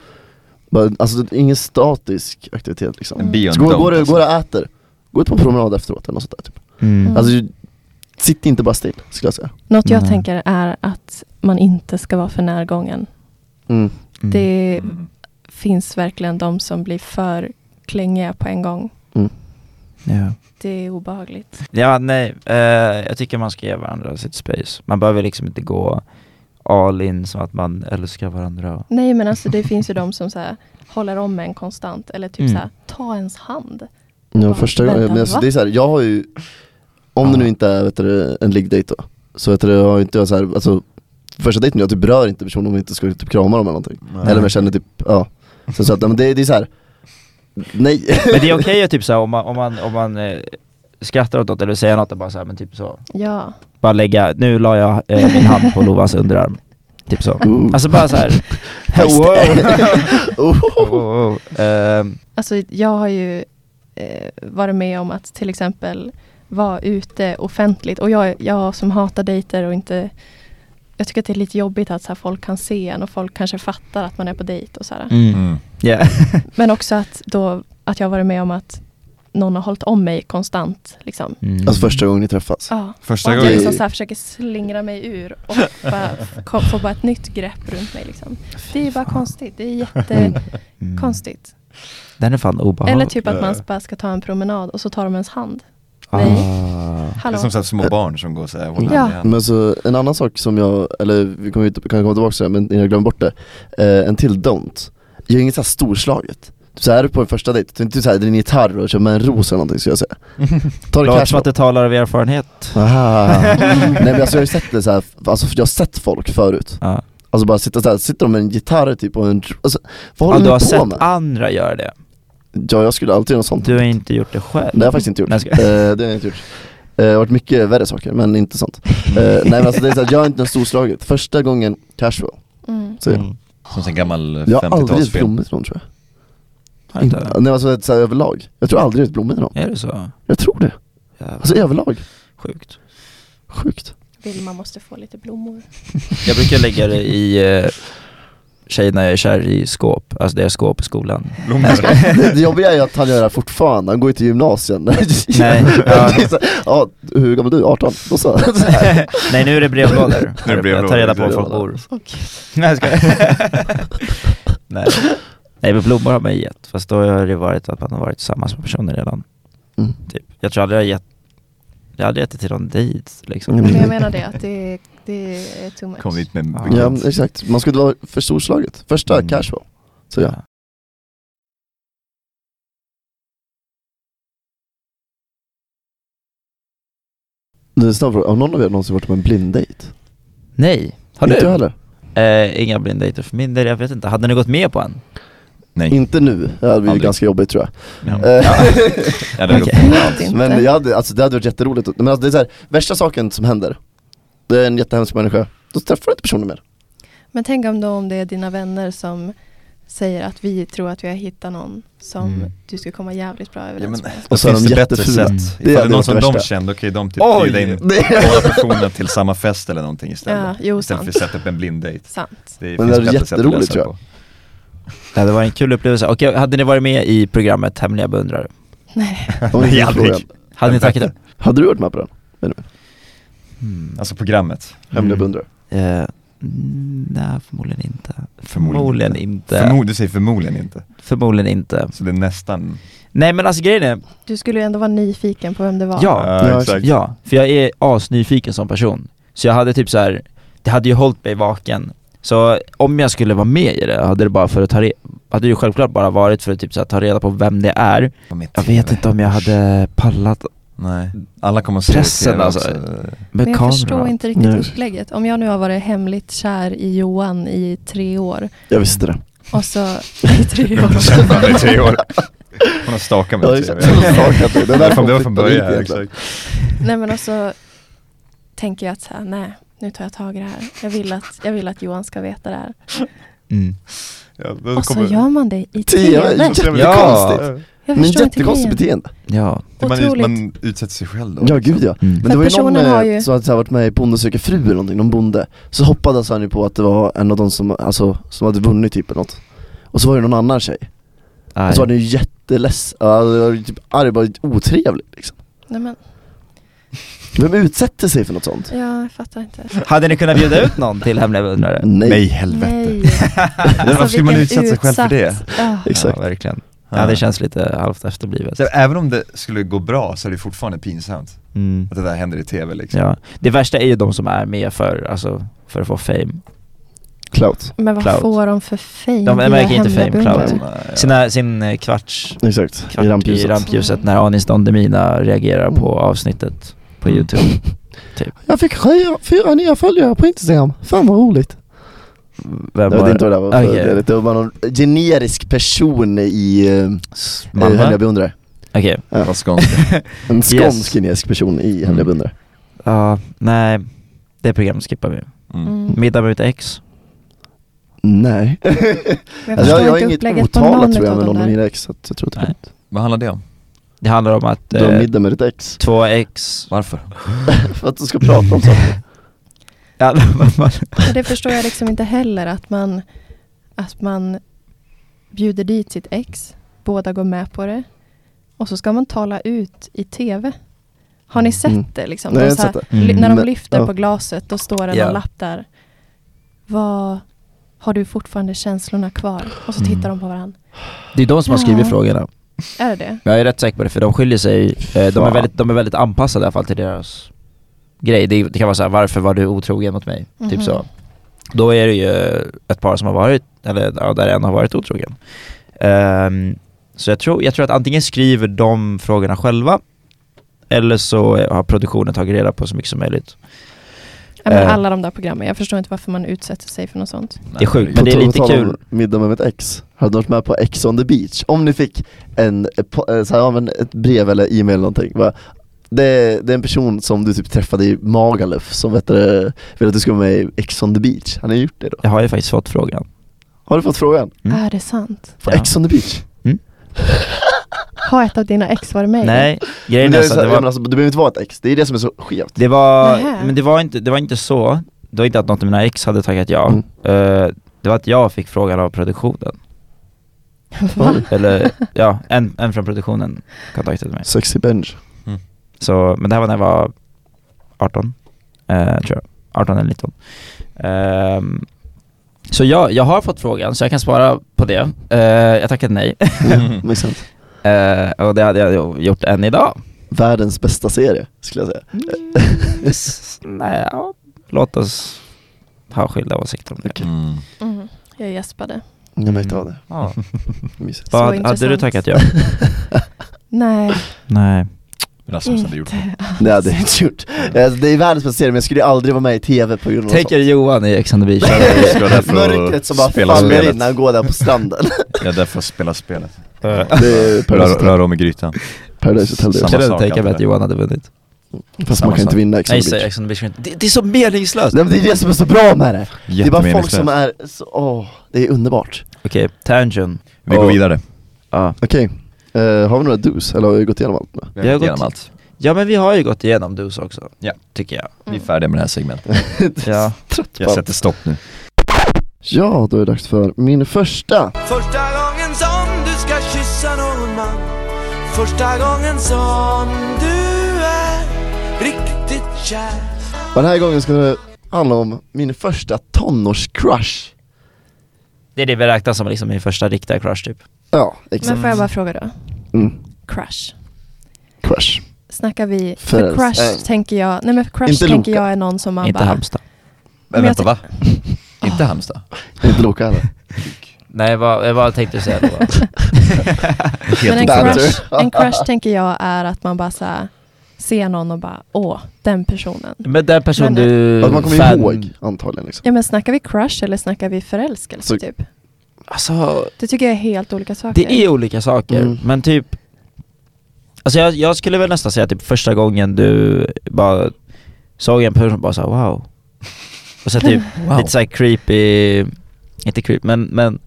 A: Bara, alltså det är ingen statisk aktivitet liksom.
E: En bio,
A: Så gå,
E: en
A: går,
E: don't,
A: du,
E: alltså.
A: går och äter, gå ut på promenad efteråt eller något sånt där typ.
B: Mm.
D: Mm.
A: Alltså ju- sitt inte bara still skulle jag säga.
D: Något jag
B: Nej.
D: tänker är att man inte ska vara för närgången.
A: Mm.
B: Mm.
D: Det
E: Mm.
D: finns verkligen de som blir för klängiga på en gång.
B: mm, Ja.
D: Det är obehagligt.
B: Ja, nej. eh, jag tycker man ska ge varandra sitt space. Man behöver liksom inte gå all in som att man älskar varandra.
D: Nej men alltså det finns ju de som så här, håller om en konstant eller typ
B: Mm.
D: så här, ta ens hand.
A: Ja, första gången,
D: Vänta,
A: men alltså,
D: va?
A: det är så här, jag har ju, om det nu inte är vet du, en liggdejt då, så vet du, jag har ju inte jag så här, alltså första dejten, jag typ rör inte personen om jag inte ska typ krama dem eller någonting.
E: Nej.
A: Eller om jag känner typ, ja. Så, så att, men det, det är så här. nej. (laughs)
B: Men det är okej att typ såhär om man, om man, om man eh, skrattar åt något eller säger något och bara såhär men typ så.
D: Ja,
B: Bara lägga, nu la jag eh, min hand på Lovas underarm. Typ så.
A: Ooh.
B: Alltså bara såhär.
A: Fast- (laughs)
B: wow. Alltså-
A: Oh.
B: wow, wow. (laughs) Ehm,
D: alltså jag har ju eh, varit med om att till exempel vara ute offentligt och jag, jag som hatar dejter och inte jag tycker att det är lite jobbigt att så här, folk kan se en och folk kanske fattar att man är på dejt och så här.
B: mm.
E: Mm.
B: Yeah.
D: Men också att, då, att jag har varit med om att någon har hållit om mig konstant. Liksom.
B: Mm.
A: Alltså första gången ni träffas.
D: Ja.
E: Första
D: Och att
E: gången.
D: jag liksom så här försöker slingra mig ur och
B: (laughs)
D: bara, kom, få bara ett nytt grepp runt mig. Liksom. Det är bara konstigt. Det är jättekonstigt. typ
B: Mm. Den är fan obehaglig. (laughs)
D: Eller typ att man bara ska ta en promenad och så tar de ens hand.
B: Ah.
D: Nej.
E: Det är
D: Hallå.
E: som så här små barn som går så här, håller
D: Ja.
E: hand i hand.
A: Men så en annan sak som jag, eller vi kommer ju inte- kan komma tillbaka till det men innan jag glömmer bort det eh, En till don't, gör inget såhär storslaget Så här är du på en första dejt, ta inte såhär din gitarr och kör med en ros eller någonting skulle jag säga Ta det
B: Låter som
A: cash
B: att det talar av erfarenhet.
A: Aha. (laughs) Nej men alltså jag har ju sett det såhär, alltså jag har sett folk förut
B: Ja.
A: Alltså bara sitta såhär, sitter de med en gitarr typ och en, alltså, vad
B: Ja,
A: håller
B: du har
A: ni på
B: sett
A: med?
B: andra göra det.
A: Ja jag skulle alltid göra något sånt
B: Du har inte gjort det själv.
A: Det har jag faktiskt inte gjort.
B: Nej,
A: Eh,
B: ska-
A: det har jag inte gjort. Eh, Det har varit mycket värre saker, men inte sånt. Eh, nej men alltså det är såhär, jag är inte något storslaget. Första gången casual,
D: Mm.
A: säger jag.
B: Mm.
E: Som en gammal
A: Jag har aldrig gett
E: 50-talsfilm.
A: blommor till någon tror jag.
B: Har inte.
A: Inte- Nej alltså såhär, överlag. Jag tror aldrig jag gett blommor till någon.
B: Är det så?
A: Jag tror det.
B: Jävlar,
A: Alltså överlag.
B: sjukt.
A: Sjukt.
D: Vilma måste få lite blommor.
B: Jag brukar lägga det i eh, tjejerna jag är kär i skåp, alltså deras skåp i skolan.
E: Blommor. (laughs)
A: det, det jobbiga är ju att han gör det här fortfarande, han går ju till gymnasien. (laughs)
B: Nej, ja.
A: ja. ja, hur gammal är du? 18? Då
E: (laughs)
A: så.
B: Nej nu är det brevlådor.
E: Nu är det
B: Jag tar reda på var folk
A: brevlådor.
B: bor. Nej jag skojar. (laughs) Nej. Nej men blommor har man ju gett, fast då har det varit att man har varit tillsammans med personer redan.
A: Mm.
B: Typ. Jag tror aldrig jag har gett, jag har aldrig gett det till någon dejt liksom.
A: Mm.
D: Men jag menar det, att det, det är too much.
E: Kom dit med
B: Ja.
A: Ja men exakt, man ska inte vara för storslaget. Första
E: Mm.
A: casual, så ja. Det är en snabb fråga, har någon av er någonsin varit på en blind date?
B: Nej, har
A: Inte jag
B: du?
A: heller.
B: Eh, inga blinddejter för min del, jag vet inte. Hade ni gått med på en?
E: Nej.
A: Inte nu, det hade blivit
E: Aldrig.
A: ganska jobbigt tror jag.
E: Ja.
A: Eh, (laughs)
E: Ja, det är
B: Okej.
D: Vet inte.
A: Men jag hade, alltså, det hade varit jätteroligt. Men alltså, det är så här, värsta saken som händer, det är en jättehemsk människa, då träffar du inte personen mer.
D: Men tänk om då om det är dina vänner som säger att vi tror att vi har hittat någon som
E: Mm.
D: du ska komma jävligt bra
E: Ja,
D: överens
E: men,
D: med.
E: och så finns
A: de
E: det bättre
A: jättefula.
E: sätt.
A: Det
E: Ifall det
A: hade
E: är någon
A: varit
E: som
A: det
E: de
A: värsta.
E: känner, då kan ju de typ
A: Oj!
E: bjuda
A: (laughs)
E: in
A: Det-
E: båda
A: (laughs)
E: personerna till samma fest eller någonting
D: Ja,
E: istället.
D: jo
E: istället
D: sant.
E: för att sätta upp en blind date.
D: sant.
E: Det
A: Men
E: finns
A: det är
E: bättre sätt att
A: jätteroligt,
E: lösa det
A: tror
E: på.
B: Ja, det var en kul upplevelse. Och hade ni varit med i programmet Hemliga beundrare?
D: Nej.
A: Om ni
E: Nej,
A: får
E: aldrig.
A: frågan.
B: Hade ni
E: (laughs)
B: tackat det?
A: Hade du varit med på den?
B: Mm.
E: Alltså programmet.
A: Hemliga beundrare.
B: Eh, nej, förmodligen inte.
E: Förmodligen
B: Förmodligen inte.
E: Förmod, du säger förmodligen inte.
B: förmodligen inte.
E: Så det är nästan...
B: Nej men alltså grejen är,
D: Du skulle ju ändå vara nyfiken på vem det var.
B: Ja.
A: Ja,
B: ja, för jag är asnyfiken som person. Så jag hade typ så här, det hade ju hållit mig vaken. Så om jag skulle vara med i det, hade det bara för att ta re- hade det ju självklart bara varit för att typ så här, ta reda på vem det är.
E: På mitt
B: Jag vet
E: TV.
B: inte om jag hade pallat
E: Nej. Alla kommer att se
B: Pressen,
E: det
B: alltså.
E: också.
B: med
D: Men jag förstår
B: kameran.
D: inte riktigt
A: Nej.
D: upplägget. Om jag nu har varit hemligt kär i Johan i tre år
A: Jag visste det.
D: och så i
E: (laughs)
D: tre
A: (laughs)
D: år. (laughs)
E: Kämpa med i tre år. Hon har stakat mig
A: Ja,
E: i tre
A: exakt.
E: år.
A: Det var stakat dig.
E: Det
A: Det
E: är
A: är
E: därför
A: därför
E: det var
A: hon
E: från
A: flyttade hit
E: början. ja,
A: egentligen.
E: exakt.
D: Nej men och så tänker jag att så här, nej, nu tar jag tag i det här. Jag vill att, jag vill att Johan ska veta det här.
B: Mm.
E: Ja, då
D: Och så
E: kommer-
D: gör man det
A: Tio
D: i tv.
A: år,
D: Jag förstår
A: jättekonstigt.
B: Ja.
A: Men
D: inte
A: jättekonstigt
D: grejen.
A: beteende.
B: Ja.
E: Det- man, ut-
D: Otroligt.
E: man utsätter sig själv då. liksom.
A: Ja gud ja.
B: Mm.
A: Men
D: För
A: det var liksom- ju någon
D: personen har
A: eh,
D: ju-
A: som hade så här varit med i Bonde söker fru eller någonting, någon bonde Så hoppades han ju på att det var en av de som, alltså, som hade vunnit typ eller något Och så var det någon annan tjej,
B: Aj.
A: och
B: Alltså,
A: så var den ju jätteledsen, alltså, var ju typ arg, bara otrevlig liksom
D: Nej, men,
A: Vem utsätter sig för något sånt?
D: ja, jag fattar inte.
B: Hade ni kunnat bjuda ut någon till Hemliga beundrare? (laughs)
A: Nej,
E: Nej helvete.
D: Nej.
B: Alltså,
E: Varför skulle man
D: Alltså, vilken
E: utsätta sig själv för det?
D: utsatt. Ja.
A: exakt
B: Ja, verkligen. Ja, det känns lite halvt efterblivet.
E: Så Även om det skulle gå bra så är det fortfarande pinsamt
B: Mm.
E: att det där händer i tv liksom.
B: Ja. Det värsta är ju de som är med för, alltså, för att få fame.
A: Clout,
D: Men vad
B: Clout.
D: får de för fame?
B: De
D: via
B: märker inte fame,
D: hemligabeundrare?
B: clout.
E: Nej, ja.
B: Sina, sin eh, kvarts,
A: exakt,
B: kvart
A: i rampljuset
B: i rampljuset Mm. när Anis Don Demina reagerar på avsnittet på
A: Mm.
B: Youtube.
A: Jag fick fyra, fyra nya följare på Instagram, fan vad roligt Jag
B: Vem
A: vet inte vad det var, för
B: Okej.
A: det, det var bara någon generisk person i, eh, i Hemliga
B: Mamma?
A: beundrare
B: Okej. (laughs)
A: Ja.
E: Vad skånskt.
A: En skånsk
B: Yes.
A: generisk person i Hemliga
E: Mm.
A: beundrare
B: Ja, nej. Det programmet skippar vi.
E: Mm.
D: Mm.
B: Middag med mitt ex?
A: (laughs) Nej
D: Men
A: Alltså,
D: förstår
A: jag, jag har
D: inte
A: inget
D: upplägget på någon
A: otalat tror jag
D: utav
A: med
D: de
A: någon av
D: där.
A: mina ex, så att jag tror att det är
B: Nej.
A: lugnt.
E: Vad handlar det om?
B: Det handlar om att
A: Du har
B: eh,
A: middag med ditt ex, (laughs)
B: två ex...
E: Varför?
A: för att du ska prata om saker
B: Ja, man-
D: Men det förstår jag liksom inte heller att man, att man bjuder dit sitt ex, båda går med på det och så ska man tala ut i tv. Har ni sett
A: Mm.
D: det? Liksom?
A: Nej,
D: de
A: jag har
D: så här,
A: sett Mm,
B: det.
D: ly- När de
A: Men-
D: lyfter
A: ja.
D: på glaset, då står det någon
B: Ja.
D: lapp där. Vad har du fortfarande känslorna kvar? Och så
B: Mm.
D: tittar de på varandra.
B: det är de som har skrivit
D: Ja.
B: frågorna.
D: Är det det?
B: Men jag är rätt säker på det för de skiljer sig, eh, de, är
A: Fan.
B: väldigt, de är väldigt anpassade i alla fall till deras grej. Det, det kan vara så här, varför var du otrogen mot mig? Typ
D: Mhm.
B: så. Då är det ju ett par som har varit, eller ja, där en har varit otrogen. Ehm, så jag tror, jag tror att antingen skriver de frågorna själva, eller så har produktionen tagit reda på så mycket som möjligt.
D: Ja, men
B: Eh.
D: alla de där programmen. Jag förstår inte varför man utsätter sig för något sånt.
B: Det är sjukt, men det är
A: På
B: lite
A: tal om
B: kul.
A: middag med mitt ex, hade du varit med på Ex on the beach? Om ni fick en, eh, po- eh, så här, ja, men ett brev eller e-mail eller någonting bara, det, det är en person som du typ träffade i Magaluf som vet du, vill att du ska vara med i Ex on the beach, har ni gjort det då?
B: Jag har ju faktiskt fått frågan.
A: Har du fått frågan?
B: Mm.
D: Är det sant?
A: På
B: Ja.
A: Ex on the beach?
D: Har ett av dina ex varit med? i det?
B: Nej,
A: Men
B: grejen
A: det,
B: är
A: är
B: så,
A: så,
B: att
A: här,
B: det
A: ja,
B: var
A: men alltså, det behöver inte vara ett ex, det är det som är så skevt
B: Det var,
D: Nähä.
B: men det var, inte, det var inte så, det var inte att något av mina ex hade tackat ja.
A: Mm.
B: Eh, det var att jag fick frågan av produktionen.
D: (laughs) Va?
B: Eller ja, en, en från produktionen kontaktade mig.
A: Sexy bench
B: Så, men det här var när jag var 18, eh, tror jag. 18 eller 19. Ehm, så jag, jag har fått frågan, så jag kan svara på det. Eh, jag tackade nej. (laughs) Mm.
A: (laughs) Makes sense.
B: Eh, och det hade jag ju gjort än idag.
A: Världens bästa serie skulle jag säga
B: S- nej, (laughs) ja, låt oss ha skilda åsikter om det. Mm.
E: Mm.
D: Mm. Jag gäspade.
A: Jag märkte av det,
B: Ja.
A: mysigt
D: Så
B: Vad hade- hade du
D: intressant.
B: tackat (laughs) ja?
D: Nej,
B: Nej.
E: Rasmus hade gjort det.
A: (laughs) Nej det hade jag inte gjort Alltså, Det är världens bästa serie men jag skulle aldrig vara med i TV på grund av
B: Tänk er
A: sånt
B: Johan i Ex on the (laughs) Beach.
A: (laughs)
E: Jag ska därför
A: Mörkret som bara
E: spela
A: faller
E: spelet.
A: in när han går där på stranden
E: Jag är där för att spela spelet.
A: (laughs) Eh, Det är Paradise
E: Rör,
A: Hotel,
E: rör om i grytan.
A: Paradise Hotel det är
E: Samma
B: Kan du
E: sak
B: tänka mig
E: alltid.
B: att Johan hade vunnit?
A: också. Fast
E: samma
A: man kan
E: sak.
A: inte vinna Ex on the Beach
B: Ex on the Beach. kan inte- Det, det är så meningslöst!
A: Nej men det är det som är så bra med det! Det är bara folk
E: Jättemeningslöst.
A: som är så, åh, det är underbart
B: Okej, Tangent.
E: Vi går
B: Och-
E: vidare.
B: Ja.
A: Okej, eh, har vi några dos eller har vi gått igenom allt nu?
B: Vi har gått-
E: igenom allt.
B: ja men vi har ju gått igenom DOS också.
E: Ja.
B: Tycker jag.
E: Vi är färdiga med det här segmentet.
B: Ja.
E: Jag sätter stopp nu.
A: Ja, då är det dags för min första
F: Första gången som du ska kyssa någon man Första gången som du är riktigt kär
A: Och den här gången ska det handla om min första tonårscrush
B: Det är det vi räknar som liksom min första riktiga crush typ.
A: Ja,
D: men
A: exakt
D: får jag bara fråga då?
A: mm.
D: Crush.
A: Crush
D: Snackar vi, för
A: Förälskad.
D: crush
A: Eh.
D: tänker jag, nej men för crush
A: Inte
D: tänker
A: Loka.
D: jag är någon som man
B: Inte
D: bara,
B: Halmstad.
E: Men
D: Men jag
E: vänta va? Inte Halmstad?
A: Inte Loka heller
E: Mm,
B: Nej vad, vad tänkte du säga då?
D: men en
A: Banter.
D: crush, en crush tänker jag är att man bara så här, ser någon och bara, åh, den personen.
B: (laughs) men den person
D: Men-
B: du...
A: Att man kommer
B: fan-
A: ihåg antagligen (laughs) liksom
D: Ja men snackar vi crush eller snackar vi förälskelse
A: Så-
D: typ?
B: Alltså,
D: Det tycker jag är helt olika saker.
B: det är olika saker.
A: Mm.
B: Men typ... Alltså jag, jag skulle väl nästan säga typ första gången du bara såg en person och bara sa wow. Och så typ
E: Wow.
B: Lite såhär creepy, inte creep men, men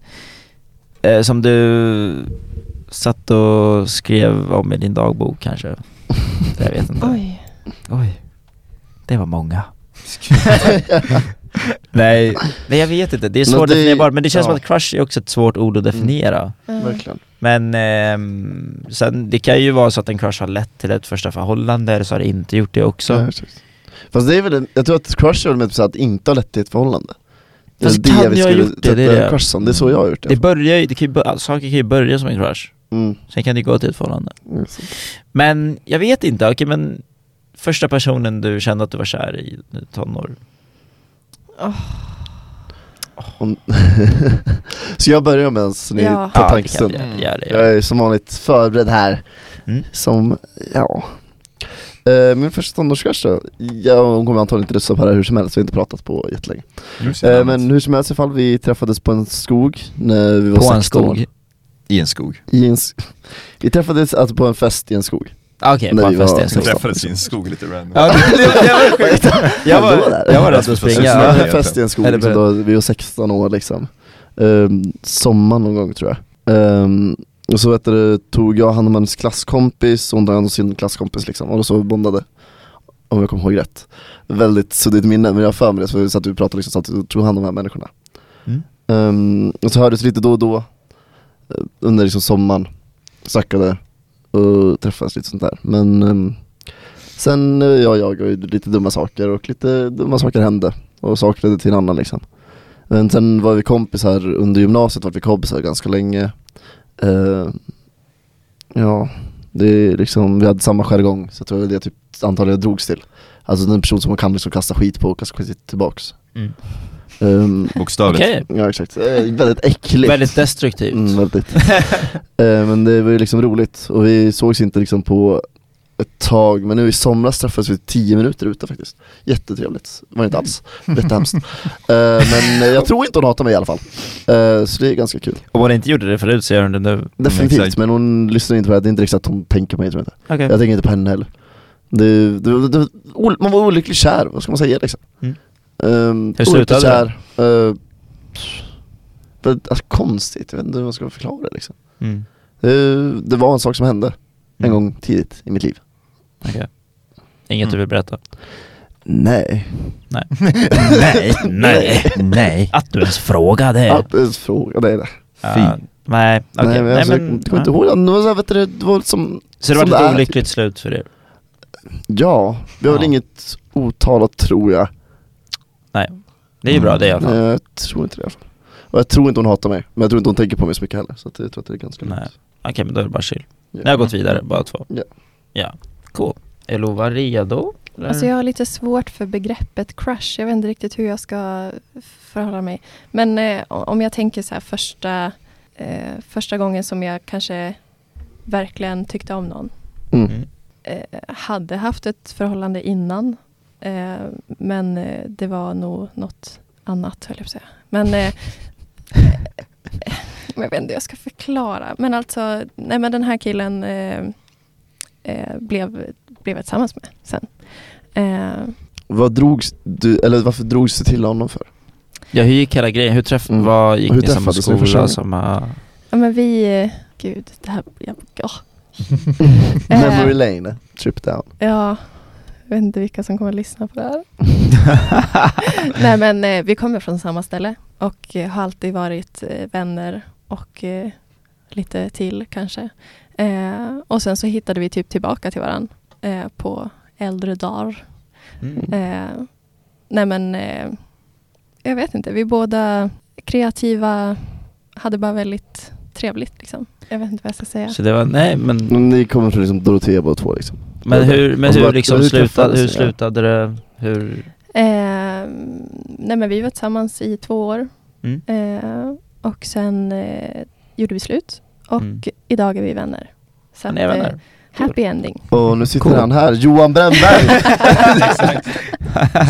B: eh, som du satt och skrev om i din dagbok kanske. Jag vet inte.
D: Oj.
B: Oj. Det var många. Nej, nej jag vet inte. Det är
A: Men
B: svårt
A: det-
B: definierbart men det känns
A: ja.
B: som att crush är också ett svårt ord att definiera.
D: Mm.
A: Verkligen
B: Men ehm, sen, det kan ju vara så att en crush har lett till ett första förhållande eller så har det inte gjort det också.
A: Ja, exakt. Fast det är väl, en- jag tror att crush är väl mer typ så att inte ha lett till ett förhållande Det är
B: Fast
A: det
B: kan
A: vi
B: jag ha
A: skulle
B: gjort det? Det är
A: sätta
B: det.
A: Crush som, det är så jag har gjort
B: Det
A: det
B: börjar ju, det kan ju, bör- saker kan ju börja som en crush,
A: mm.
B: sen kan det gå till ett förhållande.
A: Mm, sant.
B: Men jag vet inte, okej men första personen du kände att du var kär i i tonår?
A: Om- (laughs) Så jag börjar med en så ni
D: Ja.
A: tar
B: det kan
A: tankestund
B: vi göra, gör det, gör det.
A: Jag är som vanligt förberedd här
B: Mm.
A: Som, ja Eh, Min första tonårscrush då, jag hon kommer antagligen inte lyssna på det här hur som helst, vi har inte pratat på jättelänge eh, Men hur som helst i alla fall, vi träffades på en skog när vi var
B: På
A: 16
B: en
A: år.
B: skog?
E: I en skog.
A: I en sk- (laughs) Vi träffades alltså på en fest i en skog
B: Ah, Okej,
A: Nej,
B: på en
A: jag-
B: fest i en
E: Vi
B: skog.
A: Träff-
E: träffades i en skog lite random.
B: Ja, det- det- jag var sjukt. Jag
A: Hallå
B: var,
A: där.
B: jag var rädd för att
E: Rasmus,
A: Ja,
B: springa.
E: Rasmus.
A: en
E: egentligen.
A: fest i en skog
B: Eller
A: liksom, då vi var 16 år liksom um, Sommaren någon gång tror jag Ehm, Och så vet du, tog jag hand om hennes klasskompis, hon tog hand om sin klasskompis liksom och då så bondade Om jag kommer ihåg rätt Väldigt suddigt minne men jag har för mig det så vi satt och pratade liksom, satt och tog hand om de här människorna
B: Mm.
A: Ehm, Och så hördes vi lite då och då eh, Under liksom sommaren Snackade och träffades lite sånt där men ehm, Sen eh, jag jag och lite dumma saker och lite dumma saker hände och saker ledde till en annan liksom. Men sen var vi kompisar under gymnasiet, var vi kompisar ganska länge. Eh, Ja, det är liksom, vi hade samma jargong så det var väl det typ antagligen jag drogs till. Alltså den person som man kan liksom kasta skit på och kasta skit tillbaks.
B: Mm.
A: Ehm,
E: Bokstavligt.
B: Okej,
A: ja exakt, Eh, väldigt äckligt.
B: väldigt destruktivt.
A: Mm,
B: (laughs)
A: väldigt. Eh, men det var ju liksom roligt och vi sågs inte liksom på ett tag, men nu i somras träffades vi tio minuter ute faktiskt. Jättetrevligt, var det inte alls.
B: (laughs)
A: Jättehemskt. Eh, men eh, jag tror inte hon hatar mig i alla fall. Eh, så det är ganska kul.
B: Om hon inte gjorde det förut så gör hon det nu.
A: Definitivt,
E: exakt.
A: men hon lyssnar inte på det här. Det är inte riktigt att hon tänker på mig tror jag inte.
B: Okej.
A: Jag tänker inte på henne heller. Det, det, det, ol- man var olyckligt kär, vad ska man säga liksom?
B: Mm.
A: Um,
B: Hur slutade
A: kär, eh, pff, det? Alltså, konstigt, jag vet inte hur man ska förklara det liksom.
B: Mm.
A: Eh, det var en sak som hände en
B: Mm.
A: gång tidigt i mitt liv.
B: Okej. Inget du vill berätta?
A: Nej.
E: (laughs)
B: nej, nej, nej. Att du ens frågade.
A: Att ens fråga, nej nej.
B: Ja, nej, okej.
A: nej men, alltså, jag kommer inte ihåg, det var, så här, vet du, det det var liksom- som,
B: Så det var
A: som
B: ett
A: är,
B: olyckligt slut för er?
A: Ja, vi har väl
B: Ja.
A: inget otalat tror jag.
B: Det är ju bra det i alla
A: Nej,
B: fall.
A: jag tror inte det i alla fall. Och jag tror inte hon hatar mig, men jag tror inte hon tänker på mig så mycket heller. Så att jag tror att det är ganska
B: Nej.
A: lugnt.
B: Okej men då är det bara chill.
A: Ja.
B: Ni har gått vidare, bara två.
A: Ja.
B: Ja, cool. Är Lova redo? eller?
D: Alltså jag har lite svårt för begreppet crush. Jag vet inte riktigt hur jag ska förhålla mig. Men eh, om jag tänker så här första, eh, första gången som jag kanske verkligen tyckte om någon.
A: Mm.
B: Mm.
D: Eh, hade haft ett förhållande innan. Eh, men eh, det var nog något annat höll jag på att säga. Men eh, (laughs) men jag vet inte hur jag ska förklara. Men alltså, nej men den här killen eh, eh, blev, blev jag tillsammans med sen. Eh,
A: Vad drogs du, eller varför drogs du till honom för?
B: Ja hur gick hela grejen? Hur träff...
A: Mm.
B: Vad gick
A: Och hur
B: ni samma
A: träffades ni
B: skola?
A: första
B: Samma...
D: ja men vi, eh, gud, det här, jag, åh. Eh,
A: Memory lane, trip down.
D: Ja, jag vet inte vilka som kommer att lyssna på det här. Nej men eh, vi kommer från samma ställe och eh, har alltid varit eh, vänner och eh, lite till kanske. Eh, och sen så hittade vi typ tillbaka till varandra eh, på äldre dagar.
B: Mm.
D: Eh, nej men eh, jag vet inte, vi båda kreativa, hade bara väldigt trevligt liksom. Jag vet inte vad jag ska säga.
B: Så det var, nej men,
A: Men Ni kommer från liksom Dorotea båda två liksom.
B: men hur, men
A: Och så
B: hur
A: bara-
B: liksom
A: hur
B: slutade,
A: träffades
B: hur
A: ni?
B: slutade det? Hur,
D: Eh, nej men vi var tillsammans i två år
B: Mm.
D: eh, och sen eh, gjorde vi slut och
B: Mm.
D: idag är vi vänner. Så
B: han är
D: att, eh,
B: vänner?
D: happy ending.
A: Och nu sitter
B: Cool.
A: han här, Johan (laughs)
B: (laughs)
A: Brännberg!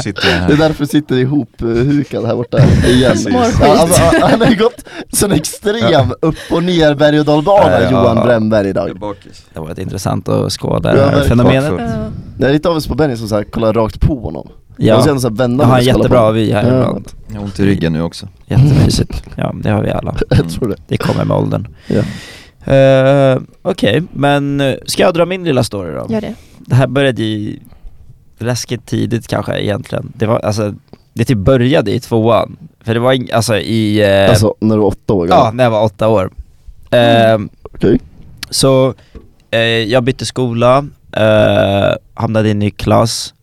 E: Sitter jag
A: Det är
E: här.
A: därför sitter ihop eh, hukad här borta igen.
E: Precis.
A: Ja, alltså, han har ju gått sån extrem upp och ner berg och dalbana
E: Ja, ja,
A: Johan
E: ja.
A: Brännberg idag.
E: Bakis.
B: Det har varit intressant att skåda
A: Ja,
B: det här
A: verkligen.
B: fenomenet.
D: Ja.
A: Jag är lite avis på Benny som såhär kollar rakt på honom. Jag måste
B: Ja,
A: ändå såhär vända
B: jag har
A: mig
B: en
A: och kolla på
B: jättebra
A: honom.
B: vy här
A: Ja.
B: ibland.
E: Jag har ont i ryggen nu (laughs) också.
B: (laughs) Jättemysigt. Ja, det har vi alla.
A: (laughs) Jag tror det.
B: Det kommer med åldern.
A: Ja.
B: Eh, Okej, men eh, ska jag dra min lilla story då?
D: Gör det.
B: Det här började ju läskigt tidigt kanske egentligen. Det var alltså, det typ började i tvåan. För det var ing- alltså i... eh,
A: Alltså när du var åtta år
B: ja,
A: gammal.
B: när jag var åtta år. Eh,
A: Okej.
B: Så eh, jag bytte skola, eh, hamnade i en ny klass.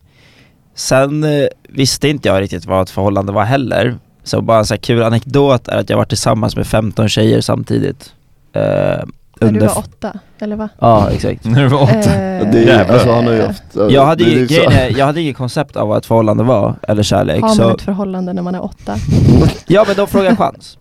B: Sen eh, visste inte jag riktigt vad ett förhållande var heller. Så bara en så här kul anekdot är att jag var tillsammans med 15 tjejer samtidigt. Eh,
D: När du
B: under-
D: var åtta, eller va?
B: Ja, exakt.
E: När du var åtta.
D: Eh,
A: Det är,
E: Jävlar.
A: alltså han har ju haft...
B: Jag hade,
A: det är liksom-
B: ju,
A: så-
B: grejen är, jag hade inget koncept av vad ett förhållande var, eller kärlek.
D: har man
B: Så,
D: Eh, ett förhållande när man är åtta?
B: (laughs) ja men de frågar chans.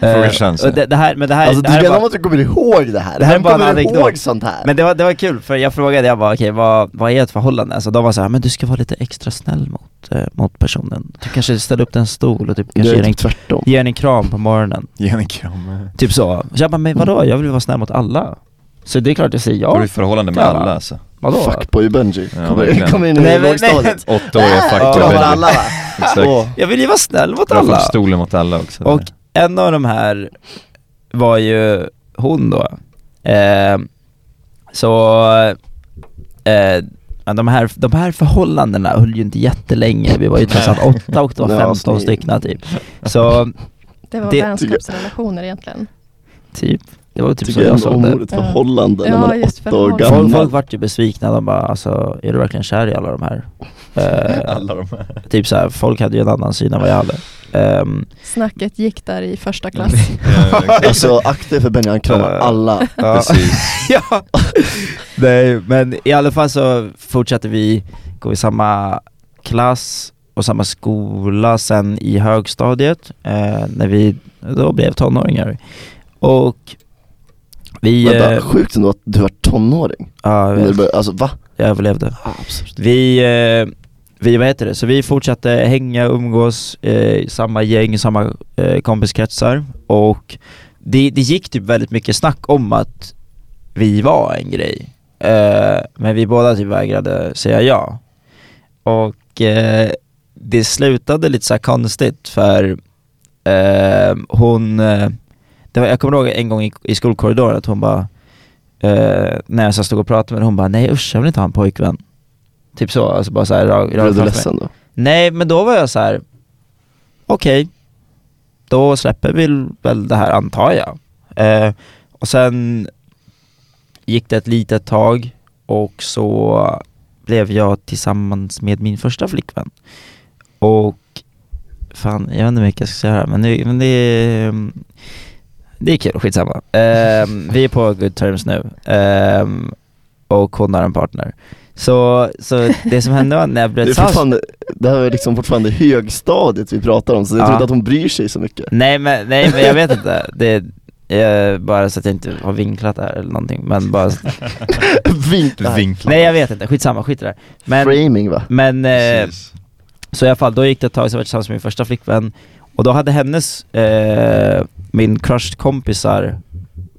B: Eh,
E: Frågar chans,
B: och det, det här, men det här,
A: (laughs) Alltså
B: det
A: du
B: här är
A: menar
B: bara,
A: att du kommer ihåg det här?
B: Det här är
A: Vem
B: bara en
A: kommer
B: anekdot.
A: ihåg sånt här?
B: Men det var, det var kul, för jag frågade, jag bara okej vad, vad är ett förhållande? Alltså de var såhär, men du ska vara lite extra snäll mot, eh, mot personen. Du kanske ställer upp en stol och typ
A: det
B: kanske
A: är
B: ger en,
A: typ tvärtom.
B: ger en kram på morgonen.
E: Ge henne en kram.
B: Typ så. så. Jag bara, men vadå? Jag vill vara snäll mot alla. Så det är klart jag säger
E: Var du
B: ja.
E: i förhållande med
B: Ja.
E: alla alltså?
B: Vadå?
A: Fuckboy Benji.
E: Ja,
A: kommer,
E: verkligen.
A: kommer in i
B: Nej, men-
A: lågstadiet.
E: Åttaåriga
B: kramar
E: fuckboy.
A: alla (laughs) va?
E: Exakt.
A: Åh.
B: Jag vill ju vara snäll mot
E: Dra fram
B: alla.
E: stolen mot alla också.
B: Och en av de här var ju hon då. Eh, så eh, men de, här, de här förhållandena höll ju inte jättelänge. Vi var ju trots allt åtta och det
A: (laughs)
B: var
A: Ja,
B: 15
A: ni-
B: stycken typ. Så
D: Det var
B: Det-
D: vänskapsrelationer egentligen.
B: typ, det var typ
A: Tycker
B: så
A: jag
B: jag
A: ändå om
B: såg det.
A: ordet förhållande när
D: Ja,
A: man är
D: just
A: åtta år
D: förhållande.
B: Folk,
A: gammal.
B: folk vart ju besvikna, de bara alltså,
A: (laughs)
B: är du verkligen kär i alla de här? Eh,
E: alla de här.
B: typ såhär, folk hade ju en annan syn än vad jag hade. Ehm,
D: Snacket gick där i första klass.
A: Alltså akta er för Benny, han kramar
B: Ja.
A: alla.
B: ja. (laughs) ja. Nej, men i alla fall så fortsatte vi gå i samma klass och samma skola sen i högstadiet eh, när vi då blev tonåringar. Och vi...
A: Vänta,
B: eh,
A: sjukt ändå att du var tonåring.
B: ja, jag
A: När du
B: vet.
A: började- Alltså va?
B: jag överlevde.
A: Absolut.
B: Vi, eh, vi, vad heter det, så vi fortsatte hänga, umgås, eh, i samma gäng, samma eh, kompiskretsar och det, det gick typ väldigt mycket snack om att vi var en grej. Eh, men vi båda typ vägrade säga ja. Och eh, det slutade lite så här konstigt för eh, hon, eh, det var, jag kommer ihåg en gång i, i skolkorridoren att hon bara, eh, när jag så stod och pratade med henne, hon bara nej usch jag vill inte ha en pojkvän. Typ så, alltså bara såhär rakt
A: Blev du
B: framför mig.
A: ledsen då?
B: Nej, men då var jag så här. okej, då släpper vi väl det här antar jag. Eh, och sen gick det ett litet tag och så blev jag tillsammans med min första flickvän. Och fan, jag vet inte hur mycket jag ska säga här, men det, men det, det är kul, skitsamma. Eh,
A: (laughs)
B: vi är på good terms nu eh, och hon har en partner. Så, så det som hände var när
A: (laughs)
B: jag
A: Det, är
B: bröt sams-
A: fortfarande, det här är liksom fortfarande högstadiet vi pratar om, så jag
B: Ja.
A: tror inte att hon bryr sig så mycket.
B: Nej men, nej men jag vet inte, det är eh, bara så att jag inte har vinklat det här eller någonting men bara så,
A: (laughs) Vinklar.
E: Vinklar.
B: Nej jag vet inte, skitsamma, skit i det här. Mm. Men,
A: Framing va?
B: men eh,
E: Precis.
B: så i alla fall, då gick det ett tag så jag var tillsammans med min första flickvän och då hade hennes, eh, min crush kompisar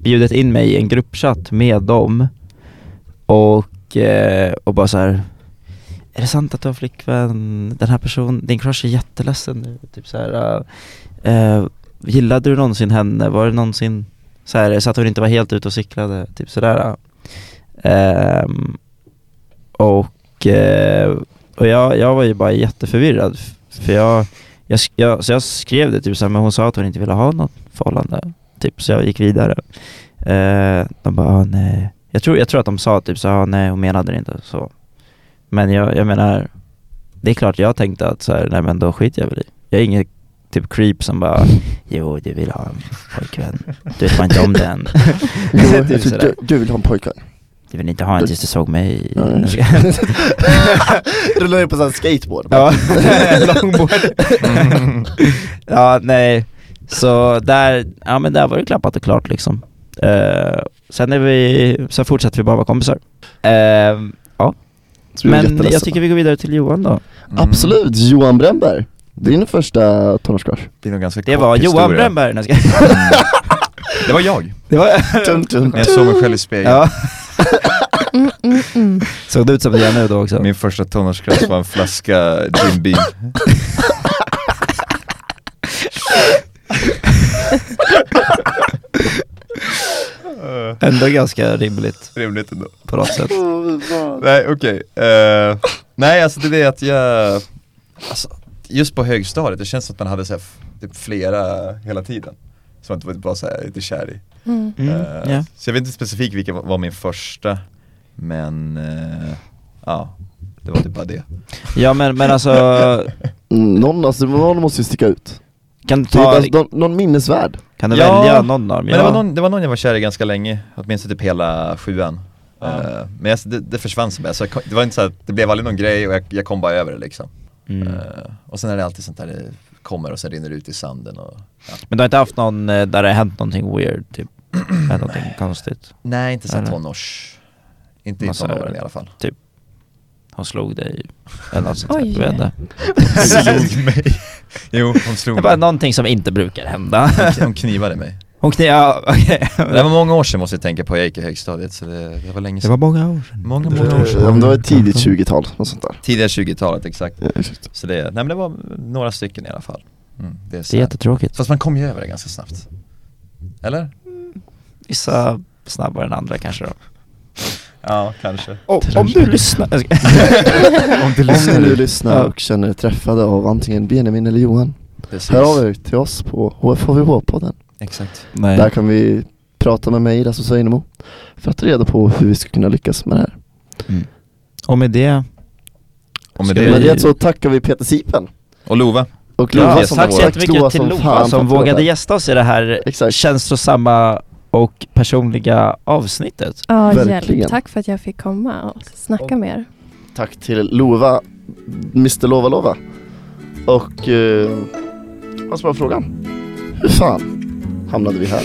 B: bjudit in mig i en gruppchatt med dem och, eh, och bara så här. Är det sant att du har flickvän? Den här personen, din crush är jätteledsen nu, typ så här. eh, eh, gillade du någonsin henne? Var det någonsin så här, så att hon inte var helt ute och cyklade? Typ sådär. Ehm, och eh, och jag, jag var ju bara jätteförvirrad f- för jag, jag, sk- jag, så jag skrev det typ så här, men hon sa att hon inte ville ha något förhållande. Typ, så jag gick vidare. Eh, de bara, ah, nej. Jag tror, jag tror att de sa typ så här, ah, nej hon menade det inte så. Men jag, jag menar, det är klart jag tänkte att så här, nej men då skiter jag väl i. Jag är ingen typ creep som bara, jo du vill ha en pojkvän, du vet bara inte om den.
A: (laughs) Jo, jag
B: Typ
A: tror
B: sådär.
A: du, du vill ha en pojkvän.
B: Du vill inte ha en tills du såg mig.
A: Nej. Rullar ner på sån skateboard. (laughs)
B: Ja, (laughs) longboard. (laughs) ja, nej. Så där, ja men där var det klappat och klart liksom. Eh, sen är vi, sen fortsätter vi bara vara kompisar. Eh,
A: Så du är
B: men
A: jätteledsen.
B: jag tycker vi går vidare till Johan då.
E: Mm.
A: Absolut, Johan Brännberg. Din första tonårscrush.
E: Det är nog ganska
B: Det
E: kort
B: var Johan
E: historia.
B: Brännberg. Nej, jag ska-
E: Mm. (laughs) Det var jag.
B: Det var,
A: Tum, tum.
E: När jag såg mig själv i spegeln.
B: ja.
D: Mm, mm, mm.
B: Såg det ut som det gör nu då också?
E: Min första tonårsklass var en flaska Jim Beam.
B: Ändå ganska rimligt
E: Rimligt ändå.
B: på något sätt.
E: Nej okej, Eh, nej alltså det är det att jag, alltså, just på högstadiet, det känns som att man hade så här, f- typ flera hela tiden. Som att det var bara såhär, lite kär i.
D: Mm.
B: Mm,
E: Eh,
B: ja.
E: Så jag vet inte specifikt vilken var min första, men eh, ja, det var typ bara det.
B: ja men, men alltså,
A: Mm, Någon, alltså, någon måste ju sticka ut.
B: kan du
A: Det är
B: ta,
A: bara, någon, någon minnesvärd.
B: kan du
E: Ja,
B: välja någon av dem?
E: Men det, var någon, det var någon jag var kär i ganska länge, åtminstone typ hela sjuan. Eh, men jag, det, det försvann som alltså, jag kom- det var inte så här, det blev aldrig någon grej och jag, jag kom bara över det liksom.
B: Mm.
E: Eh, och sen är det alltid sånt där det kommer och sen rinner det ut i sanden och
B: Men du har inte haft någon eh, där det har hänt någonting weird typ? Hänt någonting konstigt?
E: Nej, inte så
B: Eller?
E: tonårs. Inte i
B: Massa
E: tonåren
B: öl.
E: i alla (laughs) fall.
B: Hon slog dig eller något sånt där,
D: Oj.
B: jag vet inte.
E: slog mig. Jo, hon
B: Det
E: slog
B: var bara
E: mig.
B: någonting som inte brukar
E: (laughs)
B: hända. (laughs)
E: Hon knivade mig.
B: Hon kni- ja, okej.
E: Det var många år sedan måste jag tänka på, jag gick i högstadiet så det, det var länge sedan.
B: många år sedan.
E: Många,
A: Eh,
E: många år sedan.
A: ja, men Det var ett tidigt 20-tal, något sånt där.
E: Tidiga 20-talet exakt.
A: Eh, ursäkta.
E: Så det, nej men det var några stycken i alla fall. Mm, det är
B: Det är
E: så här.
B: jättetråkigt.
E: Fast man kom ju över det ganska snabbt. Eller?
B: Vissa snabbare än andra kanske då.
E: Ja, kanske.
B: om du lyssnar. jag ska-
E: Om du
A: Om ni nu
E: lyssnar.
A: lyssnar och känner er träffade av antingen Benjamin eller Johan,
E: Precis.
A: hör av er till oss på HFHVH-podden.
E: Exakt.
A: Där
B: Nej.
A: kan vi prata med mig, Rasmus Weinemo, för att ta reda på hur vi ska kunna lyckas med det här.
B: Och med det,
E: Och med
B: Ska
E: det,
B: vi-
A: Med det så tackar vi Peter Sipen.
E: och Lova.
A: Och
B: Ja,
A: Lova
C: Yes,
A: som
B: tack så
A: var-
B: jättemycket till
A: som
B: Lova
A: fan
B: som
A: för att vara
B: vågade
A: där.
B: gästa oss i det här
A: Exakt.
B: känslosamma och personliga avsnittet.
D: Ja,
A: Verkligen.
D: hjälp. Tack för att jag fick komma och snacka med er.
A: Tack till Lova, Mr Lova Lova. Och... Eh, vad var frågan? Hur fan hamnade vi här?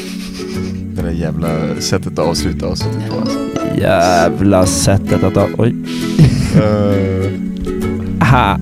E: Det där jävla sättet att avsluta avsnittet på alltså.
B: Jävla sättet att... Oj.
E: Eh,
B: Aha.